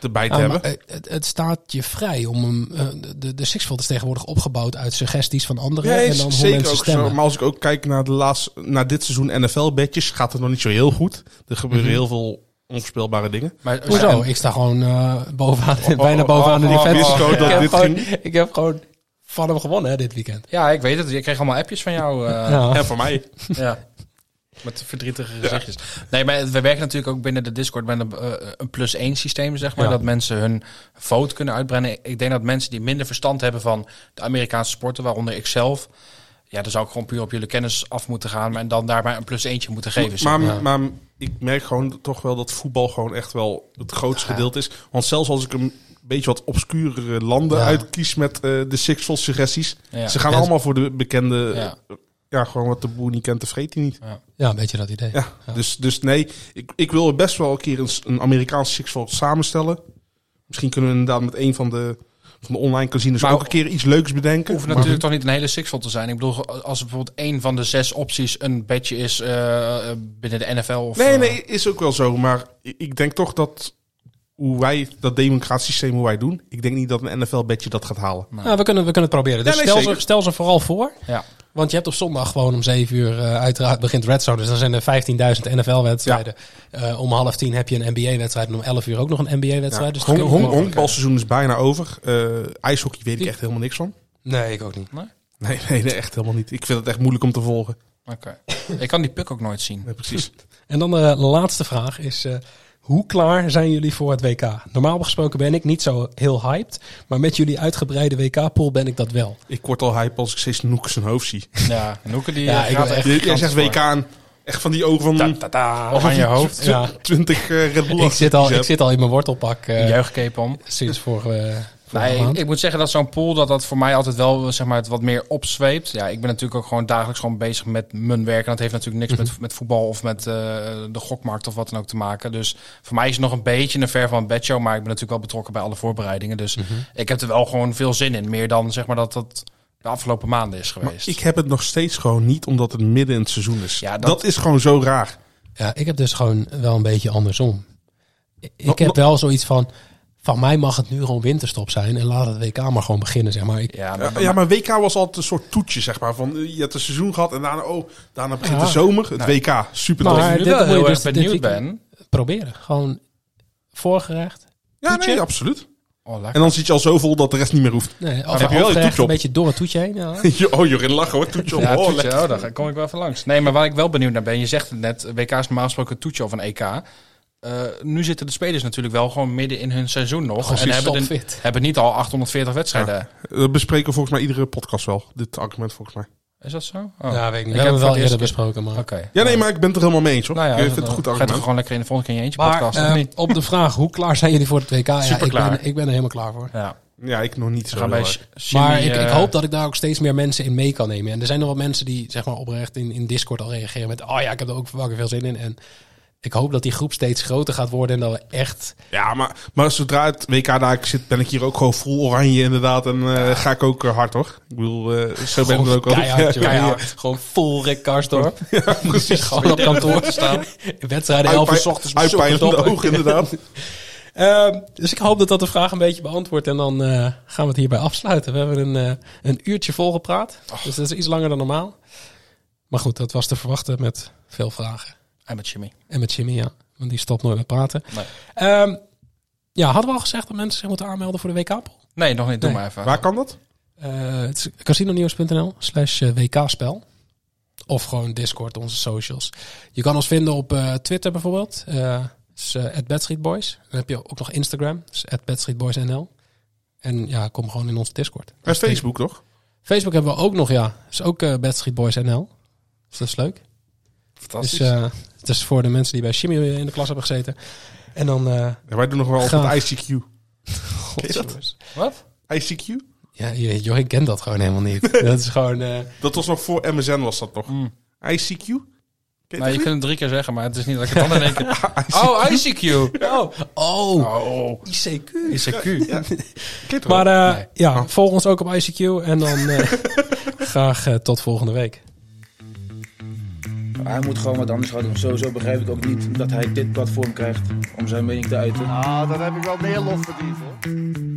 [SPEAKER 7] erbij te
[SPEAKER 6] Ah,
[SPEAKER 7] hebben.
[SPEAKER 6] maar, eh, het, het staat je vrij om hem... eh, de, de Sixfold is tegenwoordig opgebouwd uit suggesties van anderen.
[SPEAKER 7] Nee,
[SPEAKER 6] en
[SPEAKER 7] is
[SPEAKER 6] dan hoe
[SPEAKER 7] zeker
[SPEAKER 6] mensen
[SPEAKER 7] ook
[SPEAKER 6] stemmen.
[SPEAKER 7] zo. Maar als ik ook kijk naar, de laatste, naar dit seizoen NFL-bedjes... gaat het nog niet zo heel goed. Er gebeuren
[SPEAKER 6] Mhm.
[SPEAKER 7] heel veel onvoorspelbare dingen.
[SPEAKER 8] Maar,
[SPEAKER 6] Hoezo? ik sta gewoon eh, bovenaan,
[SPEAKER 7] Oh, oh,
[SPEAKER 6] bijna
[SPEAKER 7] oh,
[SPEAKER 6] bovenaan
[SPEAKER 7] oh,
[SPEAKER 6] in
[SPEAKER 7] oh,
[SPEAKER 6] die
[SPEAKER 7] oh,
[SPEAKER 6] fans.
[SPEAKER 7] oh,
[SPEAKER 6] ik,
[SPEAKER 7] dat
[SPEAKER 6] heb
[SPEAKER 7] dit
[SPEAKER 6] gewoon,
[SPEAKER 7] ging.
[SPEAKER 6] ik heb gewoon van hem gewonnen hè, dit weekend.
[SPEAKER 8] Ja, ik weet het. Ik kreeg allemaal appjes van jou. eh.
[SPEAKER 6] Ja.
[SPEAKER 7] En van mij.
[SPEAKER 8] Ja. Met verdrietige gezichtjes. Nee, maar we werken natuurlijk ook binnen de Discord met een, eh, een plus één systeem, zeg maar.
[SPEAKER 6] Ja.
[SPEAKER 8] Dat mensen hun vote kunnen uitbrengen. Ik denk dat mensen die minder verstand hebben van de Amerikaanse sporten, waaronder ik zelf. Ja, dan zou ik gewoon puur op jullie kennis af moeten gaan. En dan daar maar een plus eentje moeten geven. zeg
[SPEAKER 7] Maar,
[SPEAKER 8] maar.
[SPEAKER 7] maar, ik merk gewoon toch wel dat voetbal gewoon echt wel het grootste gedeelte is. Want zelfs als ik een beetje wat obscurere landen
[SPEAKER 8] Ja.
[SPEAKER 7] uitkies met eh, de Six Flags suggesties.
[SPEAKER 8] Ja.
[SPEAKER 7] Ze gaan
[SPEAKER 8] Ja.
[SPEAKER 7] allemaal voor de bekende...
[SPEAKER 8] Ja.
[SPEAKER 7] eh, Ja, gewoon wat de boer niet kent, de vreet hij niet.
[SPEAKER 8] Ja.
[SPEAKER 6] Ja, een beetje dat idee.
[SPEAKER 7] Dus, dus nee, ik, ik wil best wel een keer een, s- een Amerikaanse Six Flags samenstellen. Misschien kunnen we inderdaad met een van de, van de online casinos
[SPEAKER 8] Maar-
[SPEAKER 7] ook een keer iets leuks bedenken.
[SPEAKER 8] hoeft
[SPEAKER 7] Maar-
[SPEAKER 8] natuurlijk toch niet een hele sixfold te zijn. Ik bedoel, als er bijvoorbeeld één van de zes opties een bedje is eh, eh, binnen de NFL. Of,
[SPEAKER 7] nee,
[SPEAKER 8] eh,
[SPEAKER 7] nee, is ook wel zo. Maar ik- ik denk toch dat hoe wij dat democratiesysteem hoe wij doen, ik denk niet dat een NFL-bedje dat gaat halen.
[SPEAKER 6] Nou, we, kunnen, we kunnen het proberen. Dus
[SPEAKER 7] Ja, nee,
[SPEAKER 6] stel, ze,
[SPEAKER 7] zeker.
[SPEAKER 6] stel ze vooral voor.
[SPEAKER 8] Ja.
[SPEAKER 6] Want je hebt op zondag gewoon om 7 uur, eh, uiteraard begint Red Zone. Dus dan zijn er 15.000 NFL-wedstrijden. Eh, om half tien heb je een NBA-wedstrijd. En om 11 uur ook nog een NBA-wedstrijd. dus dat
[SPEAKER 7] Hong- hong-
[SPEAKER 6] kunnen we mogelijk-
[SPEAKER 7] honkbalseizoen is bijna over. Eh, ijshockey weet ik echt helemaal niks van.
[SPEAKER 6] Nee, ik ook niet.
[SPEAKER 7] Nee, nee, nee, echt helemaal niet. Ik vind het echt moeilijk om te volgen.
[SPEAKER 8] Oké. Ik kan die puk ook nooit zien.
[SPEAKER 7] Nee, precies.
[SPEAKER 6] En dan de laatste vraag is: eh, hoe klaar zijn jullie voor het WK? Normaal gesproken ben ik niet zo heel hyped, maar met jullie uitgebreide WK-pool ben ik dat wel.
[SPEAKER 7] Ik word al hype als ik steeds Noek zijn hoofd zie.
[SPEAKER 8] Ja, Noeke die
[SPEAKER 6] Ja,
[SPEAKER 8] eh,
[SPEAKER 6] ik
[SPEAKER 8] gaat
[SPEAKER 6] wil
[SPEAKER 8] echt
[SPEAKER 7] Jij- Jij
[SPEAKER 8] gigantisch
[SPEAKER 7] zegt
[SPEAKER 8] voor.
[SPEAKER 7] WK aan. Echt van die ogen van...
[SPEAKER 8] Ta- ta- ta,
[SPEAKER 7] alsof
[SPEAKER 8] oranje
[SPEAKER 7] je
[SPEAKER 8] hoofd.
[SPEAKER 7] tw- tw-
[SPEAKER 6] Ja.
[SPEAKER 7] 20 eh, Red Bull
[SPEAKER 6] Ik zit, al, ik
[SPEAKER 7] hebt.
[SPEAKER 6] zit al in mijn wortelpak eh,
[SPEAKER 8] Een Juichcape om.
[SPEAKER 6] sinds vorige, eh, vorige
[SPEAKER 8] Nee, ik,
[SPEAKER 6] maand.
[SPEAKER 8] ik moet zeggen dat zo'n pool dat dat voor mij altijd wel zeg maar, het wat meer opzweept. Ja, ik ben natuurlijk ook gewoon dagelijks gewoon bezig met mijn werk. En dat heeft natuurlijk
[SPEAKER 6] Mhm.
[SPEAKER 8] niks met, met voetbal of met eh, de gokmarkt of wat dan ook te maken. Dus voor mij is het nog een beetje een ver van een bedshow. Maar ik ben natuurlijk wel betrokken bij alle voorbereidingen. Dus
[SPEAKER 6] Mhm.
[SPEAKER 8] ik heb er wel gewoon veel zin in. Meer dan zeg maar dat dat de afgelopen maanden is
[SPEAKER 7] Maar
[SPEAKER 8] geweest.
[SPEAKER 7] ik heb het nog steeds gewoon niet, omdat het midden in het seizoen is.
[SPEAKER 8] Ja, dat-
[SPEAKER 7] dat... is gewoon zo raar.
[SPEAKER 6] Ja, ik heb dus gewoon wel een beetje andersom.
[SPEAKER 7] Wa-
[SPEAKER 6] Ik heb
[SPEAKER 7] wa-
[SPEAKER 6] wel zoiets van, van mij mag het nu gewoon winterstop zijn en laat het WK maar gewoon beginnen, zeg maar. Ik,
[SPEAKER 8] ja,
[SPEAKER 7] Ja, ja, maar WK was altijd een soort toetje, zeg maar. Van, eh, je hebt een seizoen gehad en daarna, oh, daarna begint
[SPEAKER 6] Ja.
[SPEAKER 7] de zomer. Het
[SPEAKER 8] Nee.
[SPEAKER 7] WK, super tof.
[SPEAKER 8] Maar- ik nu wel
[SPEAKER 6] moet je dus
[SPEAKER 8] heel erg
[SPEAKER 6] dit
[SPEAKER 8] benieuwd
[SPEAKER 6] weekend Proberen, gewoon voorgerecht.
[SPEAKER 7] Ja,
[SPEAKER 6] toetje.
[SPEAKER 7] nee, absoluut.
[SPEAKER 8] Oh, lekker.
[SPEAKER 7] En dan zit je al zo vol dat de rest niet meer hoeft.
[SPEAKER 6] Nee,
[SPEAKER 7] heb
[SPEAKER 6] of,
[SPEAKER 7] je wel je
[SPEAKER 6] of
[SPEAKER 7] toetje
[SPEAKER 6] een
[SPEAKER 7] op.
[SPEAKER 6] beetje door het toetje heen. Ja.
[SPEAKER 7] Jo- oh, Jorin lachen hoor, toetje op.
[SPEAKER 8] Ja,
[SPEAKER 7] oh,
[SPEAKER 8] toetje,
[SPEAKER 7] lekker.
[SPEAKER 8] oh, daar kom ik wel van langs. Nee, maar waar ik wel benieuwd naar ben, je zegt het net, WK is normaal gesproken een toetje of een EK. Eh, nu zitten de spelers natuurlijk wel gewoon midden in hun seizoen nog.
[SPEAKER 6] Precies,
[SPEAKER 8] en hebben, de,
[SPEAKER 6] stopfit.
[SPEAKER 8] hebben niet al 840 wedstrijden.
[SPEAKER 7] Dat Eh, bespreken we volgens mij iedere podcast wel, dit argument volgens mij.
[SPEAKER 8] Is dat zo? Oh.
[SPEAKER 6] Ja, weet ik niet. We hebben
[SPEAKER 8] heb het
[SPEAKER 6] het wel
[SPEAKER 8] voor de
[SPEAKER 6] eerder
[SPEAKER 8] eerste
[SPEAKER 6] besproken, maar...
[SPEAKER 8] keer- Oké.
[SPEAKER 7] Ja, nee, maar ik ben het er helemaal mee eens hoor.
[SPEAKER 8] Nou ja,
[SPEAKER 7] ik vind het een
[SPEAKER 8] dan
[SPEAKER 7] goed
[SPEAKER 8] Ga je toch
[SPEAKER 7] argument.
[SPEAKER 8] gewoon lekker in de volgende keer in je eentje
[SPEAKER 6] Maar
[SPEAKER 8] podcast, of
[SPEAKER 6] ehm,
[SPEAKER 8] niet?
[SPEAKER 6] op de vraag, hoe klaar zijn jullie voor het WK? Ja, ik,
[SPEAKER 8] Superklaar.
[SPEAKER 6] ben, ik ben er helemaal klaar voor.
[SPEAKER 8] Ja.
[SPEAKER 7] Ja, ik nog niet
[SPEAKER 8] We
[SPEAKER 7] zo.
[SPEAKER 8] gaan bij
[SPEAKER 7] heel erg.
[SPEAKER 8] Sh-
[SPEAKER 6] maar
[SPEAKER 8] Jimmy,
[SPEAKER 6] ik, ik
[SPEAKER 8] eh,
[SPEAKER 6] hoop dat ik daar ook steeds meer mensen in mee kan nemen. En er zijn nog wat mensen die zeg maar, oprecht in, in Discord al reageren met... Oh ja, ik heb er ook wakker veel zin in. En ik hoop dat die groep steeds groter gaat worden. En dat we echt...
[SPEAKER 7] Ja, maar, maar zodra het WK daar zit, ben ik hier ook gewoon vol oranje inderdaad. En eh, ga ik ook eh, hard hoor. Ik bedoel, eh, zo ben ik er
[SPEAKER 6] gewoon
[SPEAKER 7] ook al.
[SPEAKER 6] keihard, joh. Gewoon vol Rick Karsdorp.
[SPEAKER 7] precies.
[SPEAKER 6] gewoon op kantoor te staan. Wedstrijden 11 uur 's ochtends. met
[SPEAKER 7] Uitpijnende
[SPEAKER 6] zoektoppen.
[SPEAKER 7] oog inderdaad.
[SPEAKER 6] Ehm, dus ik hoop dat dat de vraag een beetje beantwoordt. En dan eh, gaan we het hierbij afsluiten. We hebben een, eh, een uurtje vol gepraat. Dus dat is iets langer dan normaal. Maar goed, dat was te verwachten met veel vragen.
[SPEAKER 8] En met Jimmy.
[SPEAKER 6] En met Jimmy, ja. Want die stopt nooit met praten.
[SPEAKER 8] Nee.
[SPEAKER 6] Ehm, ja, hadden we al gezegd dat mensen zich moeten aanmelden voor de WK-appel?
[SPEAKER 8] Nee, nog niet. Doe
[SPEAKER 6] Nee.
[SPEAKER 8] maar even.
[SPEAKER 7] Waar kan dat?
[SPEAKER 6] Eh, het is casinonieuws.nl slash WK-spel. Of gewoon Discord, onze socials. Je kan ons vinden op eh, Twitter bijvoorbeeld. Eh is eh, at BadstreetBoys. Dan heb je ook nog Instagram. Dus at BadstreetBoysNL. En ja, kom gewoon in onze Discord.
[SPEAKER 7] Bij Facebook toch?
[SPEAKER 6] Facebook hebben we ook nog, ja. Is ook eh BadstreetBoysNL. Dus dat is leuk.
[SPEAKER 8] Fantastisch.
[SPEAKER 6] Dus, eh het is voor de mensen die bij Jimmy eh, in de klas hebben gezeten. En dan... eh
[SPEAKER 7] Ja, wij doen nog wel altijd ICQ.
[SPEAKER 6] Godjongens.
[SPEAKER 8] Wat?
[SPEAKER 7] ICQ?
[SPEAKER 6] Ja, je- Jorgen kent dat gewoon helemaal niet. dat is gewoon... eh,
[SPEAKER 7] Dat was nog voor MSN was dat nog.
[SPEAKER 8] Mm.
[SPEAKER 7] ICQ? Ken je
[SPEAKER 8] Nou, je
[SPEAKER 7] dat niet?
[SPEAKER 8] kunt het drie keer zeggen, maar het is niet dat ik het dan in één keer... Oh, ICQ.
[SPEAKER 6] Oh, oh,
[SPEAKER 8] Oh,
[SPEAKER 6] ICQ.
[SPEAKER 8] ICQ.
[SPEAKER 6] Maar eh,
[SPEAKER 8] Nee.
[SPEAKER 6] ja, volg ons ook op ICQ. En dan eh, graag eh, tot volgende week.
[SPEAKER 10] Hij moet gewoon wat anders houden. Sowieso begrijp ik ook niet dat hij dit platform krijgt om zijn mening te uiten.
[SPEAKER 3] Ah, dan heb ik wel meer lof verdiend hoor.